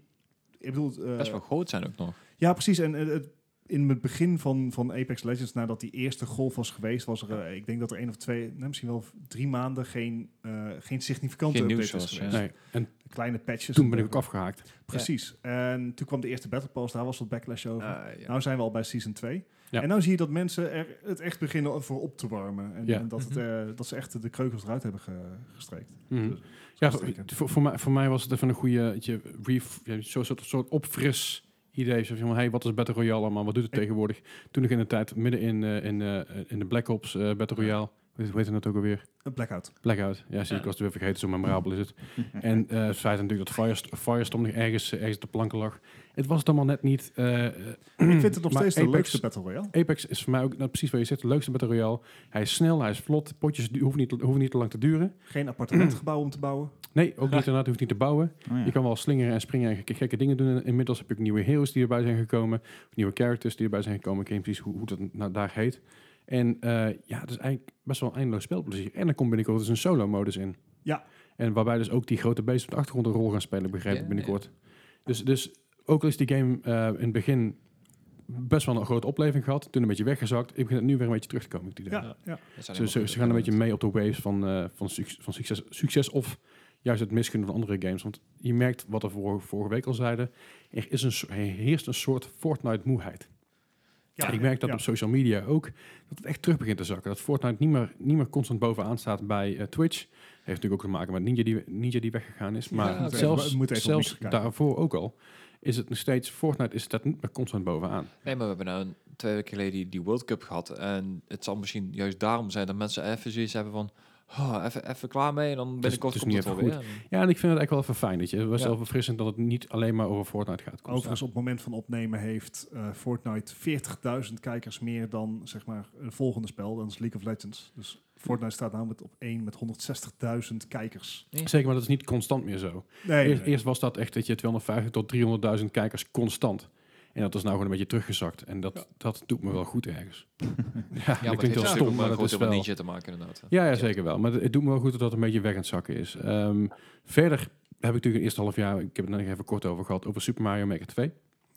ik bedoel, eh,
Best wel groot zijn ook nog.
ja, precies. En eh, het- in het begin van, van Apex Legends, nadat die eerste golf was geweest, was er, eh, ik denk dat er één of twee, nou, misschien wel v- drie maanden, geen, eh, geen significante
Geen nieuws
update was
was,
geweest.
ja.
Nee. En
Kleine patches.
toen
en
ben ik ook
dergelijke.
afgehaakt.
Precies. En toen kwam de eerste Battle Pass, daar was wat backlash over.
Ah, ja.
Nou zijn we al bij season 2.
Ja.
En nou zie je dat mensen er het echt beginnen voor op te warmen. En,
Ja.
en dat, het,
Mhm.
eh, dat ze echt de kreukels eruit hebben ge- gestreekt.
Mhm.
Dus-
Ja, voor,
gestreken.
voor, voor mij, voor mij was het even een goede weet je, ref, ja, zo'n soort, soort opfris idee. Zo van, hey, wat is Battle Royale allemaal? Wat doet het
Ik-
tegenwoordig? Toen ik in de tijd midden in, eh, in, eh, in de Black Ops eh, Battle Royale, hoe heet dat ook alweer?
Een
*clears throat*
blackout.
Blackout. Ja, zie, ik was het weer vergeten, zo memorabel is het. en eh het feit natuurlijk dat Firest- Firestorm nog ergens, eh, ergens op de planken lag. Het was het allemaal net niet... eh,
Ik vind het nog
maar
steeds de
Apex-
leukste Battle Royale.
Apex is voor mij ook nou, precies wat je zegt, de leukste Battle Royale. Hij is snel, hij is vlot, potjes du- hoeven niet, hoeven niet te lang te duren.
Geen appartementgebouw om te bouwen.
Nee, ook niet inderdaad, hoeft niet te bouwen.
Oh ja.
Je kan wel slingeren en springen en gekke, gekke dingen doen. En Inmiddels heb ik nieuwe heroes die erbij zijn gekomen. Nieuwe characters die erbij zijn gekomen. Ik weet niet precies hoe, hoe dat nou daar heet. En eh, ja, het is eigenlijk best wel een eindeloos speelplezier. En dan komt binnenkort dus een solo-modus in.
Ja.
En waarbij dus ook die grote beesten op de achtergrond een rol gaan spelen, begrijp ik
Ja,
binnenkort. Dus, dus ook al is die game eh, in het begin best wel een grote opleving gehad. Toen een beetje weggezakt. Ik begin het nu weer een beetje terug te komen. Ik
Ja, ja.
Dat zijn
ze,
helemaal
ze,
goed.
ze gaan een beetje mee op de waves van, eh, van, suc- van succes, succes of juist het misgunnen van andere games. Want je merkt wat we vor- vorige week al zeiden, er, is een, so- er heerst een soort Fortnite-moeheid.
Ja,
en ik merk dat
ja.
op social media ook, dat het echt terug begint te zakken. Dat Fortnite niet meer, niet meer constant bovenaan staat bij eh, Twitch. heeft natuurlijk ook te maken met Ninja die, Ninja die weggegaan is. Maar
Ja, oké.
zelfs,
We moeten even opnieuw
zelfs
kijken.
daarvoor ook al, is het nog steeds, Fortnite is dat niet meer constant bovenaan.
Nee, maar we hebben nou een- twee weken geleden die- die World Cup gehad. En het zal misschien juist daarom zijn dat mensen even zoiets hebben van... "Ah, even, even klaar mee en dan binnenkort
het is
komt
niet
het wel
even
weer. En-
Ja, en ik vind het eigenlijk wel even fijn. Weet je. Het was
Ja.
wel verfrissend dat het niet alleen maar over Fortnite gaat. constant.
Overigens, op het moment van opnemen heeft eh, Fortnite 40.000 kijkers meer dan zeg maar een volgende spel, dan is League of Legends. Dus Fortnite staat namelijk op 1 met 160.000 kijkers.
Zeker, maar dat is niet constant meer zo.
Nee,
Eerst, eerst was dat echt dat je 250 tot 300.000 kijkers constant. En dat is nou gewoon een beetje teruggezakt. En dat, dat doet me wel
*laughs*
goed ergens. ja, dat
Ja, maar het
klinkt
heeft
heel
natuurlijk
stom,
ook
maar
maar
dat is
groot met
wel...
Ninja te maken inderdaad.
Ja, ja, zeker wel. Maar het, het doet me wel goed dat dat een beetje weg aan het zakken is. Ehm, verder heb ik natuurlijk het eerste half jaar, ik heb het net nog even kort over gehad, over Super Mario Maker 2.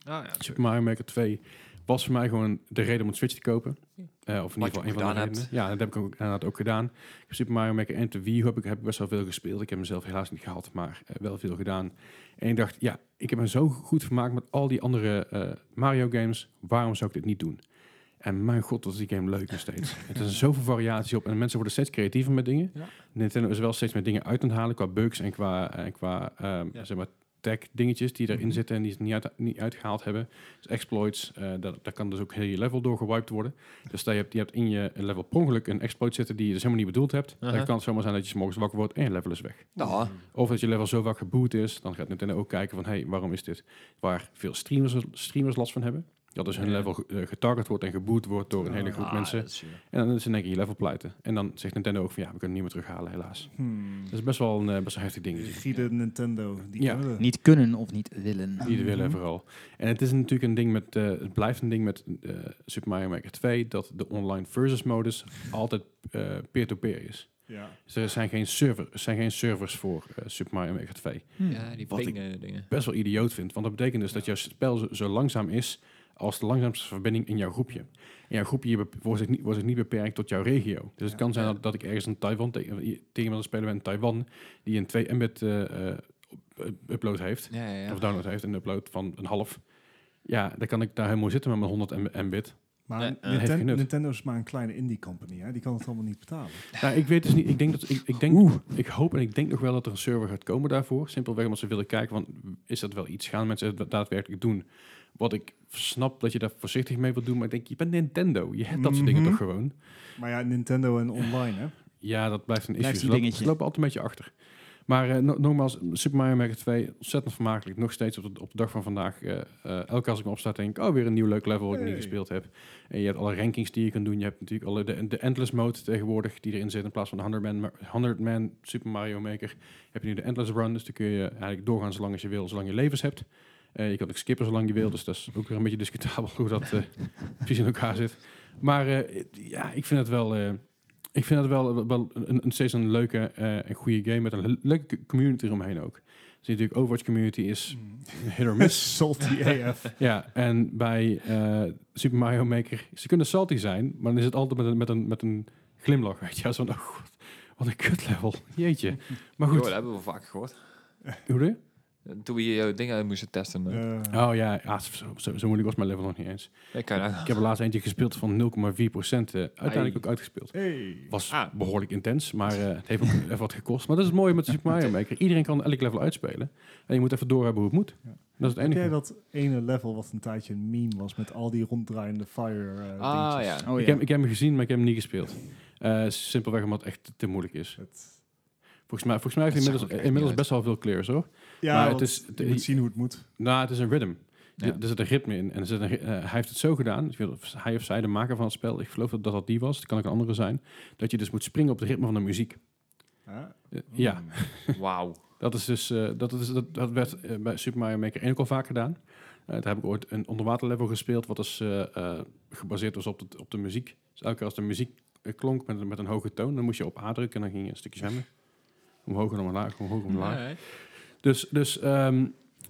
Ah, ja,
Super Mario Maker 2 was voor mij gewoon de reden om een Switch te kopen.
Ja.
Eh, of in
Wat
ieder geval
je
een van de
gedaan
redenen.
hebt.
Ja, dat heb ik ook, inderdaad ook gedaan. Ik heb Super Mario Maker en de Wii U heb ik, heb ik best wel veel gespeeld. Ik heb mezelf helaas niet gehad, maar eh, wel veel gedaan. En ik dacht, ja, ik heb me zo goed vermaakt met al die andere eh, Mario games. Waarom zou ik dit niet doen? En mijn god, wat is die game leuk
*laughs*
nog steeds. het is er zoveel variaties op. En mensen worden steeds creatiever met dingen.
Ja.
Nintendo is wel steeds meer dingen uit aan het halen qua bugs en qua, en qua ehm,
Ja. Mhm.
zeg maar, tech dingetjes die erin zitten en die ze niet, uit, niet uitgehaald hebben. Dus exploits, eh daar, daar kan dus ook heel je level door gewiped worden. Dus dat je, hebt, je hebt in je level per ongeluk een exploit zitten die je dus helemaal niet bedoeld hebt. Dan
Aha.
kan het zomaar zijn dat je 's morgens wakker wordt en je level is weg.
Nou,
Of dat je level zo vaak geboot is, dan gaat Nintendo ook kijken van, hé, hey, waarom is dit? Waar veel streamers, streamers last van hebben. Dat dus hun
Ja.
level ge- eh, getarget wordt en geboot wordt door een hele groep
ah,
mensen.
dat is, eh,
En dan is in één keer je level pleiten. En dan zegt Nintendo ook van, ja, we kunnen het niet meer terughalen, helaas.
Hmm.
Dat is best wel een eh, best wel heftig ding.
Rigide Nintendo. Die
Ja.
kunnen we.
Niet kunnen of niet willen.
Ieder willen
Mhm.
vooral. En het is natuurlijk een ding met, eh, het blijft een ding met eh, Super Mario Maker 2, dat de online versus modus altijd eh, peer-to-peer is.
Ja.
Dus er zijn geen, server, er zijn geen servers voor eh, Super Mario Maker 2.
ja, die
Hmm. Wat ik-
ping eh, dingen.
Best wel idioot vind, want dat betekent dus dat jouw spel zo, zo langzaam is als de langzaamste verbinding in jouw groepje. En jouw groepje bep- wordt zich niet, wordt zich niet beperkt tot jouw regio. Dus het
Ja.
kan zijn dat, dat ik ergens in Taiwan te- tegen iemand spelen ben in Taiwan die een 2 mbit eh, eh, up- upload heeft.
Ja, ja, ja.
of download heeft en upload van een half. Ja, dan kan ik daar helemaal zitten met mijn 100 M- mbit.
Maar
Nee, eh,
Ninten-
heeft genut.
Nintendo is maar een kleine indie company. Hè? Die kan het allemaal niet betalen.
Nou, ik weet dus niet. Ik denk dat ik, ik denk,
Oeh.
ik hoop en ik denk nog wel dat er een server gaat komen daarvoor. Simpelweg omdat ze willen kijken van is dat wel iets? Gaan mensen het daadwerkelijk doen? Wat ik snap dat je daar voorzichtig mee wilt doen, maar ik denk je bent Nintendo. Je hebt dat soort dingen
Mhm.
toch gewoon.
Maar ja, Nintendo en online, hè?
Ja, dat blijft een issue.
Blijft
Ze
een
lopen-
dingetje.
Ze lopen altijd een beetje achter. Maar eh, no- nogmaals, Super Mario Maker 2, ontzettend vermakelijk. Nog steeds op de, op de dag van vandaag. eh, eh, elke keer als ik me opsta, denk ik, oh, weer een nieuw leuk level wat ik
Hey.
niet gespeeld heb. En je hebt alle rankings die je kan doen. Je hebt natuurlijk alle de, de Endless Mode tegenwoordig die erin zit. In plaats van de 100 Man, ma- 100 man Super Mario Maker heb je nu de Endless Run. Dus dan kun je eigenlijk doorgaan zolang als je wil, zolang je levens hebt. Eh, je kan ook skippen zolang je wil. Dus dat is ook weer een beetje discutabel *laughs* hoe dat eh, *laughs* precies in elkaar zit. Maar eh, ja, ik vind het wel... eh, ik vind dat wel, wel een, een steeds een leuke eh en goede game met een le- leuke community eromheen ook. Dus natuurlijk Overwatch community is *laughs* hit or miss.
*laughs* Salty AF.
*laughs* ja, en bij eh, Super Mario Maker, ze kunnen salty zijn, maar dan is het altijd met een, met een, met een glimlach, weet je. wel. Zo van, oh god, wat een kut level, *laughs* jeetje. Maar
Joh,
goed,
dat hebben we vaak gehoord.
hoe doe je?
Eh, Toen we je dingen uit moesten testen. eh,
Eh,
Oh ja, ja, zo, zo, zo moeilijk was mijn level nog niet eens.
ja, kan je nou-
Ik heb er laatst eentje gespeeld van 0,4%, eh, uiteindelijk
Ai.
ook uitgespeeld.
hey.
was
Ah.
behoorlijk intens, maar eh, het heeft ook *laughs* even wat gekost. Maar dat is het mooie met de Super Mario Maker. Iedereen kan elk level uitspelen. En je moet even doorhebben hoe het moet.
Ja.
Dat is het
Heb jij
enige.
dat ene level wat een tijdje een meme was met al die ronddraaiende fire eh
Ah
dingetjes?
ja.
Oh,
ik,
ja.
heb, ik heb hem gezien, maar ik heb hem niet gespeeld. Eh, simpelweg omdat het echt te moeilijk is.
Het-
Volgens mij, volgens mij heeft hij
Dat zag
inmiddels,
ook echt
inmiddels
niet
best wel veel clears hoor.
Ja,
Maar het
want
is-
je moet zien hoe het moet.
Nou, het is een rhythm.
Ja.
Er- Er zit een ritme in. En er zit een, ri- eh, hij heeft het zo gedaan. Ik weet niet of hij of zij de maker van het spel. Ik geloof dat dat, dat die was. Het kan ook een andere zijn. Dat je dus moet springen op het ritme van de muziek.
Hè? Mm.
Eh, ja,
Wauw.
Dat is dus eh, dat, is, dat, dat werd eh, bij Super Mario Maker 1 ook al vaak gedaan. Eh, daar heb ik ooit een onderwaterlevel gespeeld, wat dus eh, eh, gebaseerd was op de, op de muziek. Dus elke keer als de muziek eh, klonk met, een- met een hoge toon, dan moest je op A drukken en dan ging je een stukje zwemmen. Omhoog en omlaag, omhoog en omlaag.
Ja, hè.
Dus, dus ehm,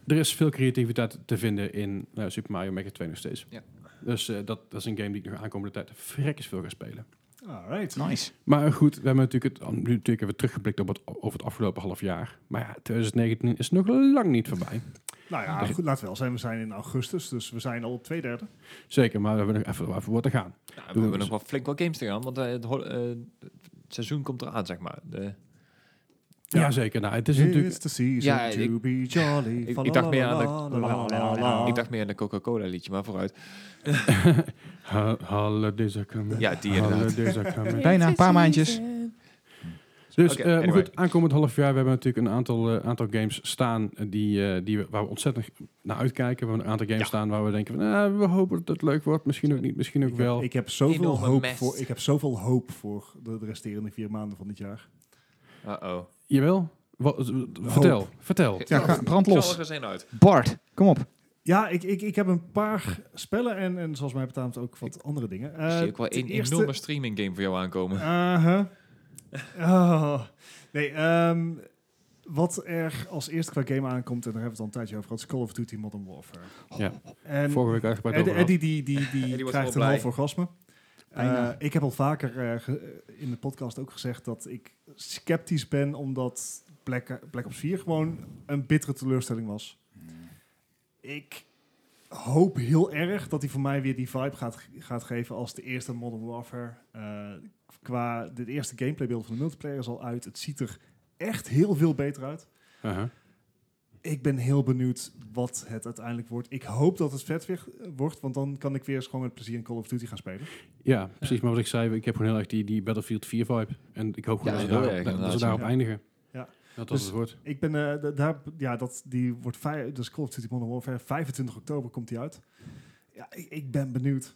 er is veel creativiteit te vinden in eh, Super Mario Maker 2 nog steeds.
Ja.
Dus eh, dat, dat is een game die ik nog aankomende tijd vrekkers veel ga spelen.
Alright.
Nice.
Maar goed, we hebben natuurlijk, het, nu natuurlijk even teruggeblikt op het, over het afgelopen half jaar. Maar ja, 2019 is nog lang niet voorbij.
Nou ja, goed, laten we wel zijn. We zijn in augustus, dus we zijn al op twee derde.
Zeker, maar we hebben nog even, even wat te gaan.
Nou, we
Doen we
hebben nog
eens.
wel flink wat games te gaan, want eh, het, hol- eh, het seizoen komt eraan, zeg maar. De,
Ja.
Ja.
Jazeker, nou, het is
It's
natuurlijk...
the season
Ja,
to
ik-
be jolly.
ik, ik dacht meer aan de,
Falalalala.
ik dacht meer aan de Coca-Cola liedje, maar vooruit.
*laughs* Ha- Holidays are coming.
Ja, die inderdaad.
Holidays
*laughs*
are coming.
Bijna een paar maandjes.
Dus
Oké,
eh, maar
anyway.
goed, aankomend half jaar we hebben we natuurlijk een aantal, eh, aantal games staan eh, die, eh, die we, waar we ontzettend naar uitkijken. We hebben een aantal games staan waar we denken van, ah, we hopen dat het leuk wordt. Misschien ook niet, misschien ook
Ik heb,
wel.
ik heb zoveel
Enorme
hoop
mest.
voor, ik heb zoveel hoop voor de, de resterende vier maanden van dit jaar.
Uh-oh.
Jawel? Wat, vertel, vertel.
Ja, ga- brand
Zal
los.
er eens een uit.
Bart, kom op.
Ja, ik, ik, ik heb een paar spellen en, en zoals mij betaamt ook wat andere dingen.
Ik
Eh,
zie ook wel
ten
één
eerste-
enorme streaming game voor jou aankomen.
Uh-huh. Oh. Nee, Uh-huh. ehm, Wat er als eerste qua game aankomt, en daar hebben we het al een tijdje over gehad, is Call of Duty Modern Warfare.
Ja.
En
Vorige week uitgebreid
Eddie,
over
Eddie die, die, die,
wordt
krijgt een
wel
half
blij.
orgasme.
Bijna.
Eh, ik heb al vaker eh, ge- in de podcast ook gezegd dat ik sceptisch ben omdat Black, Black Ops 4 gewoon een bittere teleurstelling was. Ik hoop heel erg dat hij voor mij weer die vibe gaat, gaat geven als de eerste Modern Warfare. Eh, qua dit eerste gameplaybeeld van de multiplayer is al uit. Het ziet er echt heel veel beter uit.
gehad. Uh-huh.
Ik ben heel benieuwd wat het uiteindelijk wordt. Ik hoop dat het vet weer eh, wordt, want dan kan ik weer eens gewoon met plezier in Call of Duty gaan spelen.
Ja, precies. Maar wat ik zei, ik heb gewoon heel erg die, die Battlefield 4 vibe. En ik hoop gewoon
Ja,
dat,
heel
ze daarop,
erg,
dat- dat
inderdaad,
ze daarop
ja.
eindigen.
Ja.
Dat dat
Dus-
het wordt.
Ik ben eh, da- daar, ja, dat, die wordt vij- dus Call of Duty Modern Warfare, 25 oktober komt die uit. Ja, ik, ik ben benieuwd.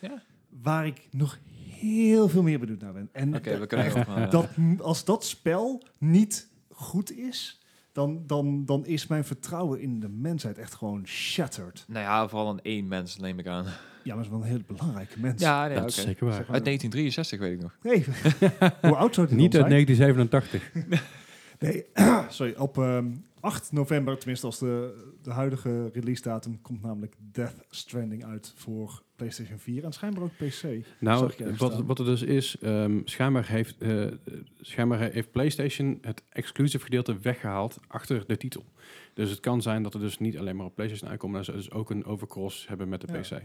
Ja.
Waar ik nog heel veel meer benieuwd naar ben. En
Oké, we kunnen
echt,
echt, maar, eh,
dat, m- als dat spel niet goed is, dan, dan, dan is mijn vertrouwen in de mensheid echt gewoon shattered.
Nou ja, vooral een één mens neem ik aan.
Ja, maar dat is wel een heel belangrijke mens.
Ja, nee,
Dat is
oké.
zeker waar.
Zeg maar-
Uit 1963 weet ik nog.
Nee, *laughs* hoe oud zou die
Niet
dan
uit
zijn?
1987.
Nee, *clears throat* sorry, op ehm, 8 november, tenminste als de, de huidige release datum, komt namelijk Death Stranding uit voor PlayStation 4 en schijnbaar ook PC.
Nou,
Zag je even
wat,
staan.
wat er dus is, ehm schijnbaar, heeft, eh, schijnbaar heeft PlayStation het exclusive gedeelte weggehaald achter de titel. Dus het kan zijn dat er dus niet alleen maar op PlayStation uitkomt, maar ze dus ook een overcross hebben met de
Ja.
PC.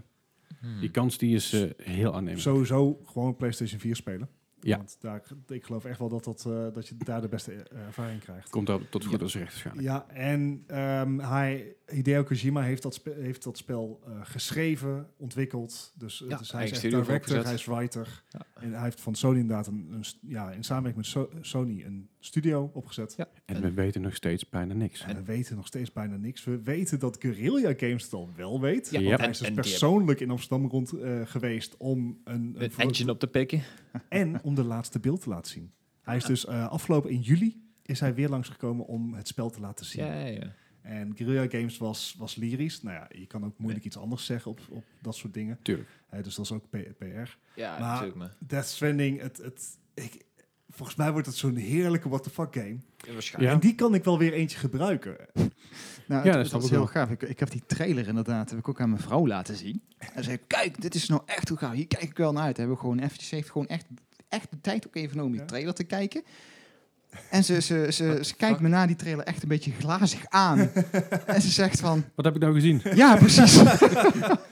Die kans die is eh, heel aannemelijk.
Sowieso gewoon PlayStation 4 spelen.
Ja.
Want daar, ik geloof echt wel dat, dat, eh, dat je daar de beste eh, ervaring krijgt.
Komt dat tot goed als recht waarschijnlijk.
Ja, en ehm, hij, Hideo Kojima heeft dat, spe- heeft dat spel eh, geschreven, ontwikkeld. Dus, eh,
Ja,
dus hij
eigen
is echt
studio
director,
opgezet.
hij is writer.
Ja.
En hij heeft van Sony inderdaad, een, een st- ja, in samenwerking met So- Sony, een studio opgezet.
En we weten nog steeds bijna niks.
En we weten nog steeds bijna niks. We weten dat Guerrilla Games het al wel weet.
Ja,
want
en-
hij is dus
en die
persoonlijk in Amsterdam rond eh, geweest om een, een
Een
voor-
engine op te pikken.
en om de laatste beeld te laten zien. Hij is dus eh, afgelopen in juli is hij weer langsgekomen om het spel te laten zien.
Ja, ja, ja.
En Guerrilla Games was, was lyrisch. Nou ja, je kan ook moeilijk iets anders zeggen op, op dat soort dingen.
Tuurlijk.
Hè, dus dat is ook P- PR.
Ja,
Maar-
natuurlijk maar.
Death Stranding, het, het, ik, volgens mij wordt het zo'n heerlijke what the fuck game.
Ja, waarschijnlijk.
En die kan ik wel weer eentje gebruiken.
Nou,
Ja,
het-
dat
dat
snap
is
ik
heel
wel.
gaaf. Ik, ik heb die trailer inderdaad heb ik ook aan mijn vrouw laten zien. En zei, ik, kijk, dit is nou echt hoe gaaf. Hier kijk ik wel naar uit. Hebben we gewoon eventjes, ze heeft gewoon echt, echt de tijd ook even genomen om die
Ja.
trailer te kijken. En ze, ze, ze,
What
ze
the
kijkt
fuck?
me na die trailer echt een beetje glazig aan. en ze zegt van,
Wat heb ik nou gezien?
ja, precies.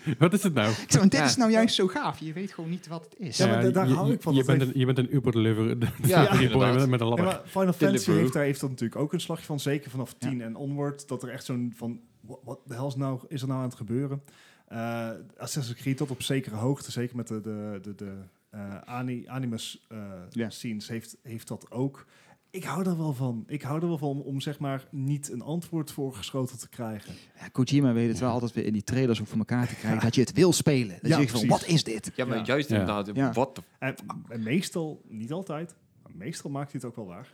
ik
wat is het nou?
zeg, want dit
Ja.
is nou juist zo gaaf. Je weet gewoon niet wat het is.
Ja, maar da- daar
je,
hou ik van,
Je
dat
bent,
heeft-
een, je bent een Uber *laughs* deliverer.
Ja,
ja, die boy
inderdaad.
met, met een
Ja,
ladder.
maar Final Fantasy
Deliveroo.
heeft daar, heeft dat natuurlijk ook een slagje van. Zeker vanaf
Ja.
10 en onward. Dat er echt zo'n van... wa- Wat de hel is, nou, is er nou aan het gebeuren? Eh Assassin's Creed tot op zekere hoogte. Zeker met de, de, de, de eh, ani- animus eh,
Ja.
scenes heeft, heeft dat ook. Ik hou daar wel van. Ik hou er wel van om, om zeg maar niet een antwoord voor geschoten te krijgen.
Ja, Kojima weet het wel altijd weer in die trailers om voor elkaar te krijgen. Dat je het wil spelen. Dat
Ja,
je van,
precies.
wat is dit?
Ja, maar
Ja.
juist
Ja.
inderdaad.
Ja.
Wat de
En, en meestal, niet altijd, maar meestal maakt hij het ook wel waar.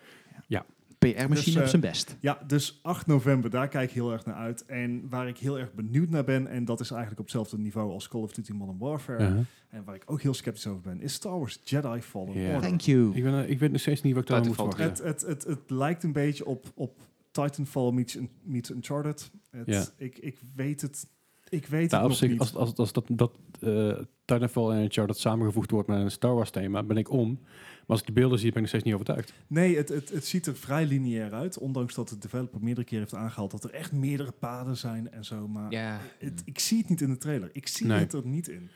PR-machine
Dus, eh,
op zijn best.
Ja, dus 8 november, daar kijk ik heel erg naar uit. En waar ik heel erg benieuwd naar ben, en dat is eigenlijk op hetzelfde niveau als Call of Duty Modern Warfare,
Uh-huh.
en waar ik ook heel sceptisch over ben, is Star Wars Jedi Fallen
Ja.
Order.
Thank you.
ik, ben, eh, ik weet nog steeds niet wat ik daar moet
Titanfall
verwachten.
Het, het, het, het lijkt een beetje op, op Titanfall meets, Un- meets Uncharted. Het,
Ja.
ik, ik weet het, ik weet
Nou,
het
op
nog
zich,
niet.
als, als, als dat, dat eh, Titanfall en Uncharted samengevoegd wordt met een Star Wars thema, ben ik om. Maar als ik de beelden zie, ben ik nog steeds niet overtuigd.
Nee, het, het, het ziet er vrij lineair uit, ondanks dat de developer meerdere keer heeft aangehaald dat er echt meerdere paden zijn en zo. Maar
Ja.
het, ik zie het niet in de trailer. Ik zie
Nee.
het er niet in.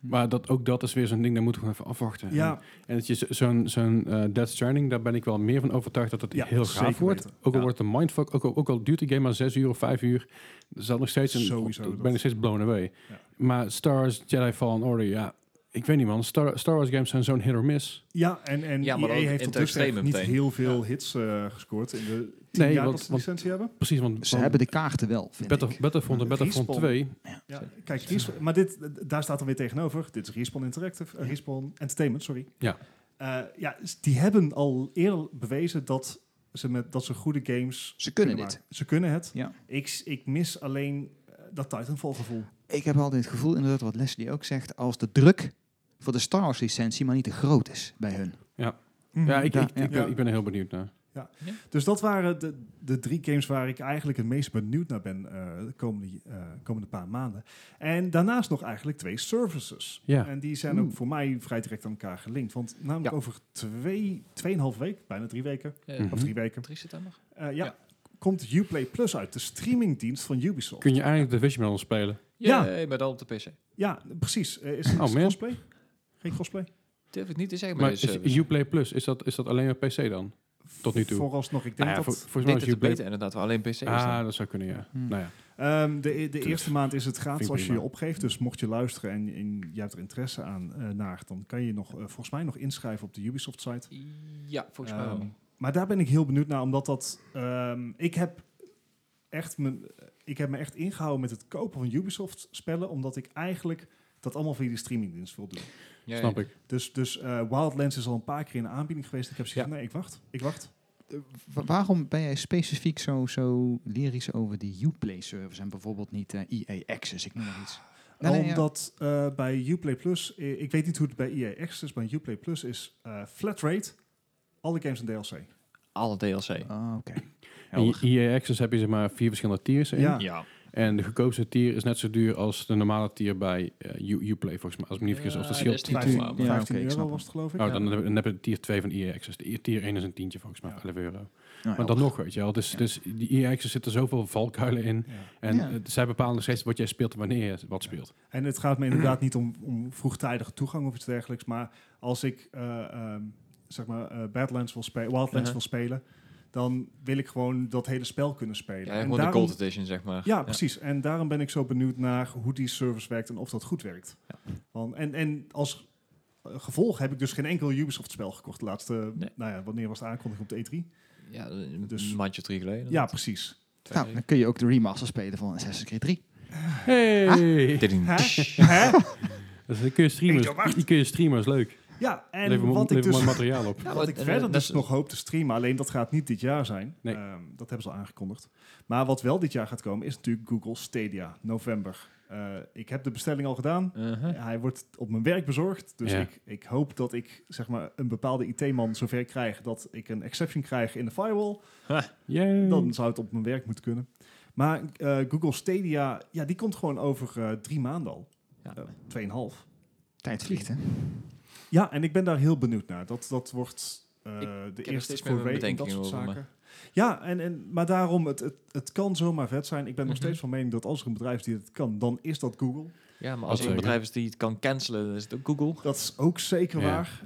Maar dat, ook dat is weer zo'n ding, daar moeten we gewoon even afwachten.
Ja,
En, en dat je zo- zo'n zo'n eh, Death Stranding, daar ben ik wel meer van overtuigd dat het
Ja,
heel
zeker
gaaf wordt.
weten.
Ook al
Ja.
wordt het een mindfuck, ook al, ook al duurt die game maar zes uur of vijf uur, er zal nog steeds een,
Sowieso
ik
dat.
ben nog steeds blown away.
Ja.
Maar Star Wars Jedi Fallen Order, ja, ik weet niet man, Star, Star Wars games zijn zo'n hit or miss.
Ja, en, en
Ja, maar
EA
dan
heeft
in
tot
het
dusver
extreme
niet
meteen.
heel veel hits eh, gescoord in de tien
Nee,
jaar
want-
dat ze
want-
licentie hebben.
Precies, want,
Ze
want
hebben de kaarten wel, vind
Battle,
ik.
Battlefront en Battlefront
Respawn.
2,
Ja, kijk, Respawn- maar dit, daar staat dan weer tegenover. Dit is Respawn Interactive, eh, Respawn Entertainment, sorry.
Ja.
Eh, ja, s- die hebben al eerder bewezen dat ze, met, dat ze goede games
Ze kunnen dit.
maken. Ze kunnen het.
Ja.
Ik, s- ik mis alleen eh, dat Titanfall gevoel.
Ik heb altijd het gevoel, inderdaad, wat Leslie ook zegt, als de druk voor de Star Wars licentie maar niet te groot is bij hun.
Ja, ik, ik,
Ja,
Mm.
ja.
ik ben, ik ben er heel benieuwd naar.
Ja.
Ja.
Dus dat waren de, de drie games waar ik eigenlijk het meest benieuwd naar ben eh, de komende, eh, komende paar maanden. En daarnaast nog eigenlijk twee services.
Ja.
En die zijn ook voor mij vrij direct aan elkaar gelinkt. Want namelijk
Ja.
over twee, tweeënhalf week, bijna drie weken,
Eh,
Mhm.
of drie weken,
3 september?
eh, ja,
Ja.
komt Uplay Plus uit, de streamingdienst van Ubisoft.
Kun je eigenlijk Division met ons spelen?
Ja.
Ja, maar dan op de PC.
Ja, precies. Eh, is het
Oh,
is het
man.
crossplay? Geen crossplay?
Durf ik niet te zeggen, maar, eh,
Maar
deze
is
service.
Uplay Plus, is dat, is dat alleen op PC dan? Tot nu toe.
Vooralsnog, ik denk
Nou ja,
dat... Mm.
voor- volgens
ik
mij
denk
is
dat het
Uplay...
beter inderdaad wel alleen PC is.
Ah,
dan.
dat zou kunnen, ja.
Hmm.
Nou ja.
Ehm, de, de
Dus,
eerste maand is het gratis
vind ik
als je je
prima.
opgeeft. Dus mocht je luisteren en, en jij hebt er interesse aan eh, naar, dan kan je nog eh, volgens mij nog inschrijven op de Ubisoft site.
Ja, volgens mij
Ehm,
wel.
maar daar ben ik heel benieuwd naar, omdat dat ehm, ik heb echt mijn, ik heb me echt ingehouden met het kopen van Ubisoft spellen, omdat ik eigenlijk dat allemaal via die streamingdienst wil doen.
Ja,
Snap ik.
Dus, dus eh, Wildlands is al een paar keer in de aanbieding geweest. Ik heb gezegd,
Ja.
nee, ik wacht, ik wacht.
Eh, Wa- waarom ben jij specifiek zo, zo lyrisch over die Uplay-service en bijvoorbeeld niet eh, EA Access? Ik noem maar iets. Nee, nee, ja.
Omdat eh, bij Uplay Plus, eh, ik weet niet hoe het bij EA Access is, maar Uplay Plus is eh, flat rate, alle games en DLC.
Alle DLC.
Ah, oké. Nou,
In
Helder.
EA Access heb je zeg maar vier verschillende tiers in.
Ja.
Ja.
En de goedkoopste tier is net zo duur als de normale tier bij eh, U- Uplay, volgens mij. Als ik me niet vergis,
Ja,
of dat
dat
scheelt
is niet
10.
waar.
15,
normaal, maar-
15
Ja, oké, ik snap
Dus euro
hem.
was het, geloof ik.
Oh, dan, heb- dan heb je tier 2 van EA Access. De E tier 1 is een tientje volgens mij,
Ja.
11 euro.
Nou,
Maar
helder.
dan nog, weet je wel. Dus,
Ja.
dus die EA Access zitten zoveel valkuilen in.
Ja.
En
Ja.
eh, zij bepalen nog steeds wat jij speelt en wanneer je wat speelt.
En het gaat me
*clears throat*
inderdaad niet om, om vroegtijdige toegang of iets dergelijks. Maar als ik eh, ehm, zeg maar, eh, Badlands wil spelen, Wildlands
Mhm.
wil spelen, dan wil ik gewoon dat hele spel kunnen spelen.
Ja,
En
gewoon de
daarom-
Gold Edition, zeg maar.
ja, precies. En daarom ben ik zo benieuwd naar hoe die service werkt en of dat goed werkt. Want, en, en als eh, gevolg heb ik dus geen enkel Ubisoft-spel gekocht. De laatste,
Nee.
nou ja, wanneer was de aankondiging op de E3?
Ja,
Dus-
een maandje of drie geleden.
Ja, precies.
Twee
Nou, dan kun je ook de remaster spelen van Assassin's Creed 3.
Ah.
Hey!
weken.
Hè?
Dus dan kun je streamen.
Ik dacht-
Die kun je streamen, is leuk.
Ja, en
Lever,
wat
wat
ik
lever
dus
mooi materiaal
*laughs*
op.
Ja,
wat
maar-
ik
en,
verder
eh,
dus
dat-
nog hoop te streamen, alleen dat gaat niet dit jaar zijn.
Nee.
Ehm, dat hebben ze al aangekondigd. Maar wat wel dit jaar gaat komen is natuurlijk Google Stadia, november. Eh, ik heb de bestelling al gedaan.
Uh-huh.
Hij wordt op mijn werk bezorgd. Dus
Ja.
ik, ik hoop dat ik zeg maar, een bepaalde IT-man zover krijg dat ik een exception krijg in de firewall.
Yay.
Dan zou het op mijn werk moeten kunnen. Maar eh, Google Stadia, ja, die komt gewoon over eh, drie maanden al.
Ja.
Eh, Tweeënhalf.
Tijd vliegt, hè?
Ja, en ik ben daar heel benieuwd naar. Dat, dat wordt eh, de
er
eerste
steeds meer
voor week en dat
bedenkingen
soort
over,
zaken. Ja, en, en, maar daarom, het, het, het kan zomaar vet zijn. Ik ben nog
Mhm.
steeds van mening dat als er een bedrijf die het kan, dan is dat Google.
Ja, maar
Dat
als er een
zeker.
bedrijf is die het kan cancelen, dan is het ook Google.
Dat is ook zeker
Ja.
waar.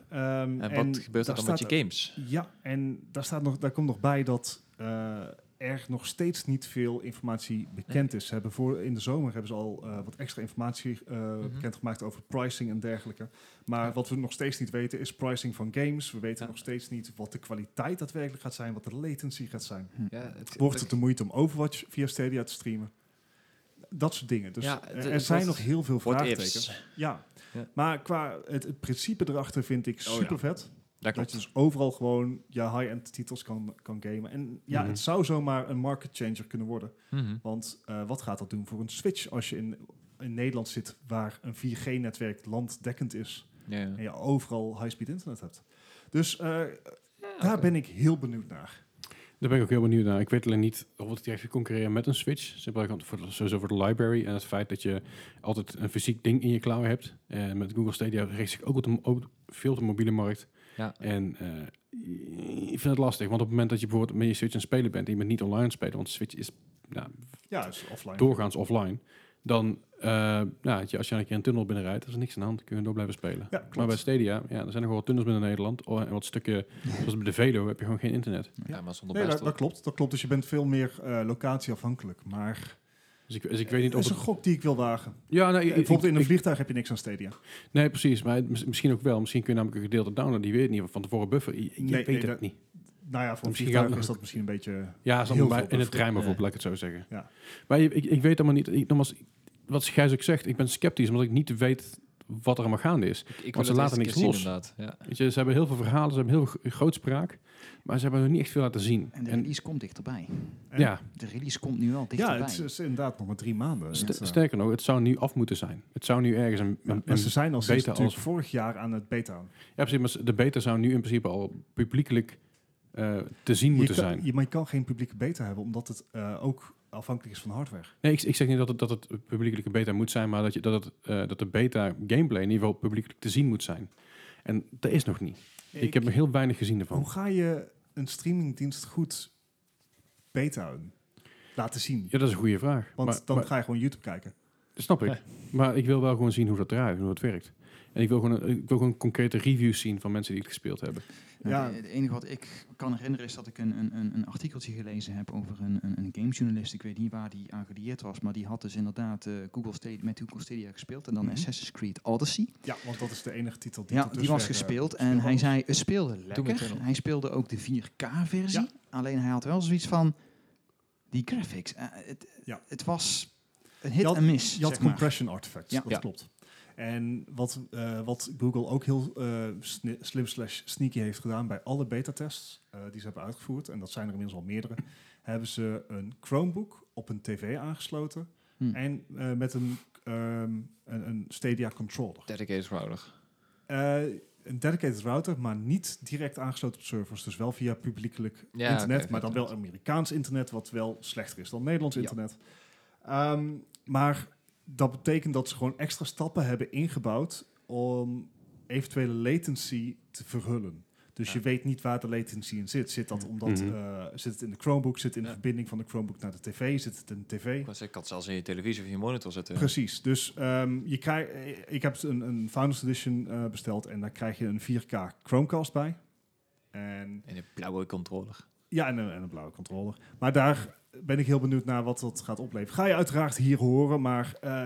En
Ehm,
wat gebeurt er
daar
dan met
staat-
je games?
Ja, en daar, staat nog, daar komt nog bij dat eh, er nog steeds niet veel informatie bekend is. Ze hebben voor, in de zomer hebben ze al eh, wat extra informatie eh bekendgemaakt over pricing en dergelijke. Maar
Mhm. Ja.
wat we nog steeds niet weten is pricing van games. We weten
Ja.
nog steeds niet wat de kwaliteit daadwerkelijk gaat zijn, wat de latency gaat zijn.
Hm.
Ja, het,
Wordt het de moeite om Overwatch via Stadia te streamen? Dat soort dingen. Dus
Ja,
eh,
het-
er
het
zijn nog
wordt-
heel veel
what
vraagtekens.
ifs?
Ja.
Ja.
maar qua het, het principe erachter vind ik
Oh ja.
super vet.
Daar
Dat
klopt.
je dus overal gewoon je high-end titels kan, kan gamen. En ja,
Mhm.
het zou zomaar een market changer kunnen worden.
Mhm.
Want eh, wat gaat dat doen voor een Switch als je in, in Nederland zit waar een 4G-netwerk landdekkend is
Ja, ja.
en je overal high-speed internet hebt? Dus eh, daar
oké.
ben ik heel benieuwd naar.
Daar ben ik ook heel benieuwd naar. Ik weet alleen niet of het direct gaat concurreren met een Switch. Simpelweg voor de, sowieso voor de library en het feit dat je altijd een fysiek ding in je klauwen hebt. En met Google Stadia richt zich ook, op de, ook veel op de mobiele markt.
Ja.
En eh, ik vind het lastig, want op het moment dat je bijvoorbeeld met je Switch aan het spelen bent en je bent niet online aan het spelen, want Switch is nou,
Ja, dus offline.
doorgaans offline, dan eh, nou, weet je, als je een keer een tunnel binnenrijdt, is er niks aan de hand, kun je door blijven spelen.
Ja, klopt.
Maar bij Stadia, ja, er zijn nog wel wat tunnels binnen Nederland oh, en wat
*laughs*
stukken, zoals bij de Velo, heb je gewoon geen internet.
Ja, maar zonder
Nee,
best
dat, dat klopt. Dat klopt. Dus je bent veel meer eh, locatieafhankelijk. Maar
Dus ik, dus ik weet niet
het is
of
een
het...
gok die ik wil wagen.
Ja, nou, ik- ik-
Bijvoorbeeld in een
ik-
vliegtuig heb je niks aan Stadia. Nou
Nee, precies. Maar het- mis- misschien ook wel. Misschien kun je namelijk een gedeelte downloaden. Die weet je niet van tevoren buffer. Ik, ik
Nee,
weet
nee,
het
dat-
niet.
Nou ja, voor een
Misschien
vliegtuig
gaat-
is dat misschien een beetje...
Ja, zo
heel
bij,
veel
in het
buffer.
trein bijvoorbeeld,
Ja.
laat ik het zo zeggen.
Ja.
Maar je- ik, ik weet allemaal niet. Ik, nogmaals, wat Gijs ook zegt, ik ben sceptisch omdat ik niet weet wat er allemaal gaande is.
Ik, ik
Want
wil
ze
het
laten
laten
niks
niks zien,
los.
inderdaad. Ja.
Weet je, ze hebben heel veel verhalen, ze hebben heel veel grootspraak. Maar ze hebben nog niet echt veel laten zien.
En de
En-
release komt dichterbij.
En-
ja,
De release komt nu al
Ja,
dichterbij.
het is, is inderdaad nog maar drie maanden.
st-
Het, eh,
sterker nog, het zou nu af moeten zijn. Het zou nu ergens een...
Ja,
een-
maar
een-
ze zijn al
beta
sinds natuurlijk
als-
vorig jaar aan het beta.
ja, precies. Maar de beta zou nu in principe al publiekelijk eh, te zien moeten
je kan,
zijn.
je- maar je kan geen publieke beta hebben, omdat het eh, ook afhankelijk is van hardware.
Nee, ik, ik zeg niet dat het, dat het publiekelijke beta moet zijn, maar dat, je, dat, het, eh, dat de beta gameplay in ieder geval publiekelijk te zien moet zijn. En dat is nog niet. Ik, heb nog heel weinig gezien ervan.
Hoe ga je een streamingdienst goed betaen? Laten zien.
Ja, dat is een goede vraag.
Want
maar,
dan
maar-
ga je gewoon YouTube kijken.
snap ik.
Ja.
Maar ik wil wel gewoon zien hoe dat eruit, hoe dat werkt. En ik wil gewoon, een- ik wil gewoon concrete reviews zien van mensen die het gespeeld hebben.
Ja.
Het, het enige wat ik kan herinneren is dat ik een, een, een- een artikeltje gelezen heb over een, een, een gamejournalist. Ik weet niet waar die aan gelieerd was, maar die had dus inderdaad eh, Google Stadia, met Google Stadia gespeeld en dan
Mhm.
Assassin's Creed Odyssey.
Ja, want dat is de enige titel die
Ja,
tot
die
dusver,
was
eh,
gespeeld en
speelbaar
hij
was.
zei het speelde
Doom
lekker.
Eternal.
Hij speelde ook de 4K-versie.
Ja.
Alleen hij had wel zoiets van die graphics. eh, het,
Ja.
het was een hit
had-
en miss.
Je had
zeg maar.
compression artifacts,
Ja.
dat
Ja.
klopt. En wat, eh, wat Google ook heel eh, sne- slim slash sneaky heeft gedaan bij alle beta-tests eh, die ze hebben uitgevoerd, en dat zijn er inmiddels al meerdere, *clears throat* hebben ze een Chromebook op een tv aangesloten
Hmm.
en eh, met een, ehm, een, een Stadia controller.
Dedicated router.
Eh, een dedicated router, maar niet direct aangesloten op servers. Dus wel via publiekelijk
Ja,
internet,
oké,
maar dan wel
inderdaad.
Amerikaans internet, wat wel slechter is dan Nederlands
Ja.
internet. Ehm, maar dat betekent dat ze gewoon extra stappen hebben ingebouwd om eventuele latency te verhullen. Dus je weet niet waar de latency in zit. Zit dat omdat
Mhm.
eh, zit het in de Chromebook, zit het in de
Ja.
verbinding van de Chromebook naar de tv, zit het in de tv?
Ik was ik had zelfs in je televisie of je monitor zitten.
Precies. Dus ehm, je krijg, eh, ik heb een, een Founders Edition eh, besteld en daar krijg je een 4K Chromecast bij. En
En een blauwe controller.
ja, en een, en een blauwe controller. Maar daar ben ik heel benieuwd naar wat dat gaat opleveren. Ga je uiteraard hier horen, maar eh,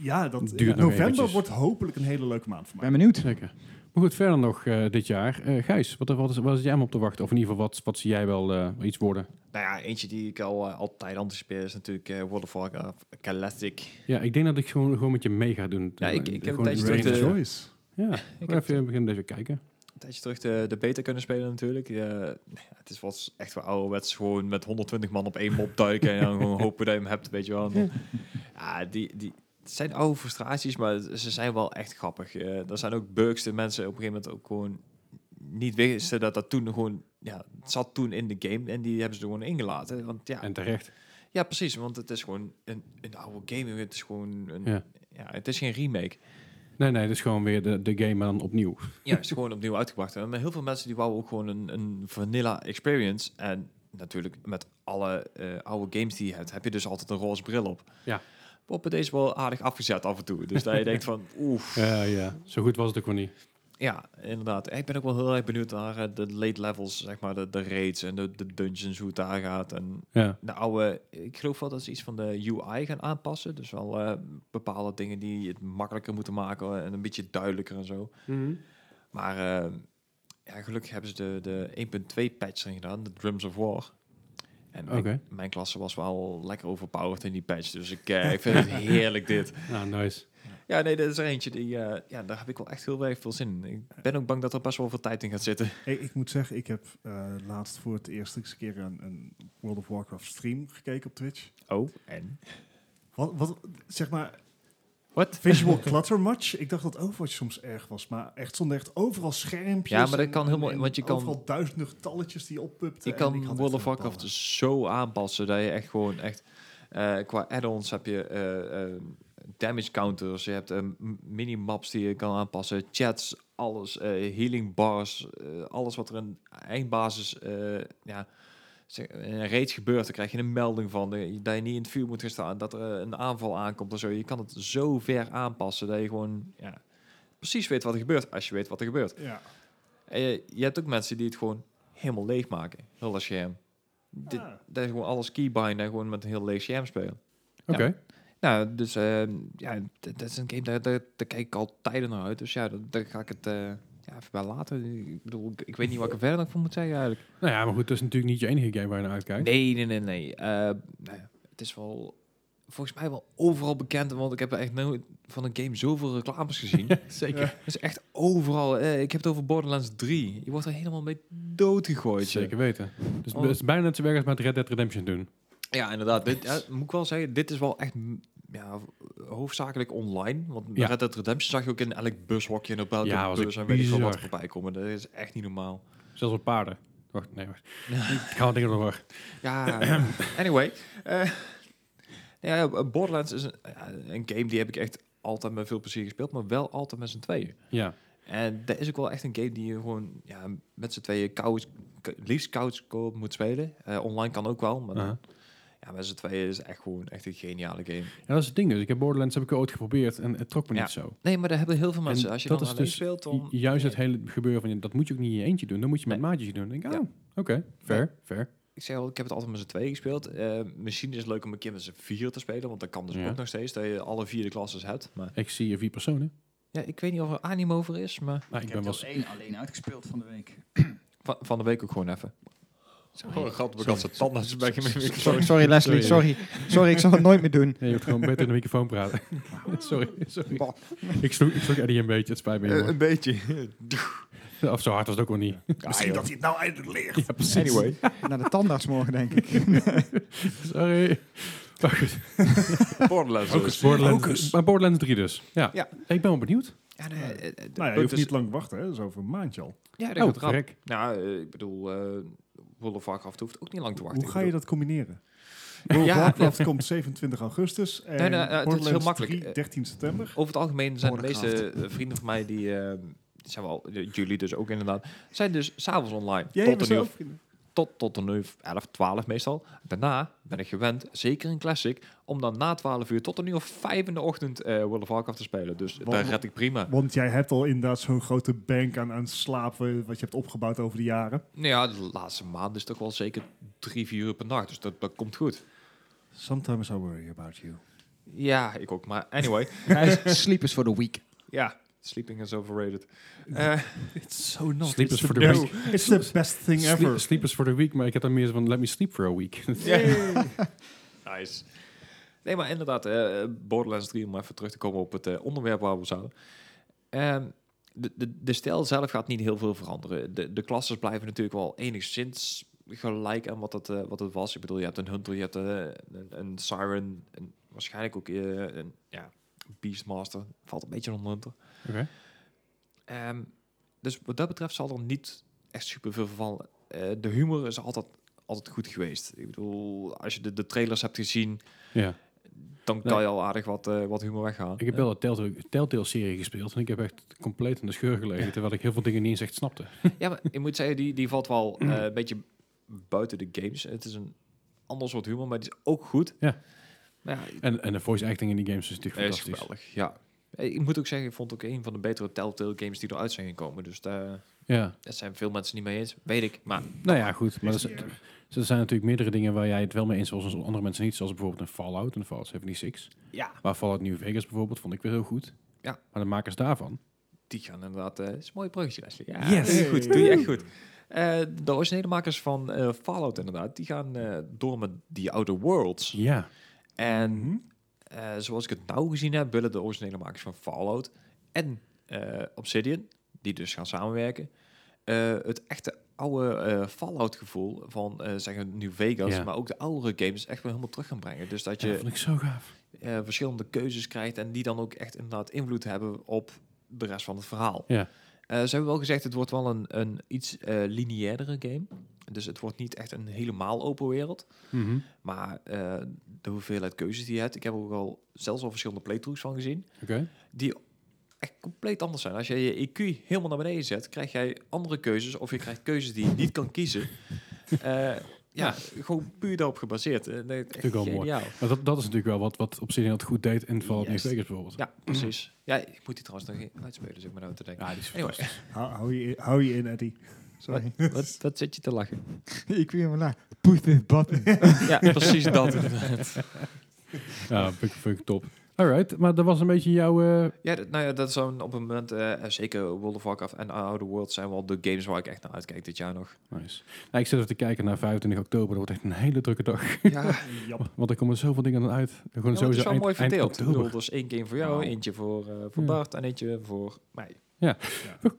ja, dat
Duurt nog
november
eventjes.
wordt hopelijk een hele leuke maand voor
Ik ben
mij.
benieuwd.
Zeker. Maar goed, verder nog eh, dit jaar. Eh, Gijs, wat, wat, is, wat zit jij hem op te wachten? Of in ieder geval, wat, wat zie jij wel eh, iets worden?
Nou ja, eentje die ik al eh, altijd anticipeer is natuurlijk eh World of Warcraft Classic.
Ja, ik denk dat ik gewoon, gewoon met je mee ga doen.
Ja, ik- ik heb
Gewoon
een tijdje
range.
terug de-
Joyce.
Ja,
heb
ik even beginnen even kijken.
Een tijdje terug de, de beta kunnen spelen natuurlijk. Eh, het is wat echt wel ouderwets. Gewoon met 120 man op één mop duiken. en dan
*laughs*
gewoon hopen dat je hem hebt, weet je wel. En dan- ja, die, die, het zijn oude frustraties, maar ze zijn wel echt grappig. Eh er zijn ook bugs die mensen op een gegeven moment ook gewoon niet wisten dat dat toen gewoon... Ja, het zat toen in de game en die hebben ze er gewoon ingelaten. Want ja,
En terecht.
ja precies. Want het is gewoon een, een oude game. Het is gewoon... Een,
Ja.
ja. het is geen remake.
Nee, nee, dat is gewoon weer de, de game maar dan opnieuw.
Ja, is gewoon opnieuw uitgebracht. En heel veel mensen die wouden ook gewoon een, een vanilla experience. En natuurlijk met alle eh, oude games die je hebt, heb je dus altijd een roze bril op.
Ja.
Wordt bij deze wel aardig afgezet af en toe. Dus dat je denkt van, oef.
Eh, ja, zo goed was het ook wel niet.
Ja, inderdaad. Ik ben ook wel heel erg benieuwd naar eh, de late levels, zeg maar, de, de raids en de, de dungeons, hoe het daar gaat. En
Ja.
de oude, ik geloof wel dat ze iets van de UI gaan aanpassen. Dus wel eh, bepaalde dingen die het makkelijker moeten maken en een beetje duidelijker en zo. Maar eh, ja, gelukkig hebben ze de, de 1.2 patch erin gedaan, de Drums of War. En mijn,
Oké.
mijn klasse was wel lekker overpowered in die patch. Dus ik, eh, ik vind *laughs* het heerlijk dit.
Nou, nice.
Ja, nee, dat is er eentje. Die, eh, ja, daar heb ik wel echt heel erg veel zin in. Ik ben ook bang dat er best wel veel tijd in gaat zitten.
Hey, ik moet zeggen, ik heb eh, laatst voor het eerst eens een keer een, een World of Warcraft stream gekeken op Twitch.
Oh, en?
Wat, wat zeg maar,
Wat? *laughs*
Visual clutter much? Ik dacht dat Overwatch soms erg was, maar echt stonden echt overal schermpjes.
Ja, maar dat
en-
kan
en-
helemaal-
en
want je kan-
overal duizenden getalletjes die je oppupte.
Je
en
kan
ik had
World
echt
of
een
Warcraft
bal.
zo aanpassen dat je echt gewoon echt... eh, qua add-ons heb je eh, eh, damage counters, je hebt eh, m- minimaps die je kan aanpassen, chats, alles, eh, healing bars, eh, alles wat er in eindbasis, eh ja, zeg, in een raid gebeurt, daar krijg je een melding van, eh, dat je niet in het vuur moet gaan staan, dat er eh, een aanval aankomt of zo. Je kan het zo ver aanpassen dat je gewoon ja, precies weet wat er gebeurt, als je weet wat er gebeurt.
Ja.
En je, je hebt ook mensen die het gewoon helemaal leeg maken. Heel dat scherm. Dit,
Ah.
Dat is gewoon alles keybind en gewoon met een heel leeg scherm spelen.
Oké.
Nou, dus ehm, ja, d- dat is een game, daar, daar, daar kijk ik al tijden naar uit. Dus ja, dat- daar ga ik het eh, ja, even bij laten. Ik bedoel, ik, ik weet niet wat ik er verder nog van moet zeggen eigenlijk.
Nou ja, maar goed, dat is natuurlijk niet je enige game waar je naar uitkijkt.
Nee, nee, nee, nee. Eh, nou ja, het is wel volgens mij wel overal bekend. Want ik heb echt nooit van een game zoveel reclames
*laughs*
gezien.
Zeker.
Het is echt overal. eh, ik heb het over Borderlands 3. Je wordt er helemaal mee doodgegooid. joh.
Zeker weten. Dus
Oh.
het is bijna net zo erg als met Red Dead Redemption doen.
Ja, inderdaad. Dit, ja, moet ik wel zeggen, dit is wel echt mm, ja, hoofdzakelijk online. Want
Ja.
Red Dead Redemption zag je ook in elk bushokje en op elke
Ja, was
bus en
ook
weet ik veel wat er
bizar. *laughs*
voorbij komen. Dat is echt niet normaal.
Zelfs op paarden. Wacht, nee, wacht. Ik haal dingen door.
Ja, anyway. Eh, nou ja, Borderlands is een, ja, een game die heb ik echt altijd met veel plezier gespeeld, maar wel altijd met z'n tweeën.
Ja,
En dat is ook wel echt een game die je gewoon ja, met z'n tweeën couch, k- liefst couch co-op moet spelen. Eh, online kan ook wel, maar dan-
Aha.
ja, met z'n tweeën is echt gewoon echt een geniale game.
ja, dat is het ding. Dus ik heb Borderlands heb ik ooit geprobeerd en het trok me
Ja.
niet zo.
Nee, maar daar hebben heel veel mensen.
En
Als je
dat
dan
is
alleen
dus
speelt, dan...
Ju- Juist het hele gebeuren van, ja, dat moet je ook niet in je eentje doen. Dan moet je met maatjes doen. Dan denk ik,
Ja.
oh, oké, fair, fair.
Ik zeg al, ik heb het altijd met z'n tweeën gespeeld. Eh, misschien is het leuk om een keer met z'n vier te spelen, want dat kan dus
Ja.
ook nog steeds, dat je alle vier de klasses hebt. Maar
Ik zie hier vier personen.
ja, ik weet niet of er animo over is, maar
Nou, ik ben wel... eens-
één alleen uitgespeeld van de week.
van, van de week ook gewoon even.
Sorry,
grappig dat ze tanden als bij *laughs*
sorry, sorry Leslie, sorry. Sorry, ik zal het nooit meer doen.
Nee, je moet gewoon beter in de microfoon praten. sorry, sorry. Ik sloeg, ik sloeg Eddie een beetje, het spijt me.
Eh,
jongen.
beetje.
of zo hard was het ook wel niet.
Misschien dat hij het nou eindelijk leert.
Ja, precies.
Anyway.
Naar de tandarts morgen, denk ik.
Sorry. Maar goed,
*laughs* Borderlands
ook
dus.
eens Borderlands, maar Borderlands 3 dus. Ja.
Ja.
Ik ben wel benieuwd.
Ja, nee, eh, eh, de
Nou ja,
punt
je hoeft
is-
niet lang te wachten, hè. Dat is over een maandje al.
Ja, dat
oh,
gaat rap.
gek.
Nou, eh, ik bedoel, eh World of Warcraft hoeft ook niet lang te wachten.
Hoe ga je dat combineren?
Ja,
Ja, Warcraft komt 27 augustus en
Nee, nee, eh, het is heel
Borderlands
makkelijk. Eh,
3 13 september.
Over het algemeen zijn de meeste
Warcraft.
eh, vrienden van mij die... eh, die zijn wel, eh, jullie dus ook inderdaad, zijn dus s'avonds online.
Jij
tot
hebt
een uur
zelf...
tot, tot een uur of 11, 12 meestal. Daarna ben ik gewend, zeker in Classic, om dan na 12 uur tot een uur of 5 in de ochtend eh, World of Warcraft te spelen. Dus
Wat-
daar red ik prima.
Want jij hebt al inderdaad zo'n grote bank aan, aan slapen wat je hebt opgebouwd over de jaren.
Nou ja, de laatste maand is toch wel zeker 3, 4 uur per nacht. Dus dat, dat komt goed.
Sometimes I worry about you.
Ja, ik ook. Maar anyway,
Sleepers for the week.
ja, sleeping is overrated. Eh, *laughs*
It's so not.
Sleep is
It's
for
the
the
best-
week.
It's the best thing
Sleep,
ever.
sleep is for the week, maar ik heb dan meer zo van let me sleep for a week. *laughs*
ja. *laughs* nice. Nee, maar inderdaad, eh, Borderlands 3, om even terug te komen op het eh, onderwerp waar we zouden. Ehm, de, de, de stijl zelf gaat niet heel veel veranderen. De, de klasses blijven natuurlijk wel enigszins gelijk aan wat het, eh, wat het was. Ik bedoel, je hebt een Hunter, je hebt eh, een, een Siren, en waarschijnlijk ook eh, een ja, Beastmaster. Valt een beetje onder Hunter.
Oké.
Ehm, dus wat dat betreft zal er niet echt superveel vervallen. Eh, de humor is altijd, altijd goed geweest. Ik bedoel, als je de, de trailers hebt gezien,
Ja.
dan kan je al aardig wat, eh, wat humor weghalen.
Ik heb wel de Telltale- Telltale-serie gespeeld en ik heb echt compleet in de scheur gelegen, terwijl ik heel veel dingen niet eens echt snapte.
Ja, maar ik moet zeggen, die, die valt wel
*clears throat*
eh, een beetje buiten de games. Het is een ander soort humor, maar die is ook goed.
Ja.
Maar ja, het
En, en de voice acting in die games is natuurlijk
is
fantastisch.
geweldig, ja. Eh, Ik moet ook zeggen, ik vond het ook een van de betere Telltale games die eruit zijn gekomen. Dus daar
Ja.
daar zijn veel mensen niet mee eens, weet ik. Maar
Nou ja, goed. Maar er zijn, er zijn natuurlijk meerdere dingen waar jij het wel mee eens was, en andere mensen niet. Zoals bijvoorbeeld een Fallout, een Fallout 76.
ja,
Maar Fallout New Vegas bijvoorbeeld vond ik weer heel goed.
Ja.
Maar de makers daarvan.
Die gaan inderdaad... eh, Het is een mooi bruggetje, Leslie. Ja,
Yes.
doe je goed.
Hey.
Doe je echt goed. Eh, de originele makers van eh, Fallout inderdaad, die gaan eh, door met die Outer Worlds.
Ja.
En
Mhm.
eh, zoals ik het nou gezien heb, willen de originele makers van Fallout en eh, Obsidian, die dus gaan samenwerken, eh, het echte oude eh, Fallout gevoel van eh zeggen we New Vegas,
Ja.
maar ook de oudere games echt weer helemaal terug gaan brengen. Dus dat
Ja,
je
dat vond ik zo gaaf.
eh, verschillende keuzes krijgt en die dan ook echt inderdaad invloed hebben op de rest van het verhaal.
Ja.
Eh, ze hebben wel gezegd, het wordt wel een, een iets eh lineairdere game. Dus het wordt niet echt een helemaal open wereld.
Mhm.
Maar eh, de hoeveelheid keuzes die je hebt, ik heb er ook al zelfs al verschillende playthroughs van gezien,
Oké.
die echt compleet anders zijn. Als je je IQ helemaal naar beneden zet, krijg jij andere keuzes of je krijgt keuzes die je niet kan kiezen.
*laughs*
Eh, ja, gewoon puur daarop gebaseerd. Eh, nee, echt
Natuurlijk wel mooi.
geniaal.
Maar dat, dat is natuurlijk wel wat, wat Obsidian het goed deed in Fallout
Juist.
New Vegas bijvoorbeeld.
Ja, precies. Ja, ik moet die trouwens nog even uitspelen, zeg maar nou te denken.
Mhm. Ja, Ah, die is
Anyway.
*laughs* fantastisch.
Hou, hou je, hou je in, *laughs* Eddie.
Sorry.
Wat, wat zit je te lachen?
ik weer maar
nou,
laag. Push this button.
*laughs* ja, precies
*laughs*
dat.
Ja, vind ik, vind ik top. Alright, maar dat was een beetje jouw... eh,
ja, dat- nou ja, dat is zo'n op een moment, eh, zeker World of Warcraft en Outer Worlds zijn wel de games waar ik echt naar uitkijk dit jaar
*laughs*
nog.
Nice. Nou, ik zit even te kijken naar 25 oktober. Dat wordt echt een hele drukke dag.
Ja,
Jap.
Want er komen zoveel dingen aan uit. Gewoon
dat
sowieso
is wel
eind-
mooi
eind
verdeeld. Ik bedoel,
oktober.
er is één game voor jou,
Wauw. Hmm.
eentje voor, eh, voor
Ja.
Bart en eentje voor mij.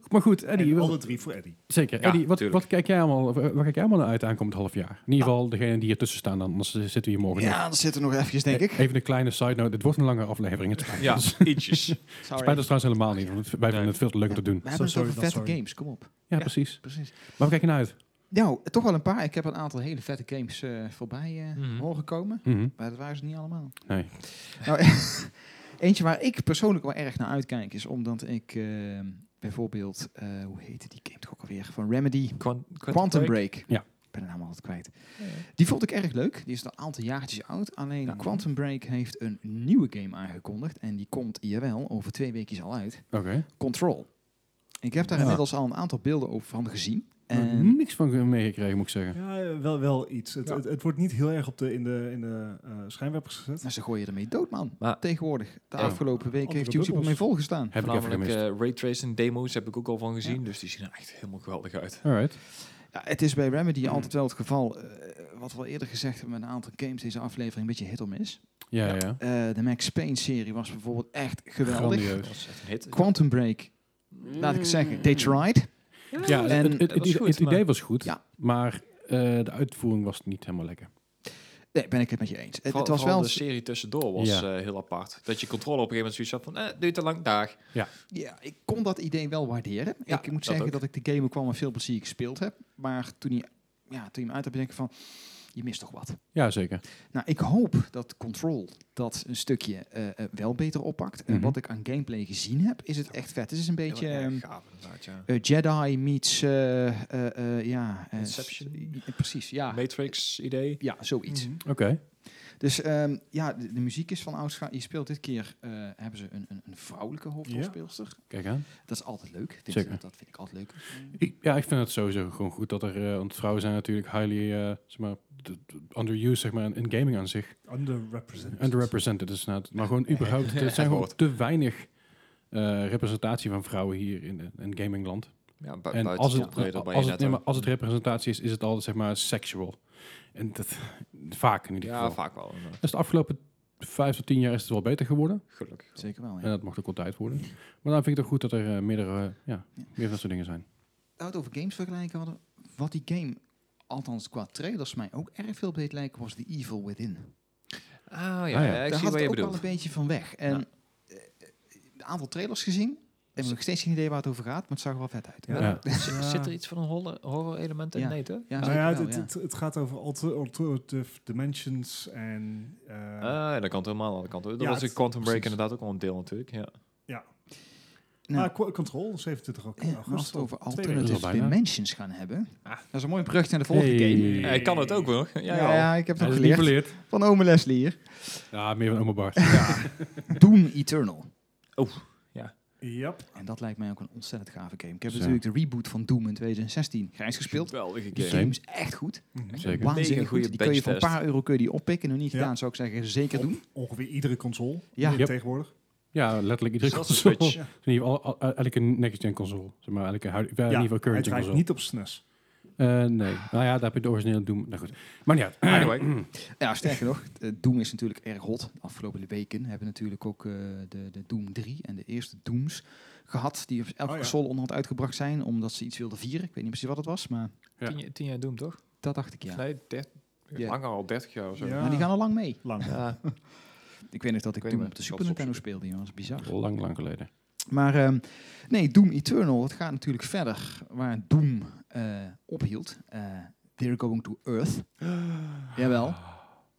Maar goed, Eddie.
En
wel-
alle drie voor Eddie.
Zeker.
Ja,
Eddie, wat,
tuurlijk.
wat kijk jij allemaal, eh, waar kijk jij allemaal naar uit aankomend half jaar? In ieder geval degene die ertussen staan, dan, anders zitten we hier morgen nog. E,
Ja, dan zit er nog eventjes, denk ik.
Even een kleine side note. Dit wordt een lange aflevering. Het spijt *laughs*
Ja, *laughs*
ons.
ietsjes.
Spijt ons trouwens helemaal niet. Want het- wij vinden het veel te leuk om te doen.
We
Zo
hebben het
sorry,
over
dat
vette
sorry.
games, kom op.
Ja.
Ja, precies.
Precies.
Maar we kijken naar uit.
nou, toch wel een paar. Ik heb een aantal hele vette games eh, voorbij eh,
Mhm.
horen komen.
Mhm.
Maar dat waren ze niet allemaal.
Nee.
Nou, *laughs* eentje waar ik persoonlijk wel erg naar uitkijk is omdat ik eh, bijvoorbeeld, eh, hoe heette die game toch ook alweer? Van Remedy.
Quan- Quantum,
Quantum
Break.
Break.
Ja.
Ik ben de naam altijd kwijt. Die vond ik erg leuk. Die is al een aantal jaartjes oud. Alleen
Ja.
Quantum Break heeft een nieuwe game aangekondigd. En die komt, jawel, over twee weekjes al uit.
Oké.
Control. Ik heb daar
Ja.
inmiddels al een aantal beelden over van gezien. En
Mhm.
En... Niks van meegekregen, moet ik zeggen.
Ja, eh, wel, wel iets. Het,
Ja.
het, het wordt niet heel erg op de, in de, in de eh schijnwerpers gezet.
nou, ze gooien ermee dood, man.
Maar-
Tegenwoordig. De
Ja.
afgelopen week
Andere
heeft YouTube
bubbels.
ermee volgestaan.
Heb ik even
Voornamelijk
gemist.
eh raytracing demo's heb ik ook al van gezien. Dus die zien er echt helemaal geweldig uit.
Alright.
Ja, het is bij Remedy altijd wel het geval, eh, wat we al eerder gezegd hebben met een aantal games deze aflevering, een beetje hit om is.
Ja, ja. ja.
de Max Payne-serie was bijvoorbeeld echt geweldig.
Dat
Grandieus.
was echt een hit.
Quantum Break, laat ik het
Hmm.
zeggen, they tried.
Ja, het,
En-
het- het-
Dat was goed,
het idee
maar-
was goed,
Ja.
maar eh, de uitvoering was niet helemaal lekker.
Nee, ben ik het met je eens. Het,
Vooral-
het was
vooral
wel...
de serie tussendoor was
Ja.
eh, heel apart. Dat je controle op een gegeven moment zoiets had van, eh, duurt te lang, dag.
Ja, ik kon dat idee wel waarderen.
Ja,
ik moet
dat
zeggen
ook.
dat ik de game ook wel met veel plezier gespeeld heb. Maar toen hij, ja, toen je hem uit hebt, denk ik van... Je mist toch wat.
Ja, zeker.
Nou, ik hoop dat Control dat een stukje eh, eh, wel beter oppakt. En
Mhm.
wat ik aan gameplay gezien heb, is het echt vet. Het is een beetje
Heel erg
ehm,
gaaf inderdaad, ja.
eh, Jedi meets... eh, eh, eh, ja, eh,
Inception?
s- eh, precies, ja.
Matrix idee.
Ja, zoiets.
Mhm.
Oké.
Dus ehm, ja, de, de muziek is van oudscha. Je speelt dit keer, eh, hebben ze een, een, een vrouwelijke hoofdrolspeelster.
Kijk aan.
Dat is altijd leuk. Vind
Zeker.
Dat vind ik altijd leuk.
Ik- ja, ik vind het sowieso gewoon goed dat er... eh, want vrouwen zijn natuurlijk highly, eh, zeg maar, d- d- underused zeg maar, in, in gaming aan zich.
Underrepresented.
Underrepresented is het. Maar gewoon überhaupt, er zijn gewoon te weinig eh, representatie van vrouwen hier in, eh, in gamingland.
Ja, bu-
En
buiten
als het,
Tomb Raider ben je
als,
net
het, nee,
ook.
maar als het representatie is, is het altijd zeg maar sexual. En dat, vaak in ieder geval.
Ja, vaak wel. eh, inderdaad.
Dus de afgelopen vijf tot tien jaar is het wel beter geworden.
*laughs*
Gelukkig.
Zeker wel, ja.
En dat mocht ook wel tijd worden. Maar dan vind ik het ook goed dat er eh, meerdere, eh, ja, meer van dat soort dingen zijn.
Nou, het over games vergelijken hadden. Wat die game, althans qua trailers, mij ook erg veel beet lijken, was The Evil Within.
Ah ja,
ja.
ja, ik
Daar
zie
had
wat
het
je
ook wel
bedoelt.
een beetje van weg. En
Ja.
eh, eh, een aantal trailers gezien. En nog steeds geen idee waar het over gaat, maar het zag er wel vet uit.
Ja.
Ja.
Ja.
Zit er iets van een horror- horror element in?
Ja.
Nee, toch?
Ja,
Nou
zeker
ja, het,
wel,
het,
ja.
het, het gaat over alter- alternative dimensions en... eh,
Ah, dat kan helemaal alle kanten. Dat
Ja,
was
het-
een Quantum Break
precies.
inderdaad ook wel een deel natuurlijk. Ja.
Nou,
ah, Qu- Control, Oh, 27 augustus.
eh, maar als we het over
Twee weken.
Dat is
alternative
al bijna.
dimensions gaan hebben.
Ah.
Dat is een mooi brug naar de volgende
Hey.
game.
Ja, ik kan het ook hoor. Ja,
Ja,
ja.
ja, ik heb
Hij
het
is
geleerd.
niet verleerd.
Van ome Leslie hier.
Ja, meer van Oma Bart. Ja.
*laughs* Doom Eternal.
Yep.
En dat lijkt mij ook een ontzettend gave game. Ik heb
Zo.
natuurlijk de reboot van Doom in 2016 grijs gespeeld.
Geweldige
Die
game.
game is echt goed.
Mhm.
Zeker.
Waanzinnig
Mega goede
goed. Die kun je voor een
benchtest.
paar euro kun je die oppikken. Nog niet
Ja.
gedaan, zou ik zeggen. Zeker
Op-
doen.
Ongeveer iedere console
Ja.
ja.
Yep.
tegenwoordig.
ja, letterlijk iedere
Dus dat is
console.
Switch.
In ieder geval al- al- elke next gen console. Zeg maar, elke huid, in ieder geval
hij
current gen
draait
console.
niet op E SNES.
Eh, nee. Nou ja, daar heb je de originele Doom. Nou goed. Maar niet uit. *clears throat*
Anyway.
Ja, sterker nog, eh, Doom is natuurlijk erg hot. De afgelopen weken hebben natuurlijk ook eh, de, de Doom 3 en de eerste Dooms gehad. Die op elke
Oh ja.
console onderhand uitgebracht zijn. Omdat ze iets wilden vieren. Ik weet niet precies wat het was, maar
Ja.
Tien, jaar- tien jaar Doom, toch?
dat dacht ik ja.
Nee, dert,
Ja.
langer al 30 jaar of zo.
Ja.
Maar die gaan al lang mee.
Lang.
Ja.
Ik weet nog dat
Ik
ik,
weet
Doom
niet
op de
meer.
Super
Dat is
Nintendo
opzoeken.
speelde. jongen. Dat is bizar.
Lang, lang geleden.
Maar ehm, nee, Doom Eternal, het gaat natuurlijk verder waar Doom eh, ophield. Eh They're going to Earth. Jawel.
Ah,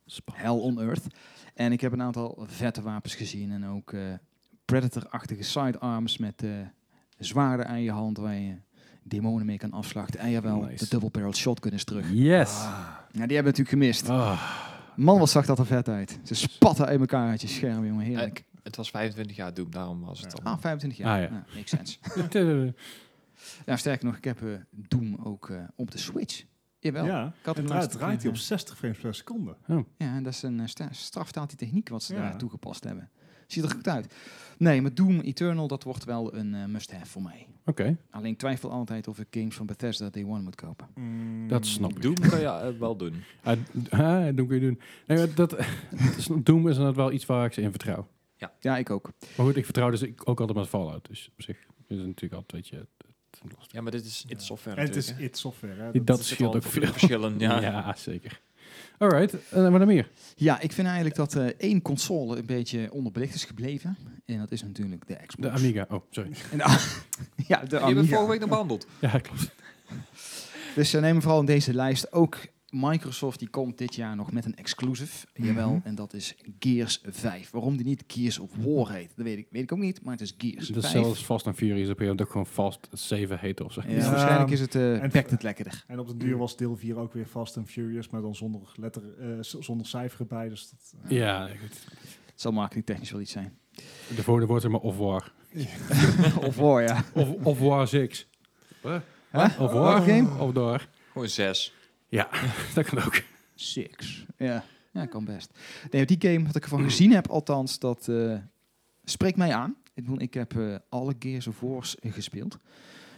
Spannend.
Hell on Earth. En ik heb een aantal vette wapens gezien en ook eh, Predator-achtige sidearms met eh, zwaarden aan je hand waar je demonen mee kan afslachten. En jawel,
Nice.
de double-barrel shotgun is terug.
Yes.
Nou, die hebben we natuurlijk gemist.
Ah.
Man, wat zag dat er vet uit. Ze spatten uit elkaar uit je scherm, jongen. Heerlijk.
Eh, Het was 25 jaar Doom, daarom was het dan.
ah, 25 jaar.
Eh, Ah, ja.
Nou, makes sense.
Eh,
Ja, sterker nog, ik heb eh, Doom ook eh, op de Switch. Jawel. Ja,
Ja,
ik had hem
en draait,
laatst
draait hij op
gekregen.
60 frames per seconde.
ja, en dat is een eh, sta- straftaal die techniek wat ze
Ja.
daar toegepast hebben. Ziet er goed uit. Nee, maar Doom Eternal, dat wordt wel een eh, must-have voor mij.
Oké,
Alleen ik twijfel altijd of ik games van Bethesda Day One moet kopen.
dat snap ik.
Doom kan je eh, wel doen.
Ah, d- ah, Doom kun je doen. Nee, maar dat, *laughs* dat is- Doom is inderdaad wel iets waar ik ze in vertrouw.
Ja, ik ook.
Maar goed, ik vertrouw dus ik ook altijd met Fallout. Dus op zich is het natuurlijk altijd, weet je... het- het-
Ja, maar dit is het software
En het is
natuurlijk,
it software. Hè?
Dat,
hè. Er zitten
scheelt
al
ook veel.
verschillen. *laughs* Ja.
Ja, zeker. Alright, eh, wat dan meer?
Ja, ik vind eigenlijk dat eh, één console een beetje onderbelicht is gebleven. En dat is natuurlijk de Xbox.
De Amiga. Oh, sorry.
En de- ja, de
Die hebben we
Amiga.
vorige week nog behandeld.
Ja, klopt.
Dus eh, neem vooral deze lijst ook Microsoft die komt dit jaar nog met een exclusive. Jawel, en dat is Gears 5. Waarom die niet Gears of War heet, dat weet ik, weet ik ook niet, maar het is Gears
Dus
5.
zelfs Fast and Furious op je ook gewoon Fast 7 heet of zo.
Ja,
Ja.
waarschijnlijk is het eh
en-
pakt het lekkerder.
En op de duur was deel 4 ook weer Fast and Furious, maar dan zonder, letter, eh, z- zonder cijfer erbij. Dus dat,
Ja, goed.
Het zal marketingtechnisch wel iets zijn. *laughs*
de volgende wordt er maar Of War.
of War, ja.
Of, of War 6.
Huh?
Of
War
War
game?
Of Door.
Gewoon zes.
Ja, dat kan ook.
Six. Ja, ja kan best. Nee, die game, wat ik ervan gezien heb althans, dat eh, spreekt mij aan. Ik, bedoel, ik heb eh, alle Gears of Wars eh, gespeeld.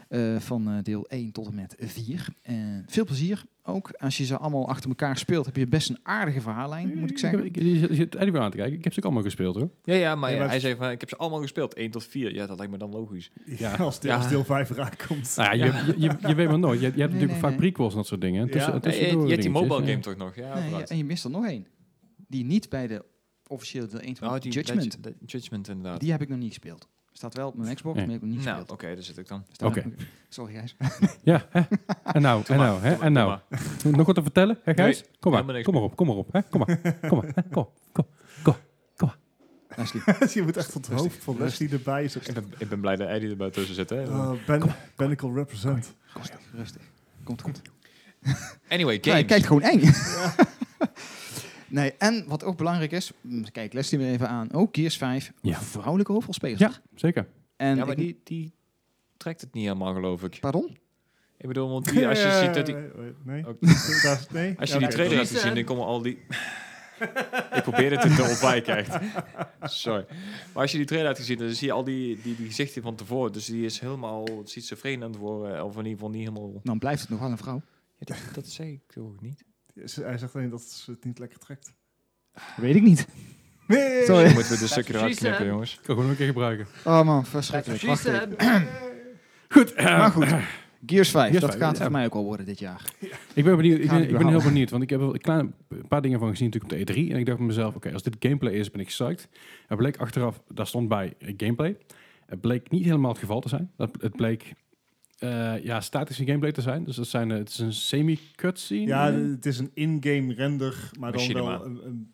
Eh, van eh, deel 1 tot en met 4. En veel plezier ook. Als je ze allemaal achter elkaar speelt, heb je best een aardige verhaallijn, moet ik zeggen.
Je zit- je zit Eddie weer aan te kijken. Ik heb ze ook allemaal gespeeld hoor.
Ja, ja, maar,
Ja,
ja,
maar-
hij zei van, ik heb ze allemaal gespeeld. 1 tot 4. Ja, dat lijkt me dan logisch.
Ja.
*laughs* als, deel,
Ja.
als deel 5 eraan komt.
Nou ja, je, je, je, je weet maar nooit. Je, je hebt natuurlijk
nee,
vaak
nee.
prequels en dat soort dingen. Tussen,
Ja,
Ja, je, je hebt die mobile game toch nog? Ja,
Nee,
vooruit.
en je mist er nog één. Die niet bij de officiële deel 1 van
Oh, die
Judgment.
dat- Judgment inderdaad.
Die heb ik nog niet gespeeld. Staat wel op mijn Xbox,
Nee.
maar die heb ik nog niet
nou, oké,
gespeeld.
daar zit ik dan.
Staat-
Oké.
Sorry,
*laughs*
Gijs.
Ja, hè? En nou, en nou, hè? En nou.
Maar,
Nog wat te vertellen, hè Gijs?
Nee,
kom maar,
helemaal niks
kom maar op, kom maar op. Hè? Kom maar, kom maar, hè? kom, kom.
Leslie.
*laughs* je moet echt het hoofd van Leslie erbij. Is ook
ik,
echt,
ben, ik ben blij dat Eddie erbij tussen zit. Hè?
Oh.
eh, ben, Bennicle
*laughs*
represent.
Rustig, rustig. Komt goed.
anyway,
Ja, je
games.
kijkt gewoon eng. *laughs* nee, en wat ook belangrijk is, mm, kijk Leslie weer even aan, ook Gears 5,
Ja.
vrouwelijke hoofdrolspeler.
Ja, zeker.
en
ja, maar
ik-
die, die trekt het niet helemaal, geloof ik.
Pardon?
Ik bedoel, want
*laughs*
die, als je ziet dat die...
Nee.
Ook-
Daar- nee.
Als je die
Ja, nee.
trailer hebt gezien, dan komen al die... *laughs* ik probeer het te ontwijken, echt. *laughs* Sorry. Maar als je die trailer hebt gezien, dan zie je al die, die, die gezichten van tevoren. Dus die is helemaal schizofreen aan het worden. eh, Of in ieder geval niet helemaal...
Dan blijft het nog wel een vrouw.
Ja, dat, dat zei ik toch niet?
Ze- Hij zegt alleen dat ze het niet lekker trekt.
Weet ik niet.
Nee!
Sorry.
moeten we de stukje eruit knippen, jongens.
Ik kan gewoon een keer gebruiken.
Oh man, verschrikkelijk. Wacht even.
Goed, eh,
Maar goed, Gears 5,
Gears
dat
5,
gaat
ja.
voor mij ook al worden dit jaar.
ik ben benieuwd. Ik
Gaan
ben,
we
ik ben heel
behalen.
benieuwd, want ik heb wel een, klein, een paar dingen van gezien natuurlijk op de E3. En ik dacht bij mezelf, oké, als dit gameplay is, ben ik psyched. Het bleek achteraf, daar stond bij eh, gameplay. Het bleek niet helemaal het geval te zijn. Dat, het bleek eh, ja, statische gameplay te zijn. Dus dat zijn, eh, het is een semi-cutscene.
Ja, het is een in-game render, maar dan
Machinima.
wel een, een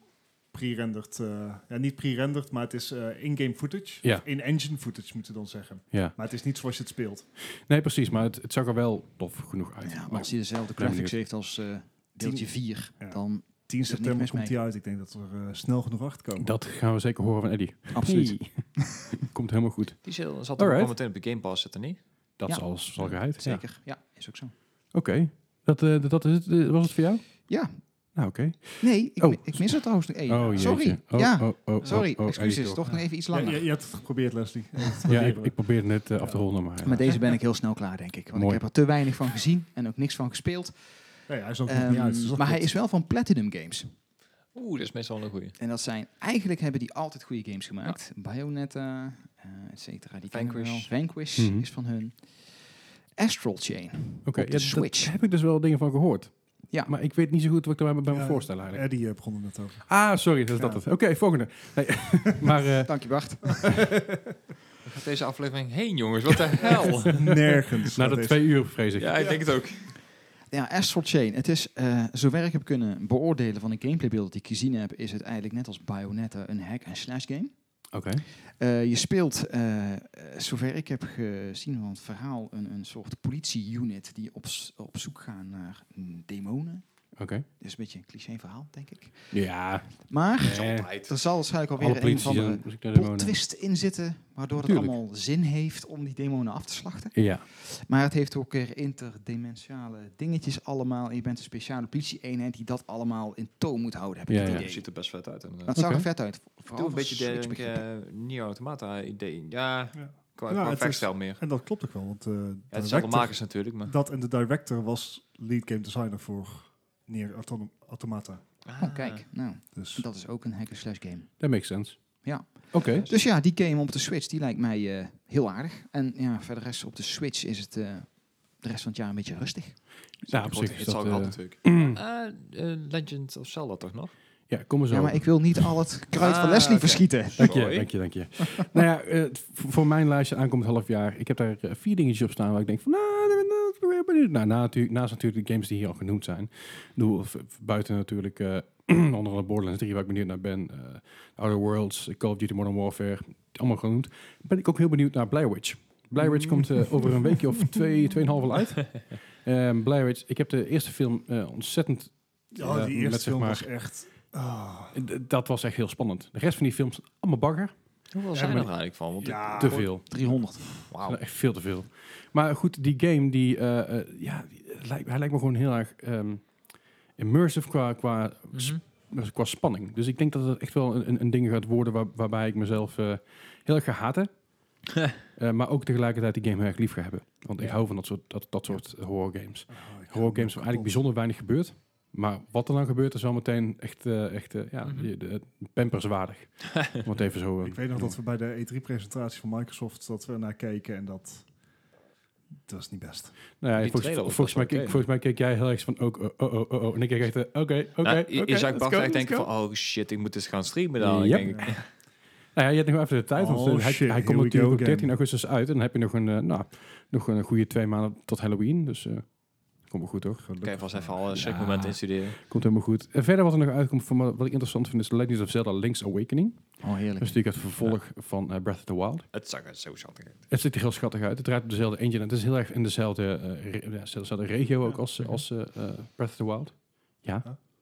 pre-rendered. eh, ja, niet pre-rendered, maar het is eh, in-game footage.
Ja.
Of In-engine footage moeten we dan zeggen.
ja.
Maar het is niet zoals je het speelt.
Nee, precies, maar het, het zag er wel tof genoeg uit.
Ja, maar
Maar-
als hij dezelfde
ben
graphics heeft als eh, deeltje 4,
Ja.
dan
10
is niks
september
mis
komt
mee.
die uit. Ik denk dat we er eh, snel genoeg achter komen.
Dat gaan we zeker horen van Eddie. *laughs*
absoluut.
Hey. Komt helemaal goed.
Die zat zat
Alright.
er meteen op de Game Pass zitten, niet?
Dat
Ja.
is alles zal geheid. Ja.
Zeker, ja. is ook zo.
Oké. Dat, eh, dat, dat is het. Eh, was het voor jou?
Ja,
Nou, oké.
nee, ik,
Oh.
ik mis het trouwens nog één.
Oh, jeetje.
sorry,
Oh,
ja,
oh, oh, oh,
sorry,
oh,
excuses,
Eddie,
toch nog even iets
Ja,
langer.
je, je hebt het geprobeerd, Leslie.
*laughs* Ja, ik, ik probeer het net eh, af te ronden, maar...
Met deze ben ik heel snel klaar, denk ik. Want
Mooi.
ik heb er te weinig van gezien en ook niks van gespeeld.
Nee, hij is ook nog
Ehm,
niet uit. dus dat
maar hij
klopt.
is wel van Platinum Games.
Oeh, dat is meestal een goeie.
En dat zijn, eigenlijk hebben die altijd goede games gemaakt. Bayonetta, eh et cetera. Die kennen we
Vanquish.
wel. Vanquish
Mhm.
is van hun. Astral Chain.
Oké,
op de
ja, dat-
Switch.
Daar heb ik dus wel dingen van gehoord.
Ja.
Maar ik weet niet zo goed wat ik daarbij bij me
Ja,
voorstel eigenlijk.
Eddie eh, begon er net
*laughs*
over.
ah, sorry, dat is dat
Ja.
het. Oké, volgende.
*laughs*
Nee, maar eh,
Dank je, Bart.
Gaat deze aflevering heen, jongens? *laughs* Wat de hel?
Nergens.
na
gaat
de
deze-
twee uur vrees ik.
ja, ik denk het ook.
Ja, Astral Chain. Het is, eh zover ik heb kunnen beoordelen van de gameplaybeelden die ik gezien heb, is het eigenlijk net als Bayonetta een hack en slash game.
Oké.
Eh, je speelt, eh, eh, zover ik heb gezien van het verhaal, een, een soort politie-unit die op, s- op zoek gaan naar mm, demonen.
Oké.
Dat is een beetje een cliché verhaal, denk ik.
Ja.
Maar
eh,
Altijd.
er zal waarschijnlijk
Alle
alweer een
politie
van de
zijn... dus ik daar
plot
gewoon-
twist in zitten, waardoor het
Tuurlijk.
allemaal zin heeft om die demonen af te slachten.
Ja.
Maar het heeft ook weer interdimensionale dingetjes allemaal. En je bent een speciale politie-eenheid die dat allemaal in toom moet houden, heb ik
Ja,
het
ja.
Ja,
idee.
ziet er best vet uit. En,
Dat zag
Oké.
er vet uit. Vooral
Doe een
voor
beetje eh, denk
Switch-begrippen.
Nier Automata idee. Ja,
Ja.
qua,
Ja,
qua
het is-
vechtstijl meer.
En dat klopt ook wel, want eh,
Ja, het zijn
director-
allemaal makers natuurlijk, maar...
dat en de director was lead game designer voor Nier Auton- Automata.
Ah.
Oh,
eh,
kijk, nou,
Dus
dat is ook een hack-slash game.
Dat makes sense.
Ja.
Oké.
Dus ja, die game op de Switch, die lijkt mij eh, heel aardig. En ja, verder rest op de Switch is het eh, de rest van het jaar een beetje rustig.
Ja, op
Wordt-
zich is
het
dat...
zal ook
eh,
altijd
*clears throat*
natuurlijk. Eh, eh, Legend of Zelda toch nog?
ja, kom maar zo.
Ja, maar ik wil niet al het kruid van
Ah,
Leslie
oké.
verschieten.
Dank je,
Sorry.
dank je, dank je. *laughs* nou ja, eh, t- voor voor mijn lijstje aankomend half jaar, ik heb daar eh, vier dingetjes op staan waar ik denk van, nou, dat- dat- dat- ben benieuwd naar. Na, natu- naast natuurlijk de games die hier al genoemd zijn. Ik bedoel, v- v- buiten natuurlijk eh, *clears throat* onder andere Borderlands 3, waar ik benieuwd naar ben. eh, Outer Worlds, eh, Call of Duty Modern Warfare, allemaal genoemd. Ben ik ook heel benieuwd naar Blair Witch. Blair Witch komt eh, over een weekje of twee, tweeënhalf al uit. Ehm Blair Witch, ik heb de eerste film eh, ontzettend
Oh,
Ja,
die
met,
eerste
zeg
film
maar-
was echt... ah.
D- Dat was echt heel spannend. De rest van die films, allemaal bagger.
Hoeveel
Ja,
zijn er
maar-
eigenlijk van? Want
Oh. ja,
te veel.
300.
Wauw.
Echt veel te veel. Maar goed, die game, die, eh, eh, ja, die, eh, lijkt, hij lijkt me gewoon heel erg ehm, immersive qua, qua,
Mhm.
qua spanning. Dus ik denk dat het echt wel een, een- een ding gaat worden waar- waarbij ik mezelf eh, heel erg ga haten.
*laughs*
Eh, maar ook tegelijkertijd die game heel erg lief ga hebben. Want ik
Ja.
hou van dat soort, dat, dat soort horror games.
Oh, ik
Horror
ga
games waar eigenlijk
kapot.
bijzonder weinig gebeurt. Maar wat er dan gebeurt is wel meteen echt, eh, echt eh, ja,
Mhm.
je- de-
*laughs*
pamperswaardig. Om het even zo... eh,
Ik weet nog
te
dat we bij de E3-presentatie van Microsoft dat we naar keken en dat... Dat was niet
*laughs*
best.
Nou ja,
Die
volgens,
trailer was
volgens, mij,
best
keek,
oké.
volgens mij keek jij heel erg van ook, oh, oh, oh, oh, oh. En ik keek echt, eh, oké, oké,
Nou,
oké.
je- je zag
let's
Bart echt
go, let's
denken
go.
van, oh shit, ik moet eens gaan streamen dan.
Yep.
Ik denk,
Nou ja, je hebt nog wel even de tijd, want
Oh,
eh, hij,
shit,
hij
here
komt
we go
natuurlijk op
again.
13 augustus uit. En dan heb je nog een, eh, nou, nog een goede twee maanden tot Halloween. Dus eh komt wel goed, hoor.
Kijk, vast even alle schrikmomenten instuderen.
Komt helemaal goed. En verder wat er nog uitkomt, van, me- wat ik interessant vind, is The Legends of Zelda Link's Awakening.
Oh,
Dat
heerlijk.
is natuurlijk het vervolg van eh, Breath of the Wild.
Het zag er zo schattig uit.
Het ziet er heel schattig uit. Het draait op dezelfde engine. Het is heel erg in dezelfde, eh, re- ja, dezelfde regio ook als, eh, als eh, eh, Breath of the Wild.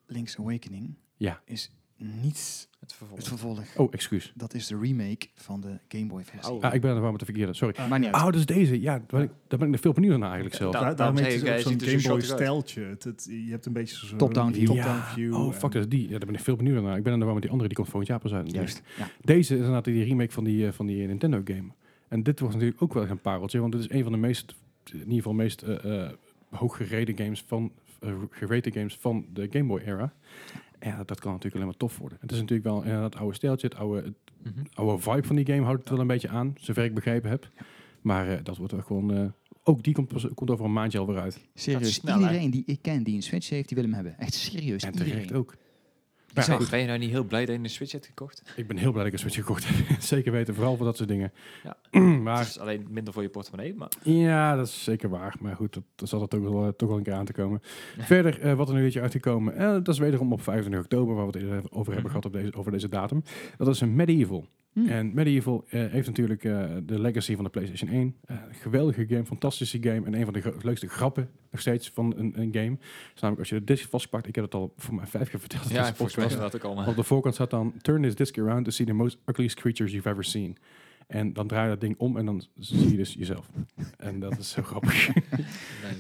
Link's Awakening
Ja.
is niet
Het
het
vervolg.
vervolg.
Oh, excuus.
Dat is de remake van de Game Boy versie.
Oh.
Ah, ik ben er wel met de verkeerde, sorry.
Maar niet uit.
Oh, dat is deze. Ja, daar ben ik, daar ben ik nog veel benieuwd naar eigenlijk zelf.
Ja,
Daar,
daarom
daarom
zei ik,
heeft het
hij
ook
ziet
zo'n
er zo
Game Boy
schattig uit.
stijltje. Het, het- je hebt een beetje zo'n
Top-down view.
top-down
Ja.
view
Oh,
en-
fuck, dat is die. Ja, daar ben ik veel benieuwd naar. Ik ben er nog wel met die andere, die komt volgend jaar pas uit.
Juist. Ja.
Deze is inderdaad die remake van die, eh, van die Nintendo game. En dit was natuurlijk ook wel echt een pareltje, want dit is een van de meest, in ieder geval meest eh, eh, hooggereden games van, eh, gerated games van de Game Boy era. Ja, dat kan natuurlijk alleen maar tof worden. Het is natuurlijk wel inderdaad het oude stijltje, het oude, het
Mhm.
oude vibe van die game houdt het wel een beetje aan, zover ik begrepen heb. Maar eh, dat wordt wel gewoon... eh, ook die komt, pas- komt over een maandje alweer uit.
Dat is
Serieus,
snel, hè?
iedereen die ik ken die een Switch heeft, die wil hem hebben. Echt serieus,
En terecht
iedereen.
ook.
Die
Ja,
zou-
Ben je nou niet heel blij dat je een Switch hebt gekocht?
Ik ben heel blij dat ik een Switch gekocht heb. *laughs* zeker weten, vooral voor dat soort dingen.
Het
*clears throat* maar
is alleen minder voor je portemonnee, maar...
ja, dat is zeker waar. Maar goed, dat, dat zal er toch wel, eh, toch wel een keer aan te
*laughs*
komen. Verder, eh, wat er nu een beetje uitgekomen. eh, dat is wederom op 25 oktober, waar we het eerder over hebben
Mhm.
gehad op deze, over deze datum. Dat is een Medieval.
Mm.
Hmm.
En Medieval eh, heeft natuurlijk eh, de legacy van de PlayStation 1. Eh, geweldige game, fantastische game. En een van de gro- leukste grappen nog steeds van een, een game. Is namelijk als je de disc vastpakt. Ik heb het al voor mij vijf keer
Ja,
verteld. deze
volgens mij is
podcast.
dat ook allemaal.
Op de voorkant staat dan: Turn this disc around to see the most ugliest creatures you've ever seen. En dan draai je dat ding om en dan zie je dus jezelf. En dat is zo grappig.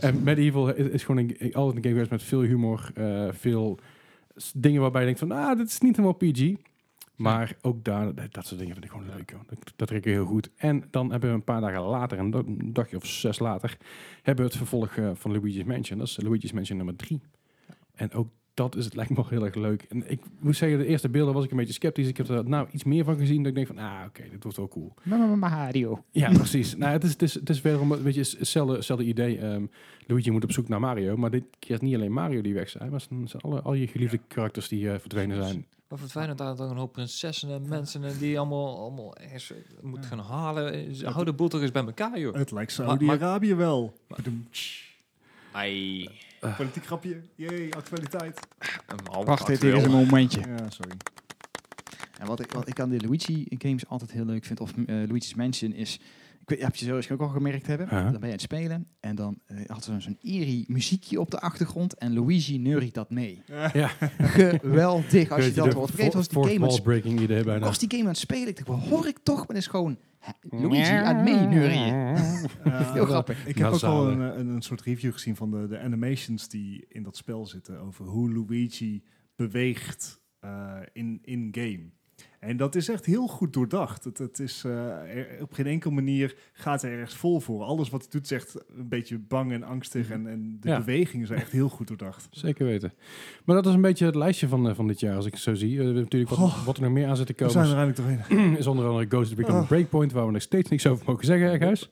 en Medieval is, is gewoon een, altijd een game geweest met veel humor, eh, veel s- dingen waarbij je denkt van, ah, dit is niet helemaal PG. Maar ook daar, dat, dat soort dingen vind ik gewoon leuk. hoor. Dat, dat trek ik heel goed. En dan hebben we een paar dagen later, een, dag- een dagje of zes later, hebben we het vervolg eh, van Luigi's Mansion. Dat is Luigi's Mansion nummer drie. En ook dat is, het lijkt me wel heel erg leuk. En ik moet zeggen, de eerste beelden was ik een beetje sceptisch. Ik heb er nou iets meer van gezien. Dat ik denk van, ah, oké, dit wordt wel cool.
Mama Mario.
Ja, precies. nou, het is, het is, het is wederom een beetje hetzelfde, hetzelfde idee. Ehm, Luigi moet op zoek naar Mario. Maar dit keer is niet alleen Mario die weg zijn. Maar het zijn alle, al je geliefde karakters die eh, verdwenen zijn.
Wat voor fijn dat daar toch een hoop prinsessen en mensen en die allemaal, allemaal ergens eh, moet gaan halen. eh, Ze Hou de boel toch eens bij elkaar, joh.
Het lijkt Saudi-Arabië wel. Bedoemtsch.
Ai.
Eh.
Politiek grapje. Jee, actualiteit.
Prachtig, dit is een momentje.
Ja, sorry.
En wat ik, wat ik aan de Luigi-games altijd heel leuk vind, of eh, Luigi's Mansion, is... Ik weet, heb je zoals ook al gemerkt hebben,
Ja.
dan ben je aan het spelen en dan eh, had ze zo'n eerie muziekje op de achtergrond en Luigi neuriet dat mee.
Ja. *laughs*
Geweldig als je dat hoort. Vergeet was die game aan het
breaking idee
Ik
bijna.
was die game aan het spelen. Ik dacht, wat hoor ik toch? Maar dat is gewoon hè, Luigi aan het meeneurien.
Eh,
Heel grappig.
Ik heb ook
Nasale.
al een, eh, een, een soort review gezien van de, de animations die in dat spel zitten. Over hoe Luigi beweegt eh, in, in game. En dat is echt heel goed doordacht. Het, het is, eh, er- op geen enkele manier gaat hij ergens vol voor. Alles wat hij doet is echt een beetje bang en angstig. En, en de
Ja.
bewegingen zijn echt heel goed doordacht.
Zeker weten. Maar dat is een beetje het lijstje van, eh, van dit jaar, als ik het zo zie. Eh, we hebben natuurlijk wat,
Oh.
wat er nog meer aan zit te
We
komen.
zijn er eindelijk doorheen.
*clears throat* is onder andere Ghost Recon
Ah.
Breakpoint, waar we nog steeds niks over mogen zeggen, Erghuis.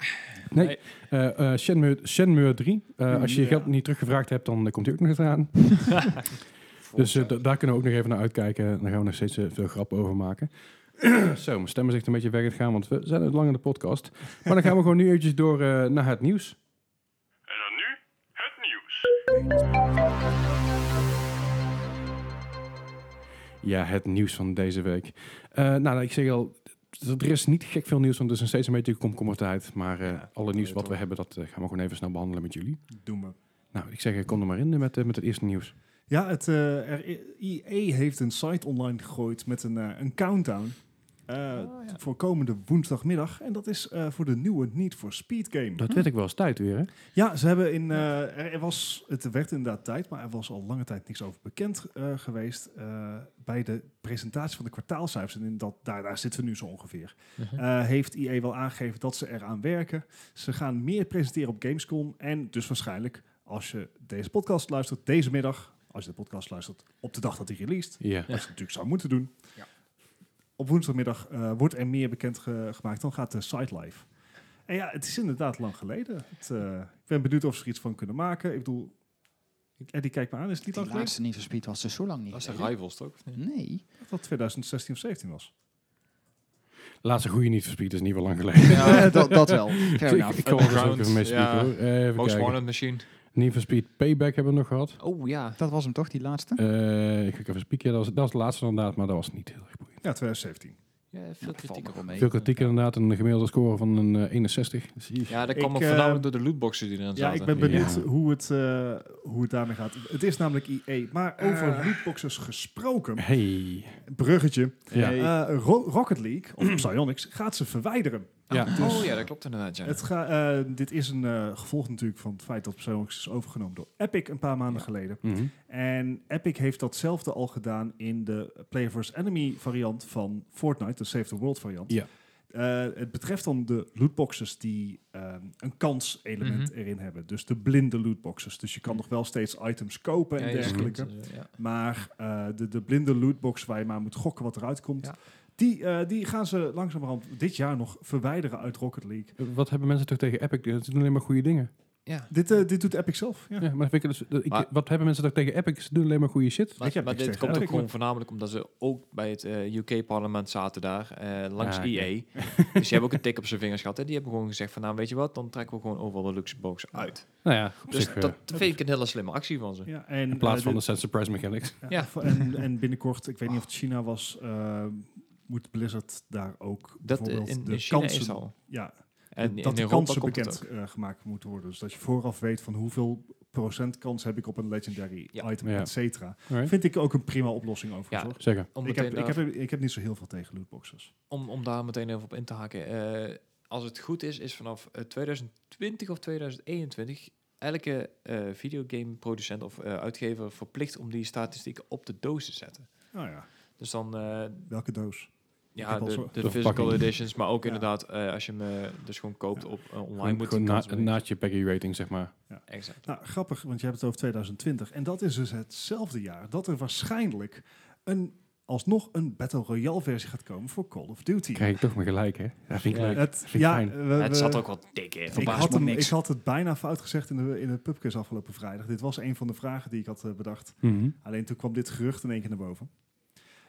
Nee.
Nee.
Eh, eh, Shenmue, Shenmue 3. Eh, als je je
Ja.
geld niet teruggevraagd hebt, dan eh, komt die ook nog eens aan. dus eh, da- daar kunnen we ook nog even naar uitkijken. En daar gaan we nog steeds eh, veel grappen over maken. *clears throat* Zo, mijn stem is echt een beetje weg aan het gaan, want we zijn het lang in de podcast. Maar dan gaan we gewoon nu eventjes door eh, naar het nieuws. Ja, het nieuws van deze week. Eh, nou, ik zeg al, d- er is niet gek veel nieuws, want het is nog steeds een beetje komkommertijd. Maar eh,
Ja,
alle nieuws wat we
toch.
hebben, dat eh, gaan we gewoon even snel behandelen met jullie.
Doe me.
Nou, ik zeg, eh, kom er maar in eh, met, eh, met het eerste nieuws.
Ja, het, eh er, EA heeft een site online gegooid met een, eh, een countdown eh,
Oh,
voor komende woensdagmiddag. En dat is eh, voor de nieuwe Need for Speed game.
Dat werd ik wel eens tijd weer, hè?
Ja, ze hebben in. eh, er, er was, het werd inderdaad tijd, maar er was al lange tijd niks over bekend eh, geweest. eh, bij de presentatie van de kwartaalcijfers, en in dat, daar, daar zitten we nu zo ongeveer. eh, heeft IE wel aangegeven dat ze eraan werken. Ze gaan meer presenteren op Gamescom. En dus waarschijnlijk, als je deze podcast luistert, deze middag, als je de podcast luistert op de dag dat hij released,
Ja.
wat je natuurlijk zou moeten doen. Op woensdagmiddag eh, wordt er meer bekend ge- gemaakt. Dan gaat de site live. En ja, het is inderdaad lang geleden. Het, eh, ik ben benieuwd of ze er iets van kunnen maken. Ik bedoel, Eddie, kijk me aan. Is het
Die
niet lang geleden?
laatste niet verspied was dus zo lang niet.
Dat zijn
geleden.
rivals, toch?
Nee.
Dat dat 2016 of 17 was.
Laatste goede niet verspied is niet wel lang geleden.
Ja, *laughs* dat, dat
*laughs*
wel. Fair
ik,
enough.
ik kan wel dus ook
Underground,
even mee
ja.
hoor. Eh, Even
Most
kijken.
Wanted Machine.
Need for Speed Payback hebben we nog gehad.
Oh ja.
Dat was hem toch, die laatste?
Eh, ik ga even spieken. Dat was, dat was de laatste inderdaad, maar dat was niet heel erg boeiend.
Ja, 2017.
ja veel kritiek op.
Veel kritiek inderdaad, een gemiddelde score van een eh, 61. Zie je.
Ja, dat
Ik,
kwam ook
eh,
voornamelijk door de lootboxen die eraan
Ja,
zaten.
ik ben
Ja.
benieuwd Hoe, het, eh, hoe het daarmee gaat. Het is namelijk IE. Maar over
Eh.
lootboxes gesproken.
Hey.
Bruggetje.
Ja.
Hey.
Eh, Ro- Rocket League, of Psyonix, gaat ze verwijderen.
Ja.
Oh ja, dat klopt inderdaad, ja.
Het ga, eh, dit is een eh, gevolg natuurlijk van het feit dat Psyonix is overgenomen door Epic een paar maanden geleden.
Mhm.
En Epic heeft datzelfde al gedaan in de Player vs. Enemy variant van Fortnite, de Save the World variant.
Ja.
Eh, het betreft dan de lootboxes die ehm, een kanselement
Mhm.
erin hebben. Dus de blinde lootboxes. Dus je kan nog wel steeds items kopen en
ja, je
dergelijke.
kunt, eh, ja.
Maar eh, de, de blinde lootbox waar je maar moet gokken wat eruit komt...
Ja.
Die, eh, die gaan ze langzamerhand dit jaar nog verwijderen uit Rocket League.
Wat hebben mensen toch tegen Epic? Eh, Ze doen alleen maar goede dingen.
Ja.
Dit, eh, dit doet Epic zelf. Ja.
Ja, maar, vind ik dus, dat ik-
Maar-
wat hebben mensen toch tegen Epic? Ze doen alleen maar goede shit.
Ik heb
Maar, maar
niks
dit
tegen
komt ook
Epic,
gewoon voornamelijk omdat ze ook bij het eh, UK-parlement zaten daar, eh, langs
Ah, oké.
EA.
*laughs*
dus die hebben ook een tik op zijn vingers gehad. En die hebben gewoon gezegd van, nou weet je wat, dan trekken we gewoon overal de luxe box uit.
Nou ja, op
Dus
zich, eh,
dat vind ik een hele slimme actie van ze.
Ja, en,
in plaats
eh,
van de
dit-
set surprise
*laughs*
mechanics.
Ja.
voor- *laughs* En, en binnenkort, ik weet niet of het China was, eh, moet Blizzard daar ook
Dat eh,
bijvoorbeeld
in,
de
in China
kansen,
is al.
ja,
En
dat
in
de
Europa
kansen
komt het
bekend
ook.
eh, gemaakt moeten worden. Dus dat je vooraf weet van hoeveel procent kans heb ik op een legendary
Ja.
item,
Ja.
et cetera.
Alright.
Vind ik ook een prima oplossing overigens.
Ja, dus
hoor.
Zeker.
Om,
Ik
meteen
heb, ik,
daar-
heb, ik heb niet zo heel veel tegen lootboxes.
om, om daar meteen even op in te haken. eh, als het goed is, is vanaf eh, 2020 of 2021 elke eh videogame producent of eh, uitgever verplicht om die statistieken op de doos te zetten.
Nou ja,
Dus dan eh,
welke doos?
Ja,
heb al
de,
zo-
de,
de
physical
verpakking.
editions, maar ook
Ja.
inderdaad eh, als je hem eh, dus gewoon koopt op eh, online
Gewoon,
moet
gewoon
je
na,
kans weten.
naast je Peggy rating, zeg maar.
Exact.
Nou, grappig, want je hebt het over 2020. En dat is dus hetzelfde jaar dat er waarschijnlijk een, alsnog een Battle Royale versie gaat komen voor Call of Duty.
Krijg ik toch mijn gelijk, hè? Dat vind ik
Ja.
leuk.
Het,
vind ik
ja,
fijn.
we- we-
het zat ook wat dik in.
ik
Verbaas
had,
me
hem, ik
niks.
had het bijna fout gezegd in de, in de pubquiz afgelopen vrijdag. Dit was een van de vragen die ik had eh, bedacht.
Mhm.
Alleen toen kwam dit gerucht in één keer naar boven.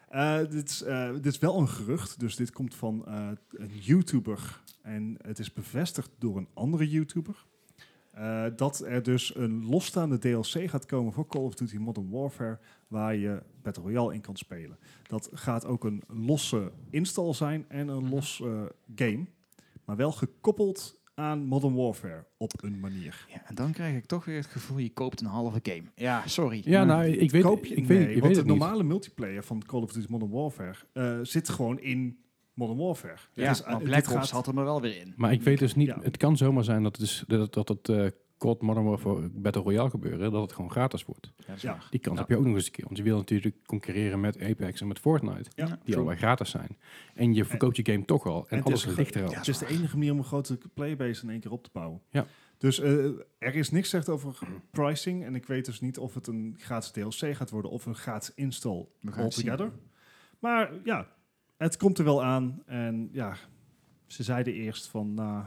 Eh, dit, is, eh, dit is wel een gerucht, dus dit komt van eh, een YouTuber. En het is bevestigd door een andere YouTuber. eh, dat er dus een losstaande DLC gaat komen voor Call of Duty Modern Warfare, waar je Battle Royale in kan spelen. Dat gaat ook een losse install zijn en een los eh, game, maar wel gekoppeld aan Modern Warfare op een manier.
Ja, en dan krijg ik toch weer het gevoel, je koopt een halve game. Ja, sorry.
Ja,
Maar-
nou, ik weet,
Koop je?
ik
nee,
weet, ik
want
weet
de
het niet.
normale multiplayer van Call of Duty Modern Warfare eh, zit gewoon in Modern Warfare.
ja,
Het is, eh,
maar
dit
Black
gaat-
Ops had hem er wel weer in.
Maar ik weet dus niet,
Ja.
het kan zomaar zijn dat het, is, dat, dat het eh COD Modern Warfare Battle Royale gebeuren, dat het gewoon gratis wordt.
Ja,
Die kans
Ja.
heb je ook nog eens een keer, want je wil natuurlijk concurreren met Apex en met Fortnite,
Ja.
die allebei gratis zijn. En je verkoopt je game toch al, en,
het
alles
is ge-
ligt er al.
het is de enige manier om een grote playbase in één keer op te bouwen.
Ja.
Dus eh, er is niks gezegd over pricing. En ik weet dus niet of het een gratis DLC gaat worden of een gratis install
We gaan het zien.
altogether. Maar ja, het komt er wel aan. En ja, ze zeiden eerst van, nou,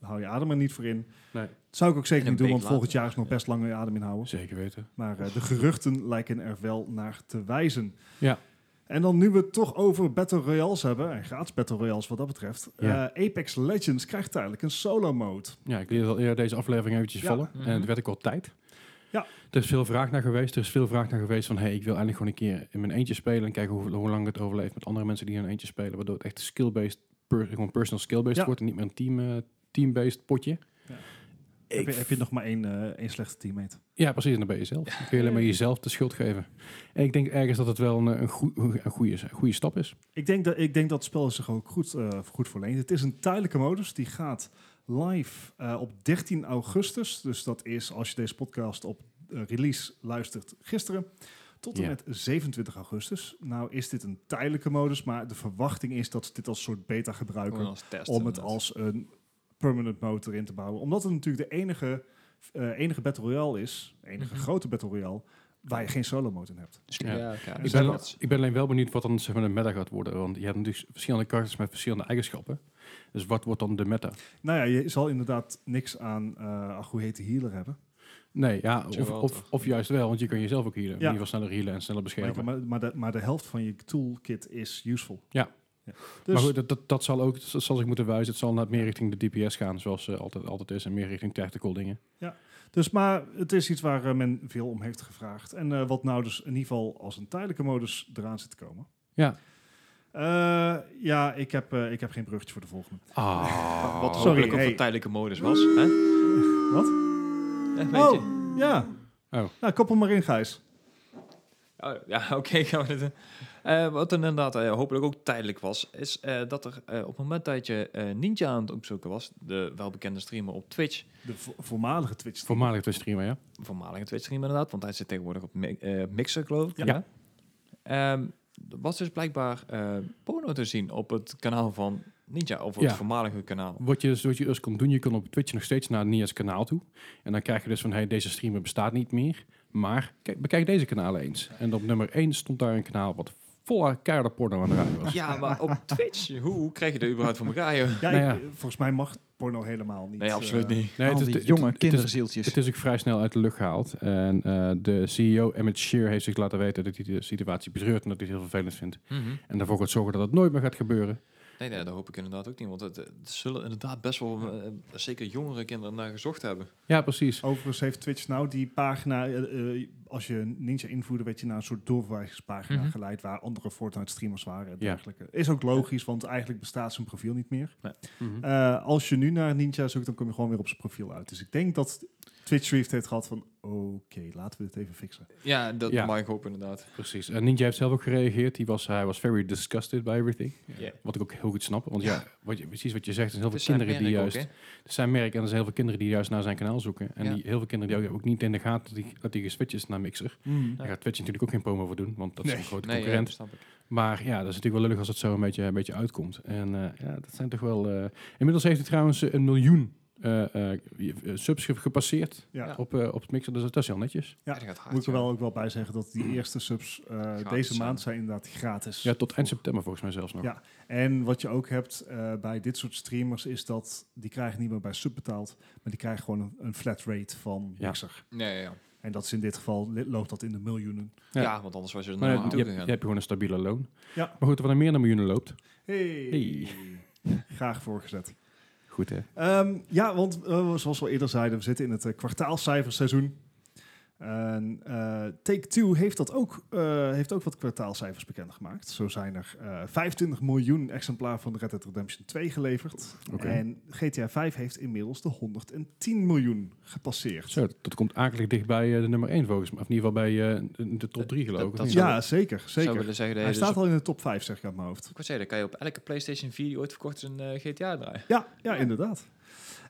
hou je adem er niet voor in.
Nee.
Dat zou ik ook zeker
En een
niet doen,
week
want volgend
later.
jaar is nog best lang je adem inhouden.
Zeker weten.
Maar eh, de geruchten lijken er wel naar te wijzen.
Ja.
En dan nu we het toch over Battle Royales hebben, en gratis Battle Royales wat dat betreft.
Ja.
eh, Apex Legends krijgt tijdelijk een solo mode.
Ja, ik liet al eerder deze aflevering eventjes
Ja.
vallen
Mhm.
en het werd ook al tijd.
Ja.
Er is veel vraag naar geweest. Er is veel vraag naar geweest van, hey, ik wil eigenlijk gewoon een keer in mijn eentje spelen en kijken hoe, hoe lang het overleeft met andere mensen die in hun eentje spelen. Waardoor het echt skill-based, per- gewoon personal skill-based
Ja.
wordt en niet meer een team, eh, team-based potje.
Ja.
Ik
heb, je, heb je nog maar één, eh, één slechte teammate?
ja, precies. En dan ben je zelf. Dan kun je alleen maar jezelf de schuld geven. En ik denk ergens dat het wel een, eh, een, goe- een, goede, een goede stap is.
Ik denk dat, ik denk dat het spel zich ook goed, eh goed voor leent. Het is een tijdelijke modus die gaat live eh, op 13 augustus. Dus dat is als je deze podcast op eh, release luistert gisteren. Tot en
Ja.
met 27 augustus. Nou is dit een tijdelijke modus, maar de verwachting is dat ze dit als soort beta gebruiken
als test.
om het
inderdaad.
als een permanent mode erin te bouwen. Omdat het natuurlijk de enige, eh, enige Battle Royale is, enige
Mhm.
grote Battle Royale, waar je geen solo mode in hebt.
Ja,
Ja.
oké.
Ik
Ik
Dus
ben,
dat-
ik ben alleen wel benieuwd wat dan zeg maar, de meta gaat worden. Want je hebt natuurlijk verschillende karakters met verschillende eigenschappen. Dus wat wordt dan de meta?
Nou ja, je zal inderdaad niks aan, eh ach, hoe heet de healer hebben.
Nee, ja, of,
Jawel,
of,
toch?
of juist wel, want je kan jezelf ook healen. In
Ja.
ieder geval sneller healen en sneller
Maar,
beschermen. Maar,
maar, maar de, maar de helft van je toolkit is useful.
Ja.
Dus
goed, dat, dat, dat zal ook, dat zal zich moeten wijzen. Het zal naar meer richting de DPS gaan, zoals eh, altijd, altijd is. En meer richting tactical dingen.
Dus, maar het is iets waar eh, men veel om heeft gevraagd. En eh, wat nou dus in ieder geval als een tijdelijke modus eraan zit te komen.
Ja.
Eh, ja, ik heb, eh, ik heb geen bruggetje voor de volgende.
Ah,
Wat
Oh, Sorry,
hopelijk op
hey.
de tijdelijke modus was. Hè?
Wat?
Ja, weet
Oh,
je.
ja.
Oh.
Nou, koppel maar in, Gijs.
Oh, ja, *laughs* oké. gaan we dit doen. Eh, wat dan inderdaad eh, hopelijk ook tijdelijk was, is eh, dat er eh, op het moment dat je eh, Ninja aan het opzoeken was, de welbekende streamer op Twitch,
De vo- voormalige Twitch.
voormalig twee streamer, ja.
voormalige Twitch streamer inderdaad, want hij zit tegenwoordig op Mi- eh, Mixer, geloof ik.
Ja.
Ehm, er was dus blijkbaar eh porno te zien op het kanaal van Ninja, of op
Ja.
het voormalige kanaal.
Wat je, dus- wat je dus kon doen, je kon op Twitch nog steeds naar Nia's kanaal toe. En dan krijg je dus van, hey, deze streamer bestaat niet meer. Maar kijk, bekijk deze kanalen eens. En op nummer 1 stond daar een kanaal wat vol keiharde porno aan de rij was.
Ja, maar *laughs* op Twitch, hoe, hoe krijg je dat überhaupt voor elkaar, joh?
Ja,
Nou
ik- eh, volgens mij mag porno helemaal niet.
Nee, absoluut
eh,
niet.
Nee,
Al
het is-
die
het-
jonge
het is-
kinderzieltjes.
Het is ook vrij snel uit de lucht gehaald. En eh, de CEO Emmett Shear heeft zich laten weten dat hij de situatie betreurt en dat hij het heel vervelend vindt. En daarvoor gaat zorgen dat het nooit meer gaat gebeuren.
Mhm. Nee, nee, dat hoop ik inderdaad ook niet. Want het, het zullen inderdaad best wel eh, zeker jongere kinderen naar gezocht hebben.
Ja, precies.
Overigens heeft Twitch nou die pagina, eh, eh, als je Ninja invoerde, werd je naar een soort doorverwijzingspagina
Mhm.
geleid waar andere Fortnite-streamers waren en
Ja.
dergelijke. Is ook logisch, want eigenlijk bestaat zijn profiel niet meer.
Mhm.
Eh, als je nu naar Ninja zoekt, dan kom je gewoon weer op zijn profiel uit. Dus ik denk dat Twitch heeft heeft gehad van, oké, laten we dit even fixen.
Ja, dat
Ja.
mag ik hopen inderdaad.
precies. En Ninja heeft zelf ook gereageerd. Hij was, hij was very disgusted by everything.
Ja.
Wat ik ook heel goed snap. Want ja, wat je, precies wat je zegt, er zijn heel
Het
veel
is
kinderen
zijn
die
merk ook,
juist... er zijn merk en er zijn heel veel kinderen die juist naar zijn kanaal zoeken. En
Ja.
die, heel veel kinderen die ook niet in de gaten dat hij- dat hij geswitcht is naar Mixer. Daar gaat Twitch natuurlijk ook geen promo voor doen, want dat is
Nee.
een grote
hè? Nee, ja,
concurrent.
dat snap ik.
Maar ja, dat is natuurlijk wel lullig als het zo een beetje, een beetje uitkomt. En eh, ja, dat zijn toch wel... eh, inmiddels heeft hij trouwens eh, een miljoen eh, eh, subs ge- gepasseerd
Ja.
Ja.
op, eh, op het mixer. Dus dat is heel netjes.
Ja,
Ja, dat gaat hard,
Moet ik er
ja.
wel ook wel bij zeggen dat die eerste subs eh, deze
zijn.
maand zijn inderdaad gratis.
Ja, tot eind september volgens mij zelfs nog.
Ja. En wat je ook hebt eh, bij dit soort streamers is dat die krijgen niet meer bij sub betaald, maar die krijgen gewoon een, een flat rate van
Ja.
Mixer.
Nee, ja, ja.
En dat is in dit geval li- loopt dat in de miljoenen.
Ja.
Ja. want anders was je er
Maar
naar
ja, je,
naartoe
hebt- je
gegaan.
hebt gewoon een stabiele loon.
Ja.
Maar goed, wat er meer dan miljoenen loopt.
Hey.
Hey.
*laughs* Graag voorgezet.
Goed, hè?
Ehm, ja, want eh, zoals we al eerder zeiden, we zitten in het eh, kwartaalcijferseizoen. En eh, Take Two heeft, dat ook, eh, heeft ook wat kwartaalcijfers bekendgemaakt. Zo zijn er eh, 25 miljoen exemplaar van Red Dead Redemption 2 geleverd.
Oké.
En GTA 5 heeft inmiddels de 110 miljoen gepasseerd.
Zo, dat, dat komt akelig dicht bij eh, de nummer 1 volgens mij. Of in ieder geval bij eh, de- de top 3 geloof ik.
Dat-
of
dat
niet?
zou-
Ja, zeker.
Ik zou
zeker.
willen zeggen, dat
Hij
je dus
staat
op-
al in de top 5, zeg ik uit mijn hoofd.
ik wou zeggen, dan kan je op elke PlayStation 4 die ooit verkocht is een eh, GTA draaien.
Ja, ja, inderdaad.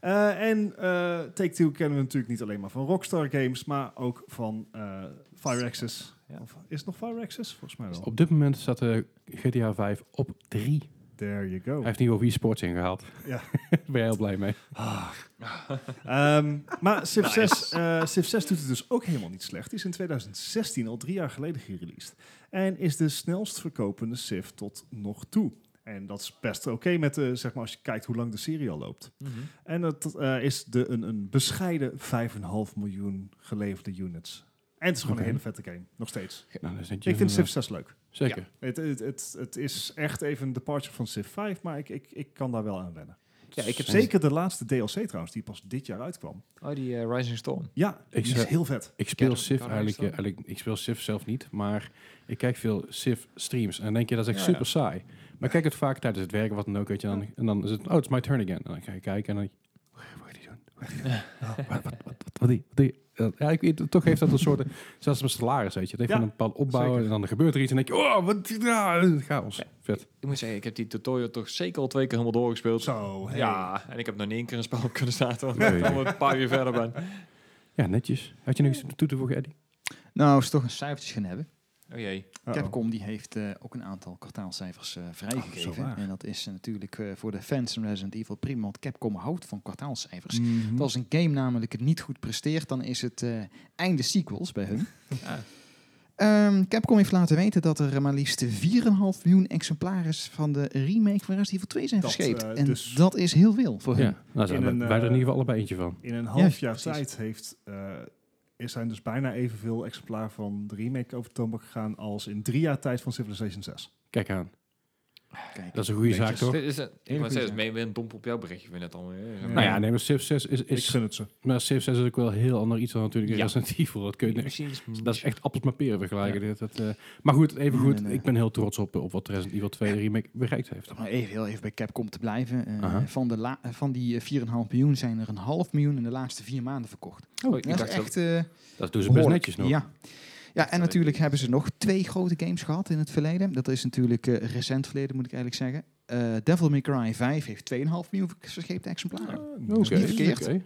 Eh, en eh Take-Two kennen we natuurlijk niet alleen maar van Rockstar Games, maar ook van eh Fire Access.
Ja.
Of is het nog Fire Access? Volgens mij wel.
Op dit moment staat eh, GTA 5 op 3.
There you go.
Hij heeft niet over e-sports ingehaald.
Oh. Ja.
*laughs* Daar ben je heel blij mee.
Ehm, maar Civ 6, eh, Civ 6 doet het dus ook helemaal niet slecht. Die is in 2016, al drie jaar geleden, gereleased. En is de snelst verkopende Civ tot nog toe. En dat is best oké met, eh, zeg maar, als je kijkt hoe lang de serie al loopt.
Mhm.
En dat eh, is de, een, een bescheiden 5,5 miljoen geleverde units. En het is gewoon
Oké.
een hele vette game, nog steeds.
Nou, dan zit je
Ik vind Civ
inderdaad-
6 leuk.
Zeker.
Het, het, het, het is echt even een departure van Civ 5, maar ik, ik, ik kan daar wel aan wennen.
Ja, ik heb
Zeker de laatste DLC trouwens, die pas dit jaar uitkwam.
Oh, die eh, Rising Storm.
Ja,
Ik
die is
zou-
heel vet.
Ik speel
Garden-
Civ
Garden
eigenlijk,
is dat?
eh, eigenlijk, ik speel Civ zelf niet, maar ik kijk veel Civ streams en dan denk je dat is echt
Ja,
super
ja.
saai. Maar ik kijk het vaak tijdens het werken, wat dan ook, weet je, dan, en dan is het, oh, it's my turn again. En dan ga je kijken en dan, wat gaat die doen? Wat gaat die
*laughs*
doen? Ah, Wat- wat- wat- wat- Wat die? Wat die? Eh, Ja, ik weet, toch heeft dat een soort, zelfs mijn salaris, weet je, het heeft
Ja,
van een bepaald opbouwen
zeker.
en dan gebeurt er iets en dan denk je, oh, wat, ja, chaos, vet.
Ik moet zeggen, ik heb die tutorial toch zeker al twee keer helemaal doorgespeeld.
Zo, hey.
Ja, en ik heb nog niet één keer een spel *laughs* op kunnen starten, want ik al een paar uur verder ben.
Ja, netjes. Had je nog iets toe te voegen, Eddie?
Nou, als we toch een cijfertjes gaan hebben.
*laughs* Oh jee.
Uh-oh.
Capcom die heeft eh, ook een aantal kwartaalcijfers
Ah,
eh,
zo
vrijgegeven.
waar.
en dat is eh, natuurlijk eh, voor de fans van Resident Evil prima, want Capcom houdt van kwartaalcijfers.
Mm.
Mhm.
Want Als een game namelijk het niet goed presteert, dan is het eh, einde sequels bij
*laughs*
hun.
Ja.
Ehm, Capcom heeft laten weten dat er maar liefst 4,5 miljoen exemplaren van de remake van Resident Evil 2 zijn
Dat,
verscheept.
eh,
en
dus-
dat is heel veel voor hun.
Ja, nou, zijn
In
wij,
een,
wij
eh,
er in ieder geval allebei eentje van.
In een half
Ja,
jaar
precies.
tijd heeft, eh, er zijn dus bijna evenveel exemplaren van de remake over de toonbank gegaan als in drie jaar tijd van Civilization 6.
Kijk aan,
Kijk,
dat is een goede
Beetjes.
zaak, toch?
Dus Dit is een, ik
goeie
was steeds
zaak.
mee een domp op jouw berichtje weer net al. eh, zeg maar.
Nou ja, nee, maar Civ 6 is,
Ik
is
gun het ze.
Maar Civ 6 is ook wel een heel ander iets dan natuurlijk
Ja.
Resident Evil. Dat, kun je,
Misschien is
dat is echt appels met peren vergelijken. Dit, dat, eh, maar goed, even
Nee,
goed.
nee, nee.
Ik ben heel trots op, eh, op wat Resident Evil 2 remake bereikt heeft.
Om even, heel even bij Capcom te blijven. eh,
Aha.
van, de la- eh, van die eh, 4,5 miljoen zijn er een half miljoen in de laatste vier maanden verkocht.
Oh, ik
dat
dacht
is
dat-
echt eh,
Dat doen ze best
behoorlijk.
netjes nog. eh,
Ja. Ja, en natuurlijk hebben ze nog twee grote games gehad in het verleden. Dat is natuurlijk eh, recent verleden, moet ik eigenlijk zeggen. Eh, Devil May Cry 5 heeft 2,5 miljoen verscheepte exemplaren.
Oké,
is niet verkeerd.
oké.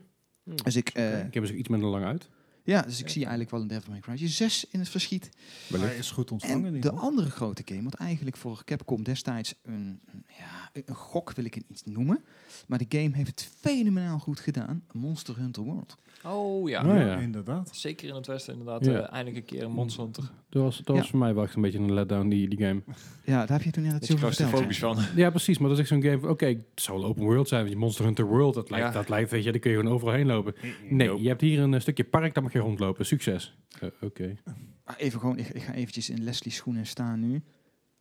Dus ik, eh,
Ik heb ze iets minder lang uit.
ja, dus ik zie eigenlijk wel een Devil May Cry 6 in het verschiet.
Hij is goed ontvangen. in
En
ieder
de
geval.
andere grote game, wat eigenlijk voor Capcom destijds een, ja, een gok wil ik het niet noemen. Maar de game heeft het fenomenaal goed gedaan. Monster Hunter World.
Oh ja.
Ja, ja.
inderdaad.
Zeker in het Westen inderdaad.
Ja.
eh, eindelijk een keer een Monster Hunter.
Dat was, dat was
Ja.
voor mij wel echt een beetje een letdown, die, die game.
Ja, daar heb je toen net het
Beetje
zoveel verteld.
claustrofobisch van.
Ja, precies. Maar dat is echt zo'n game van, oké, het zou open world zijn. Want je Monster Hunter World, dat lijkt,
Ja.
dat lijkt weet je, daar kun je gewoon overal heen lopen. Nee, je hebt hier een eh, stukje park, daar mag je rondlopen. Succes. Eh, oké.
Ah, Even gewoon, ik, ik ga eventjes in Leslie's schoenen staan nu.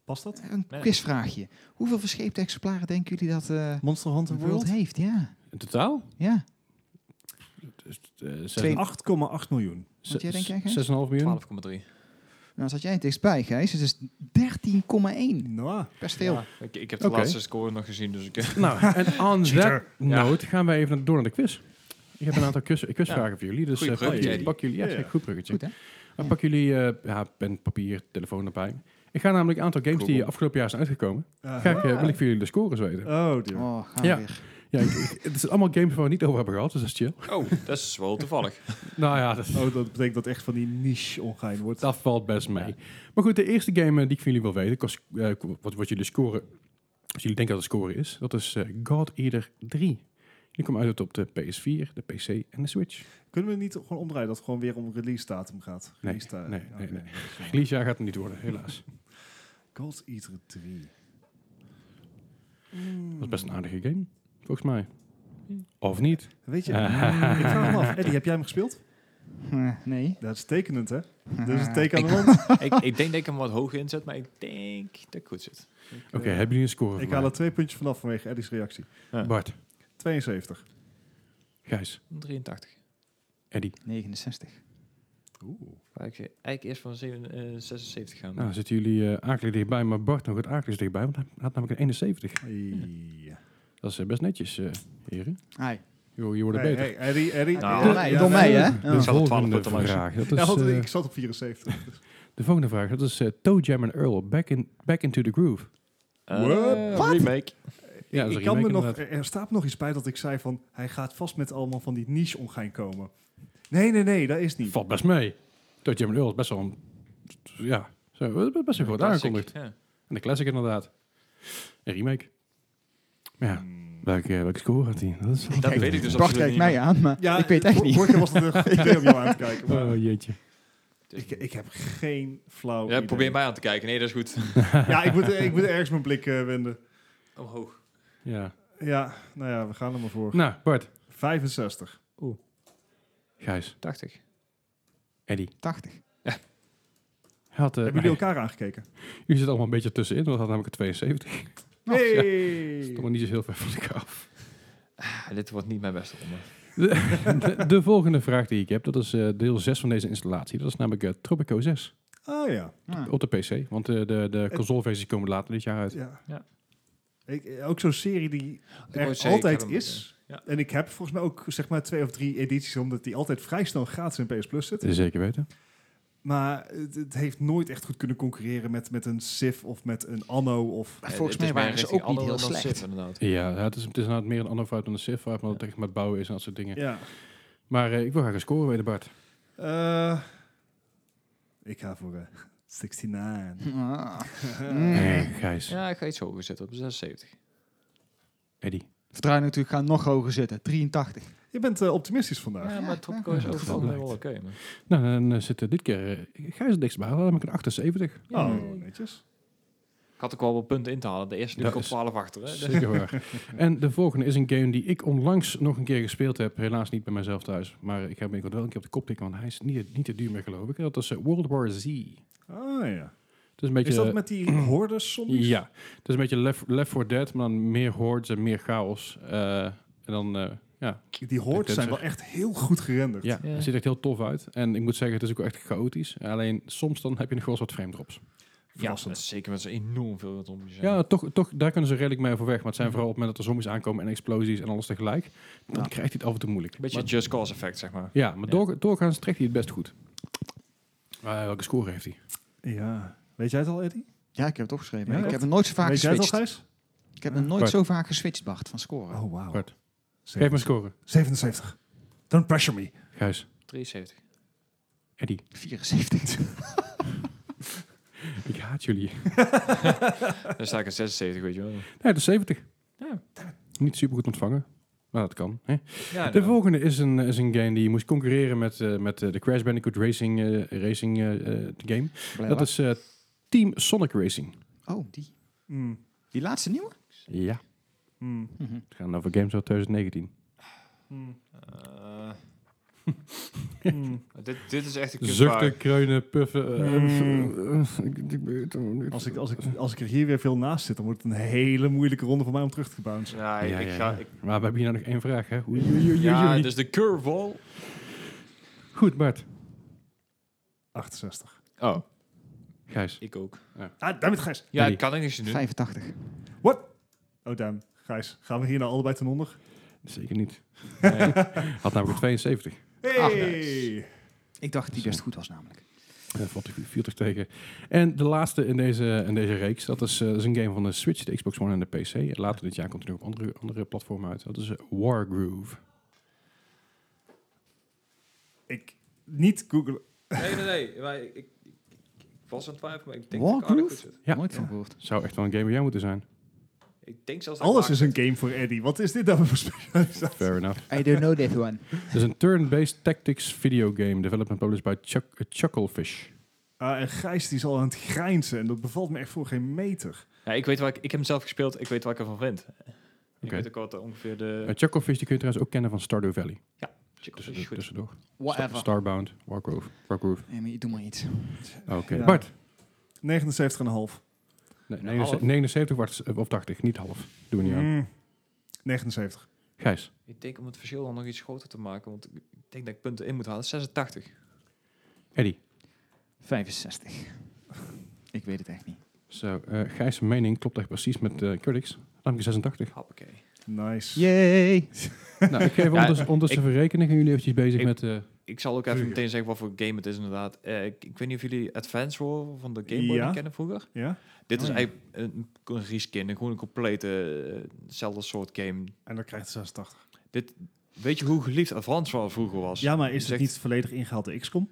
Past dat?
Een
Nee.
quizvraagje. Hoeveel verscheepte exemplaren denken jullie dat eh
Monster Hunter
World
World? 8,8
heeft? Ja,
In totaal?
ja.
Eh, zes-
Twee-
miljoen.
zes-
jij denkt, jij, Gijs?
6,5 miljoen?
12,3.
Nou zat jij het dichtstbij, Gijs. Het is 13,1.
Nou,
Best veel.
Ja, ik, ik heb de
Oké.
laatste score nog gezien, dus ik...
*laughs* Nou, en on that
Cheater.
note gaan wij even door naar de quiz. Ik heb een aantal quiz, quizvragen voor jullie, dus
Goeie
eh, pak,
bruggetje,
jullie,
Eddie.
pak jullie, ja,
Ja.
zeker, goed bruggetje.
Goed, hè?
Maar
Ja.
pak jullie eh, ja, pen, papier, telefoon erbij. Ik ga namelijk een aantal games die
Google.
afgelopen jaar zijn uitgekomen,
eh,
ga ik, eh, wil ik voor jullie de scores weten.
Oh, dear.
Oh, gaan
Ja.
we weer.
Ja, ik- ik- het zijn allemaal games waar we het niet over hebben gehad, dus dat is chill.
Oh, dat is wel
*laughs*
toevallig.
Nou ja, dat,
Oh, dat betekent dat echt van die niche ongein wordt.
dat valt best mee. Maar goed, de eerste game eh, die ik van jullie wil weten, kost, eh, wat, wat jullie scoren, als jullie denken dat de score is, dat is eh, God Eater 3. Die komt uit op de PS4, de PC en de Switch.
Kunnen we niet gewoon omdraaien dat het gewoon weer om release datum gaat?
Nee,
Release da-
nee,
Oké,
nee, nee.
dat is jammer.
Release jaar gaat het niet worden, helaas.
Gold Eater 3.
Dat is best een aardige game, volgens mij. Of niet? *laughs*
Weet je, ik vraag me af. Eddie, heb jij hem gespeeld?
Eh, nee.
Dat is tekenend, hè? Dat is een
Ah.
teken aan de wand.
ik, ik denk dat ik hem wat hoger inzet, maar ik denk dat ik goed zit. Ik,
*laughs* Oké,
eh,
hebben jullie een score voor
Ik haal
mij?
er twee puntjes vanaf vanwege Eddie's reactie.
Bart,
72.
Gijs,
83.
Eddie.
69.
Oeh.
Maar ik zeg, eigenlijk eerst van zeven- eh, 76 gaan.
Nou, zitten jullie eh akelig dichtbij, maar Bart nog het akelig dichtbij, want hij had namelijk een 71.
Ja.
Dat is eh, best netjes, eh, heren.
Hi.
Jo, je wordt
Hey,
beter.
hey, Eddie, Eddie.
Nou,
Ja,
door
ja,
mij,
ja,
door
ja.
mij, hè?
De
Ja.
Ik zal er 12
volgende
punten langs doen.
vraag. Dat
Ja,
is,
want
eh,
ik zat
*laughs*
op 74. dus.
de volgende vraag, dat is eh, Toe Jam and Earl, back, in, back into the groove.
Eh,
What?
remake.
Ja, dat is
ik
een
kan
remake
me nog,
inderdaad.
er er staat me nog iets bij dat ik zei van... hij gaat vast met allemaal van die niche omgaan komen. Nee, nee, nee, dat is niet.
Valt best mee. Toe Jam and Earl is best wel een... Ja, zo, eh, best wel goed
Classic,
aangekondigd.
ja.
En de classic inderdaad. Een remake. Maar ja,
Hmm.
welke, eh, welke score had hij? Dat is
Dat weet ik dus
Bart
absoluut
kijkt
niet
mij
meer.
aan, maar
Ja,
ik weet echt
vor-
niet.
Vorige keer was het
*laughs*
een goed idee om jou aan te kijken. maar
Oh jeetje.
Dus-
ik, Oh, eh, ik heb geen flauw
Ja,
idee.
probeer mij aan te kijken. Nee, dat is goed.
Ja, ik moet, ik moet ergens mijn blik eh, wenden.
*laughs* Omhoog.
Ja.
Ja, nou ja, we gaan er maar voor.
Nou, Bart.
65.
Gijs.
80.
Eddie.
80.
Hij Had, eh,
Hebben jullie elkaar aangekeken?
jullie zitten allemaal
Oh,
een beetje tussenin, want hij had namelijk een 72.
Nee!
Toch maar niet zo heel ver van elkaar af.
dit wordt niet mijn beste ronde.
De, de volgende vraag die ik heb, dat is eh, deel 6 van deze installatie. Dat is namelijk eh, Tropico 6
Ah ja.
Ah.
op de PC. Want eh, de, de consoleversies komen later dit jaar uit.
ja.
Ja.
Ik, eh, ook zo'n serie die
wou
er
zeggen, ik
altijd
heb hem,
is.
ja.
En ik heb volgens mij ook zeg maar twee of drie edities, omdat die altijd vrij snel gratis in PS Plus zitten.
Zeker weten.
Maar het, het heeft nooit echt goed kunnen concurreren met, met een Civ of met een Anno. Of,
Maar
Eh,
volgens
het is
mij waren
meer
ze
richting
ook niet
Anno
heel
dan
slecht.
Civ, inderdaad.
Ja, ja, het is, het is inderdaad meer een ander vibe dan de Civ, waar het maar echt met bouwen is en dat soort dingen.
ja.
Maar eh, ik wil graag een score weten, Bart.
Eh, ik ga voor eh, 69.
Ah. Mm.
Eh, Gijs,
Ja, ik ga iets hoger zitten op 76.
Eddie.
Vertrouwen natuurlijk gaan nog hoger zitten. 83.
Je bent eh, optimistisch vandaag.
Ja, maar Tropico
ja,
is
dat
overal wel
blijkt.
oké. man.
Nou, dan eh, zit eh, dit keer eh, Gijs het dichtst bij. Dan heb ik een 78.
Oh, netjes.
Ik had ook wel wat punten in te halen. De eerste nu
Dat
komt
is-
12 achter. Hè?
Zeker
*laughs*
waar. En de volgende is een game die ik onlangs nog een keer gespeeld heb. Helaas niet bij mezelf thuis. Maar ik heb binnenkort wel een keer op de kop tikken, want hij is niet, niet te duur meer geloof ik. En dat is eh, World War Z. Het
Oh ja.
is een beetje...
Is dat met die *clears throat* hordes zombies?
Ja, het is een beetje Left, left 4 Dead, maar dan meer hordes en meer chaos. Eh, en dan, eh, ja,
Die hordes zijn wel echt heel goed gerenderd.
ja,
Ja.
het ziet er echt heel tof uit. En ik moet zeggen, het is ook wel echt chaotisch. Alleen soms dan heb je nog wel eens wat frame drops.
Ja,
Verrassend.
zeker met zo enorm veel wat om zijn.
Ja, Mhm. toch, toch, daar kunnen ze redelijk mee overweg. Maar het zijn vooral op het moment dat er zombies aankomen en explosies en alles tegelijk. Dan
Ja.
krijgt hij het af en toe moeilijk.
Beetje
Maar-
just cause effect, zeg maar.
ja, maar
Ja.
Door, doorgaans trekt hij het best goed. Eh, welke score heeft hij?
Ja. Weet jij het al, Eddie?
Ja, ik heb het opgeschreven.
Ja,
ik
echt?
heb hem nooit zo vaak
Weet jij het al,
geswitcht.
Gijs?
Ik heb hem nooit
Bart.
zo vaak geswitcht, Bart, van scoren.
Oh, wauw.
Bart. Geef me een score.
77. Don't pressure me.
Gijs,
73.
Eddie,
*laughs* 74.
ik haat jullie.
Dan sta ik een 76, weet je wel.
Nee, dat is 70.
Ja.
Niet super goed ontvangen. Maar dat kan. Hè?
Ja,
De volgende is een, is een game die moest concurreren met, eh, met eh, de Crash Bandicoot Racing, eh, racing eh, eh, game. Dat is eh, Team Sonic Racing.
Oh, die.
Mm.
Die laatste nieuwe?
Ja.
Mm.
Mhm.
Het gaat over games uit 2019.
Mm.
Eh, *laughs* hmm.
Mm.
dit, dit is echt een
Zuchten,
kutvraag.
kreunen, puffen. eh,
Mm.
eh, *laughs* ik- ik weet het niet.
Als ik, als, ik, als ik er hier weer veel naast zit, dan wordt het een hele moeilijke ronde voor mij om terug te bouncen.
Nee,
Ja,
ik
ja,
ga...
ja.
Ik,
Maar we hebben hier nou nog één vraag, hè? Oei, oei, oei, oei,
ja,
oei.
dus de curveball.
Goed, Bart.
68.
Oh,
Gijs.
ik ook.
Ah, daarmee Gijs.
Ja,
Drie.
ik kan er niks aan doen.
85.
Oh, damn. Gijs, gaan we hier nou allebei ten onder?
Zeker niet.
Nee.
*laughs* Had namelijk een 72.
Hey!
Ach, nice. Ik dacht dat die best goed was namelijk.
Eh, valt er 40 tegen. En de laatste in deze, in deze reeks, dat is, eh, dat is een game van de Switch, de Xbox One en de PC. Later dit jaar komt er nog op andere, andere platformen uit. Dat is eh, Wargroove.
Ik niet googlen.
Nee, nee, nee. Maar ik, ik, ik- ik was aan het twijfelen, maar ik denk dat ik
Wargroove?
aardig goed zit.
Ja.
Nooit van gehoord.
Zou echt wel een game bij jou moeten *laughs* zijn.
Ik denk zelfs dat ik
Alles
maak
is een game voor Eddie. Wat is dit dan voor specialisatie?
Fair enough.
I don't know that *laughs* one.
Het is een turn-based tactics video game, developed and published by Chuck, eh, Chucklefish.
Ah, en Gijs die is al aan het grijnzen en dat bevalt me echt voor geen meter.
Ja, ik weet waar ik, ik heb hem zelf gespeeld, ik weet wat ik ervan vind. Ik
Oké.
weet ook wat eh, ongeveer de...
Eh, Chucklefish die kun je trouwens ook kennen van Stardew Valley.
Chicos
Tussen-
is
dus-
goed.
Tussendoor. Star-
Whatever.
Starbound, Wargroove. Wargroove.
Nee, maar je doet maar iets.
Ah, Oké.
Ja.
Bart.
79,5.
Nee,
Nou, half.
79 wacht, eh, of 80, niet half. Doen we niet aan.
Mm. 79.
Gijs.
dus-
Ik denk om het verschil dan nog iets groter te maken, want ik denk dat ik punten in moet halen. 86.
Eddie.
65. Ik weet het echt niet.
Zo, eh Gijs' mening klopt echt precies met eh critics. Namelijk 86.
Hoppakee.
Nice.
Yay!
*laughs* nou, ik geef ondertussen, ondertussen verrekening en jullie eventjes bezig
ik-
met... eh,
Ik zal ook even
Tuurlijk.
meteen zeggen wat voor game het is inderdaad. Eh, ik, ik weet niet of jullie Advance War van de Game Boy
Ja.
die kennen vroeger.
Ja?
Dit
Oh
is
ja.
eigenlijk een, een reskin, een- gewoon een complete eh, hetzelfde soort game.
En dan krijgt hij 86.
Weet je hoe geliefd Advance War vroeger was?
Ja, maar is
Zegt-
het niet volledig ingehaalde XCOM?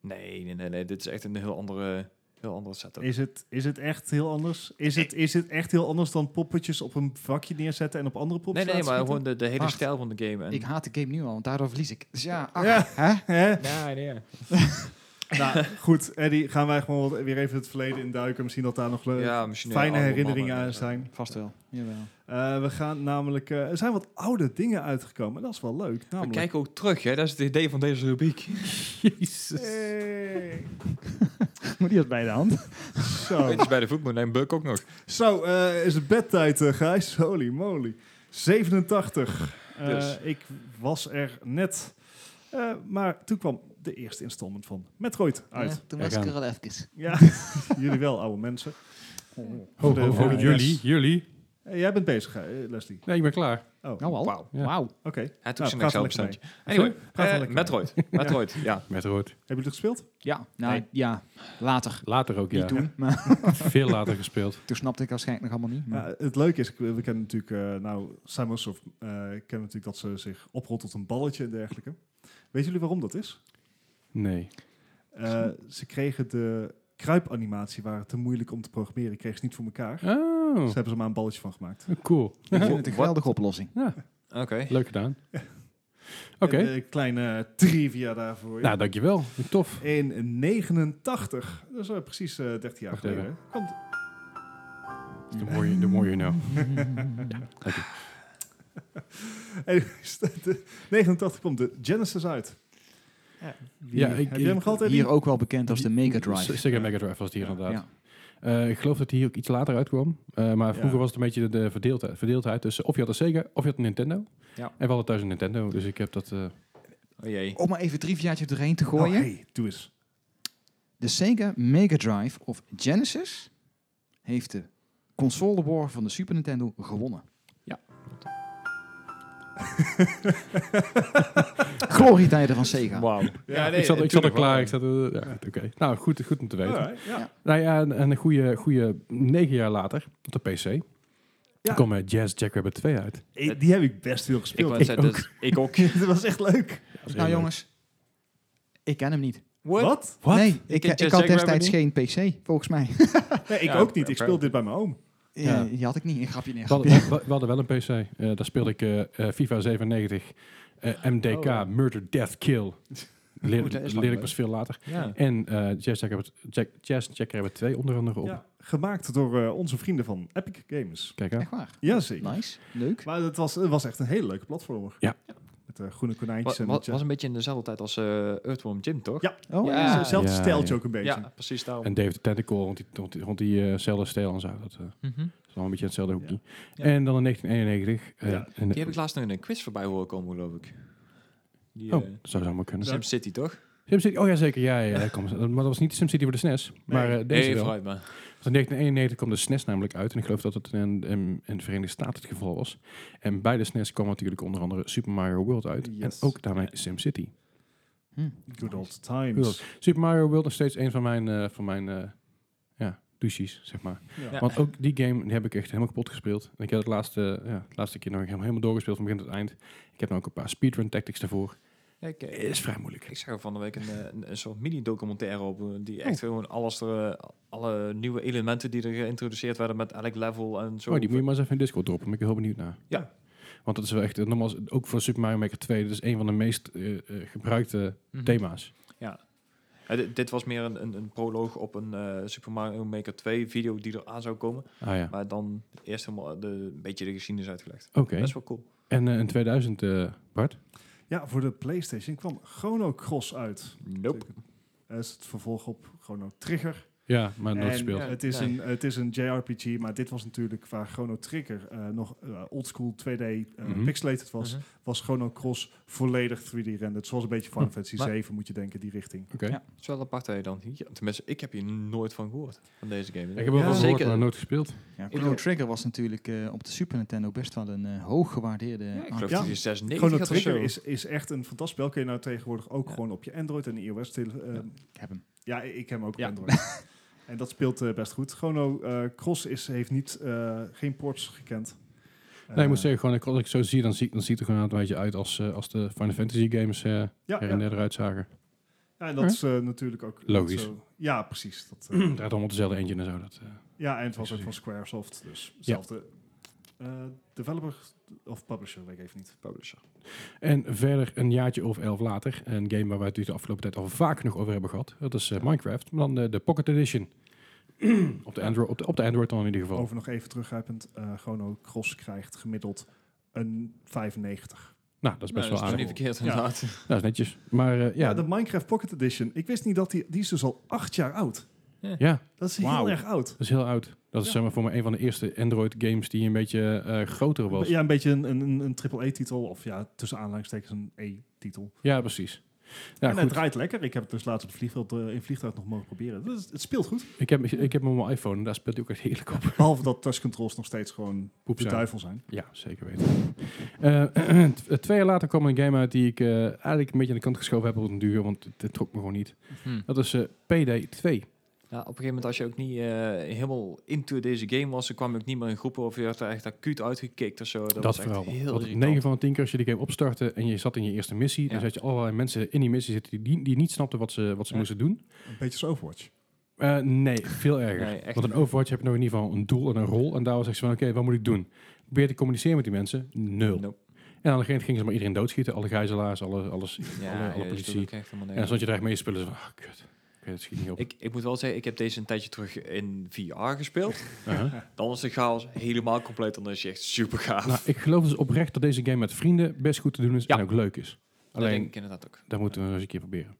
Nee, nee, nee, nee. Dit is echt een heel andere, heel andere setup.
Is het, is het echt heel anders? Is het, is het echt heel anders dan poppetjes op een vakje neerzetten en op andere
nee,
poppetjes
nee, maar gewoon de, de hele
Acht.
stijl van de game. En
Ik haat de game nu al, want daardoor verlies ik. Dus ja, ach,
Ja.
hè?
Hè?
Nee, nee.
nou, goed. Eddie, gaan wij gewoon wat- weer even het verleden induiken. Misschien dat daar nog le-
Ja, misschien
Eh,
eh,
fijne
oude
herinneringen
mannen.
aan zijn.
Vast wel. Jawel.
Eh, we gaan namelijk... eh, er zijn wat oude dingen uitgekomen. Dat is wel leuk.
We
Namelijk...
kijken ook terug, hè. Dat is het idee van deze rubriek.
Jezus.
Hey.
*laughs* Moet die dat bij de
*laughs*
hand?
*laughs*
Zo.
Weet je, bij de voetbal en Buck ook nog.
Zo, eh, is het bedtijd, eh, Gijs? Holy moly. 87. Eh,
Dus.
Ik was er net. Eh, maar toen kwam de eerste installment van Metroid uit.
toen
was ik er
al even.
Ja,
*laughs*
jullie wel, oude mensen.
Ho,
Oh,
de
ho, ho,
volgende
jullie,
les.
jullie.
Eh, jij bent bezig, eh, Leslie.
Nee, ik ben klaar.
Oh,
Nou al.
Wauw.
Wauw.
Ja.
oké.
Hij
Nou,
took zijn
praat
Excel
er lekker
bestandje. Anyway,
Praat er
eh,
lekker mee.
Metroid.
*laughs*
Metroid, ja.
Met rood.
Hebben jullie het gespeeld?
Ja, nou,
Nee.
ja, later.
Later ook,
Niet
ja.
toen, maar
*laughs*
*laughs*
Veel later gespeeld.
toen snapte ik waarschijnlijk nog allemaal niet. Maar
Ja, het leuke is, ik- we kennen natuurlijk, eh nou, Samus of eh kennen natuurlijk dat ze zich oprolt tot een balletje en dergelijke. Weet jullie waarom dat is?
Nee.
Eh, ze kregen de kruipanimatie, waren te moeilijk om te programmeren, kregen ze niet voor elkaar.
Oh,
Ze hebben ze maar een balletje van gemaakt.
cool.
ik vind het een
Wat-
geweldige oplossing.
Oké.
*laughs* Leuk gedaan. Oké.
En, eh, kleine trivia daarvoor. ja.
Nou, dankjewel. Tof.
In 89, dat is eh, precies eh 13 jaar
Wacht
geleden.
even.
hè, kwam *laughs* het-
The more you, the more you know.
anyways, de- 89 kwam de Genesis uit. Die-
Ja, ik-
heb jij hem
ik-
gehad, Eddie?
Hier ook wel bekend als de Mega Drive.
Sega Mm, Mega Drive was het hier inderdaad.
Ja.
Eh, ik geloof dat die hier ook iets later uitkwam. Eh, maar vroeger
Ja.
was het een beetje de, de verdeeldheid, verdeeldheid tussen of je had een Sega of je had een Nintendo.
Ja.
En we hadden thuis een Nintendo, dus ik heb dat... eh,
Oh jee.
Om maar even drie vierjaartje doorheen te
Oh,
gooien.
hey, doe eens.
De Sega Mega Drive of Genesis heeft de console war van de Super Nintendo gewonnen.
Ja.
*laughs* Glorietijden van Sega.
Wauw.
Ja,
ik zat, ik zat al
eh, tuurlijk wel.
klaar. Ik zat, eh, ja, goed, Oké. Nou, goed, goed om te weten.
Alright, ja.
Nou ja, en, en een goede, goede negen jaar later, op de PC,
Ja.
kwam eh, Jazz Jackrabbit 2 uit.
Ik- Eh, die heb ik best veel
Ik,
gespeeld.
wou
Ik
zeggen, dat ik ook.
*laughs* dat was echt leuk.
Dat is heel
nou
leuk.
jongens, ik ken hem niet.
Wat?
Wat?
Nee, ik, eh,
kent
ik,
Jack
had
Rabbit
destijds geen PC, volgens mij.
Nee, ik
Ja,
ook niet. Ik speelde dit bij mijn oom.
Ja.
Eh, *laughs* die had ik niet. Een grapje, nee, een
We
grapje.
hadden, we- we hadden wel een PC. Eh, daar speelde ik eh, eh, FIFA 97, eh, MDK,
Oh, ja.
Murder, Death, Kill. Leer,
Oh, dat is
leer
lang
ik
leuk.
pas veel later.
Ja.
En eh Jazz Jackrabbit Jack, Jazz Jackrabbit 2 onder andere op.
Ja, gemaakt door eh, onze vrienden van Epic Games.
Kijk aan.
*laughs* Echt waar.
Jazeker.
Nice, leuk.
Maar het was, het was echt een hele leuke platformer.
Ja.
Met eh, groene
Wa-
konijntjes en...
wa- was een beetje in dezelfde tijd als eh Earthworm Jim, toch?
Ja.
Oh,
Ja.
ja.
Hetzelfde
Ja,
stijltje
ja.
ook een beetje.
Ja, precies daarom.
En Dave the Tentacle, rond die, rond die, rond die eh, zelfde stijl en zo. Dat eh,
Mhm.
is wel een beetje hetzelfde hoekje.
Ja.
En dan in 1991. eh,
Ja.
en-
Die heb ik laatst nog in een quiz voorbij horen komen, geloof ik. Die,
Oh,
eh,
dat zou zomaar kunnen.
Ja.
SimCity, toch?
SimCity, oh ja, zeker. Ja, ja, ja, kom, maar dat was niet de SimCity voor de SNES, maar eh, deze
nee,
wel.
vooruit maar.
Want in 1991 kwam de SNES namelijk uit en ik geloof dat het in, in, in de Verenigde Staten het geval was. En bij de SNES kwam natuurlijk onder andere Super Mario World uit
Yes.
en ook daarmee SimCity.
Hm.
Good old times.
Super Mario World nog steeds een van mijn, eh van mijn eh, ja, douches, zeg maar.
Ja.
Ja.
Want ook die game die heb ik echt helemaal kapot gespeeld. En ik heb het laatste, ja, het laatste keer nog helemaal, helemaal doorgespeeld van begin tot eind. Ik heb nou ook een paar speedrun tactics daarvoor.
Ja, ik, eh,
Is vrij moeilijk.
ik zag er van de week een, eh, een, een soort mini-documentaire op, eh, die
Oh.
echt gewoon alles er, eh, alle nieuwe elementen die er geïntroduceerd werden met elk level en zo.
Oh, die moet je maar eens even in Discord droppen. Ben ik heel benieuwd naar.
Ja.
Want dat is wel echt, eh, nogmaals, ook voor Super Mario Maker 2, dat is een van de meest eh, eh, gebruikte
Mhm.
thema's.
Ja, dit, dit was meer een, een, een proloog op een eh, Super Mario Maker 2 video die er aan zou komen.
Ah ja,
Maar dan eerst helemaal de, een beetje de geschiedenis uitgelegd.
oké.
Best wel cool.
En eh, in 2000, eh, Bart?
Ja, voor de Playstation kwam Chrono Cross uit.
Nope.
Dat is het vervolg op Chrono Trigger.
Ja, maar nooit
En
gespeeld.
ja.
Het is,
Nee.
een, het is een JRPG, maar dit was natuurlijk qua Chrono Trigger eh, nog eh, oldschool 2D eh,
Mhm.
pixelated was.
Mhm.
was Chrono Cross volledig 3D rendered. Zoals een beetje Final
Hm,
Fantasy
maar-
7 moet je denken, die richting.
Oké.
Ja.
Het is wel apart dat je dan hier... Tenminste, ik heb hier nooit van gehoord, van deze game.
Ik heb wel
Ja.
van gehoord,
Zeker.
maar nooit gespeeld.
Ja,
bedoel-
Chrono Trigger was natuurlijk eh, op de Super Nintendo best wel een eh, hoog gewaardeerde...
Ja, ik
arcade.
geloof
Ja.
dat die 96
Chrono
had of zo.
Trigger is, is echt een fantastisch spel. Kun je nou tegenwoordig ook
Ja.
gewoon op je Android en iOS... tele- eh,
Ik heb hem.
ja, ik ik heb hem ook op
Ja.
Android. *laughs* en dat speelt eh, best goed. Chrono eh, Cross is, heeft niet, eh, geen ports gekend. Eh,
nee, ik moet zeggen, gewoon, ik- als ik zo zie, dan, zie, dan ziet het er gewoon een beetje uit als, eh, als de Final Fantasy games eh
ja,
her en
ja.
der eruit zagen.
Ja, en dat is eh, natuurlijk ook...
Logisch.
zo- ja, precies. Dat,
*clears throat*
eh,
Het draait allemaal dezelfde engine en zo. Dat, eh,
ja, en het was ook van Squaresoft. Dus zelfde eh, developer of publisher, weet ik even niet.
Publisher.
En verder een jaartje of elf later, een game waar we het de afgelopen tijd al vaak nog over hebben gehad. Dat is eh, Minecraft, maar dan eh, de Pocket *clears throat* Edition. op, de Android, op, de, op de Android dan in ieder geval.
Over nog even teruggrijpend, eh Chrono Cross krijgt gemiddeld een 95.
Nou, dat is best
Nou,
wel
dat
aardig.
is toch niet verkeerd,
Ja.
inderdaad.
Dat is netjes. Maar eh,
Ja,
ja,
de Minecraft Pocket Edition. Ik wist niet dat die... Die is dus al acht jaar oud.
Ja,
Dat is heel
Wauw.
erg oud.
dat is heel oud. Dat is
Ja.
zeg maar voor mij een van de eerste Android-games die een beetje eh, groter was.
Ja, een beetje een, een, een- een AAA-titel. Of ja, tussen aanhalingstekens een E-titel.
Ja, precies. Ja,
en het
goed.
draait lekker. Ik heb het dus laatst op het vliegveld, eh, in het vliegtuig nog mogen proberen. Dus het speelt goed.
Ik heb, ik heb hem op mijn iPhone, daar speelt hij ook echt heerlijk op.
Behalve dat touch controls nog steeds gewoon
Poep
de
zijn.
duivel zijn.
Ja, zeker weten. Eh, *clears throat* t- eh, twee jaar later kwam een game uit die ik eh, eigenlijk een beetje aan de kant geschoven heb op den duur, want het, het trok me gewoon niet.
Hm.
Dat is eh, PD2.
Ja, op een gegeven moment, als je ook niet eh, helemaal into deze game was, dan kwam je ook niet meer in groepen of je werd er echt acuut uitgekikt of zo. Dat,
Dat,
was echt
verhaal.
heel
Want
irritant.
9 van de 10 keer als je de game opstartte en je zat in je eerste missie, dan
Ja.
zat je allerlei mensen in die missie zitten die, die niet snapten wat ze, wat ze
Ja.
moesten doen.
Een beetje als Overwatch.
Eh, nee, veel erger.
Nee, echt.
Want in Overwatch heb je nog in ieder geval een doel en een rol. En daar was echt zo van, oké, wat moet ik doen? Probeer te communiceren met die mensen. Nul.
Nope.
En aan de gegeven gingen ze maar iedereen doodschieten. Alle gijzelaars, alle, alles. alle- alle
Ja, ja, dus
politie.
dat ook echt helemaal
En dan
nergens.
zat je daar echt mee te spelen. Zo van, ah, kut. Oké, dat schiet niet op.
Ik, ik moet wel zeggen, ik heb deze een tijdje terug in VR gespeeld.
*laughs* Uh-huh.
Dan is de chaos helemaal compleet, dan is je echt super gaaf.
Nou, ik geloof dus oprecht dat deze game met vrienden best goed te doen is
Ja.
en ook leuk is.
Alleen, dat
Alleen,
denk ik inderdaad ook.
daar moeten we eens een keer proberen.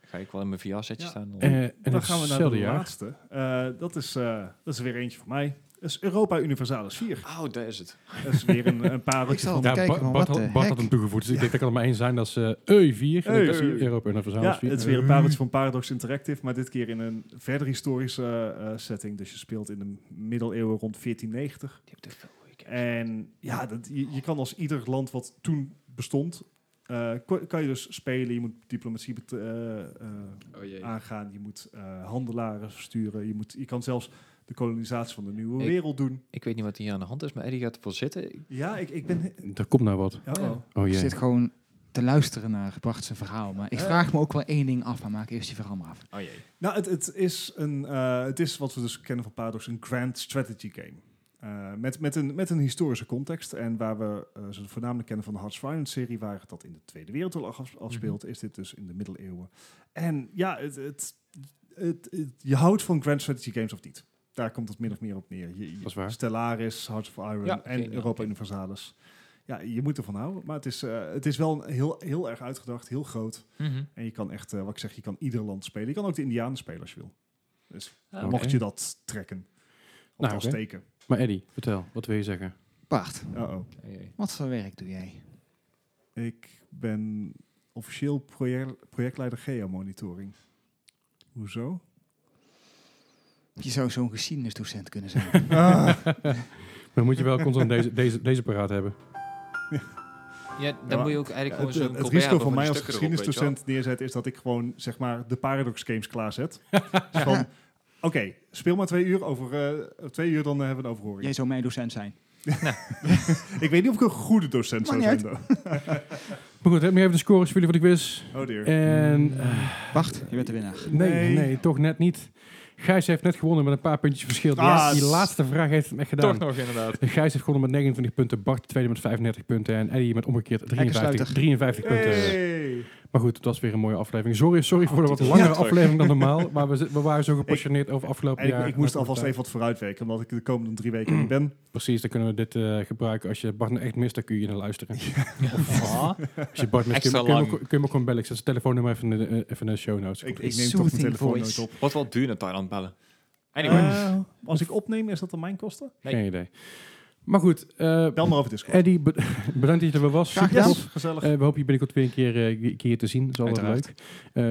Dan ga ik wel in mijn VR-setje
Ja.
staan. dan-
Eh, en
Dan gaan we naar de
hetzelfde jaar.
laatste. Eh, dat, is, eh, dat is weer eentje voor mij. Dat is Europa Universalis 4.
Oh, daar is het.
Dat is weer een, een
*laughs* Ik
pareltje
zal
van...
het
Ja, Bart,
kijken van,
Bart
what
had,
the
Bart
heck?
had een toegevoegd. Dus ik denk dat kan er maar één zijn. Dat is eh, EU4. En dat is
EU.
Europa Universalis
Ja,
4.
het is weer een pareltje van Paradox Interactive, maar dit keer in een verder historische eh, eh, setting. Dus je speelt in de middeleeuwen rond 1490.
Die heeft echt veel goeie games.
En ja, dat, je, je kan als ieder land wat toen bestond, eh, ko- kan je dus spelen. Je moet diplomatie bet- eh, eh,
Oh jee.
aangaan, je moet eh, handelaren versturen, je, moet, je kan zelfs de kolonisatie van de nieuwe
Ik-
wereld doen.
Ik weet niet wat hier aan de hand is, maar Eddie gaat ervoor zitten. Ik-
Ja, ik, ik ben...
Daar komt nou wat.
Oh, oh.
Oh
Ik
jee.
zit gewoon te luisteren naar Bart zijn verhaal. Maar ik
Eh.
vraag me ook wel één ding af. Maar maak eerst je verhaal maar af.
Oh jee.
Nou, het, het, is een, eh, het is wat we dus kennen van Paradox, een grand strategy game. Eh, met, met, een, met een historische context. En waar we eh, ze voornamelijk kennen van de Hearts of Iron serie, waar dat in de Tweede Wereldoorlog af- afspeelt, is dit dus in de middeleeuwen. En ja, het, het, het, het- je houdt van grand strategy games of niet. Daar komt het min of meer op neer. Je, je-
Dat is waar.
Stellaris, Hearts of Iron
Ja,
en
oké,
Europa
oké.
Universalis. Ja, je moet ervan houden. Maar het is, eh, het is wel een heel, heel erg uitgedacht, heel groot.
Mhm.
En je kan echt, eh, wat ik zeg, je kan ieder land spelen. Je kan ook de Indianen spelen als je wil. Dus
Ah,
Ah, Oké.
mocht je dat trekken. Of
Nou,
nou,
oké.
steken.
Maar Eddie, vertel. Wat wil je zeggen?
Bart,
Uh-oh.
Oh jee.
wat voor werk doe jij?
Ik ben officieel proje- projectleider geomonitoring. Hoezo?
Je zou zo'n geschiedenisdocent
*laughs*
kunnen zijn.
Maar dan moet je wel constant deze, deze, deze paraat hebben.
Ja, dan
maar-
moet je ook eigenlijk
Ja,
gewoon
het
zo'n
eh, het
Colbert
risico
hebben
van mij
die
als
stukken erop, weet je wel.
geschiedenisdocent neerzet is dat ik gewoon zeg maar de paradox games
*laughs*
klaarzet. Dus van, Oké, speel maar twee uur. Over eh, twee uur dan eh, hebben we een overhoring.
jij zou mijn docent zijn.
Ik weet niet of ik een goede docent
Maakt
zou
niet
zijn. though.
Maar goed, heb je even de scores voor jullie van de quiz?
Oh dear.
En eh,
Bart, je bent de winnaar.
nee,
Nee.
nee. toch net niet. Gijs heeft net gewonnen met een paar puntjes verschil. Die
Ah,
laatste- die
s-
laatste vraag heeft hem echt gedaan.
nog
*laughs*
inderdaad.
Gijs heeft gewonnen met 29 punten, Bart tweede met 35 punten en Eddie met omgekeerd 53,
Hekkensluiter.
53 punten.
Hey.
Maar goed, het was weer een mooie aflevering. Sorry, sorry voor de wat
Oh,
dit is
langere
terug.
aflevering dan normaal, maar we, zi- we waren zo gepassioneerd over afgelopen
En
jaar.
ik, ik moest
Maar goed,
alvast even wat vooruitwerken, omdat ik de komende drie weken er niet ben.
Precies, dan kunnen we dit eh, gebruiken. Als je Bart nou echt mist, dan kun je naar luisteren. Als je Bart mist, kun je,
Extra
kun je, me,
lang.
kun je me gewoon bellen. Ik zet zijn telefoonnummer even in de, eh, even in de show notes.
Ik,
Komt
ik
goed.
neem toch mijn
Soothing
telefoon nooit
voice.
op.
Wat wordt duur natuurlijk aan het bellen? Anyway.
Eh, als ik opneem, is dat dan mijn kosten?
nee.
Geen idee. Maar goed, eh,
Bel maar over Discord.
Eddie, be- *laughs* bedankt dat je er weer was.
Graag
Super
gedaan.
tof.
Gezellig.
Eh, we hopen je binnenkort weer een keer, eh, een keer te zien. Dat is altijd leuk.
Uiteraard.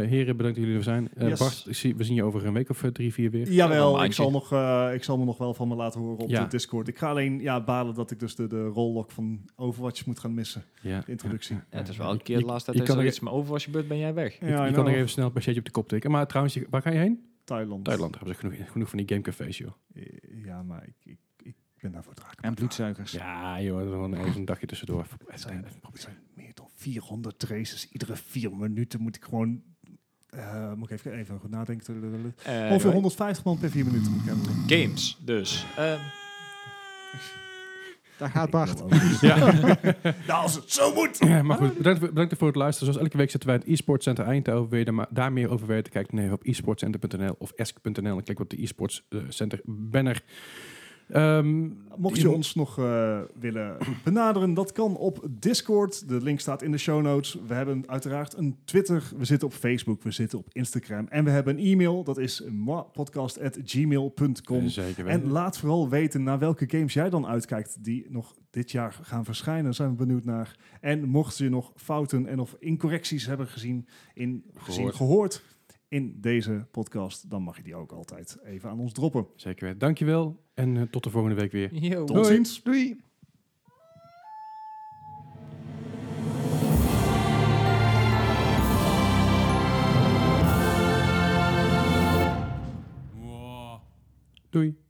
Eh, heren, bedankt dat jullie er zijn. Eh,
Yes.
Bart, ik zie, we zien je over een week of eh, drie, vier weer.
Jawel,
Een
ik zal,
maandje.
nog, eh, ik zal me nog wel van me laten horen op
Ja.
de Discord. Ik ga alleen ja, balen dat ik dus de, de rollock van Overwatch moet gaan missen.
Ja.
De introductie.
Ja, het is wel een keer de laatste
je
tijd
kan
dat er
nog-
iets me over was gebeurd, ben jij weg.
Ja,
Je- je
I
kan nog
know.
even snel een pakketje op de kop tikken. Maar trouwens, je- waar ga je heen?
Thailand.
Thailand. Hebben ze genoeg, genoeg van die gamecafés, joh.
Eh, Ja, maar ik, ik, ik ben daarvoor te raken.
En bloedzuigers.
Ja, joh. Gewoon even een dagje tussendoor.
*laughs*
Even-
Er
even-
zijn,
even
er
proberen.
zijn meer dan 400 races. Iedere vier minuten moet ik gewoon... eh, moet ik even, even goed nadenken.
Eh,
Ongeveer 150 man per vier minuten moet ik hebben.
Games, dus. Ehm,
Daar gaat Bart.
Ja.
*laughs* nou, als het zo moet.
Ja, maar goed, bedankt, voor- bedankt voor het luisteren. Zoals elke week zitten wij in het e-sport center Eindhoven. Wil je daar, maar- daar meer over weten, kijk dan even op e-sportcenter.nl of esk.nl en klik op de e-sports eh, center banner. Ehm,
Mocht je
iemand-
ons nog eh, willen benaderen, dat kan op Discord. De link staat in de show notes. We hebben uiteraard een Twitter. We zitten op Facebook. We zitten op Instagram. En we hebben een e-mail. Dat is moapodcast.gmail.com.
Zeker weten.
En laat vooral weten naar welke games jij dan uitkijkt die nog dit jaar gaan verschijnen. Daar zijn we benieuwd naar. En mocht je nog fouten en of incorrecties hebben gezien, in, gezien
Gehoord.
gehoord in deze podcast, dan mag je die ook altijd even aan ons droppen.
Zeker weten. Dankjewel en eh, tot de volgende week weer.
ehm, Yo.
Tot ziens.
Doei!
Doei.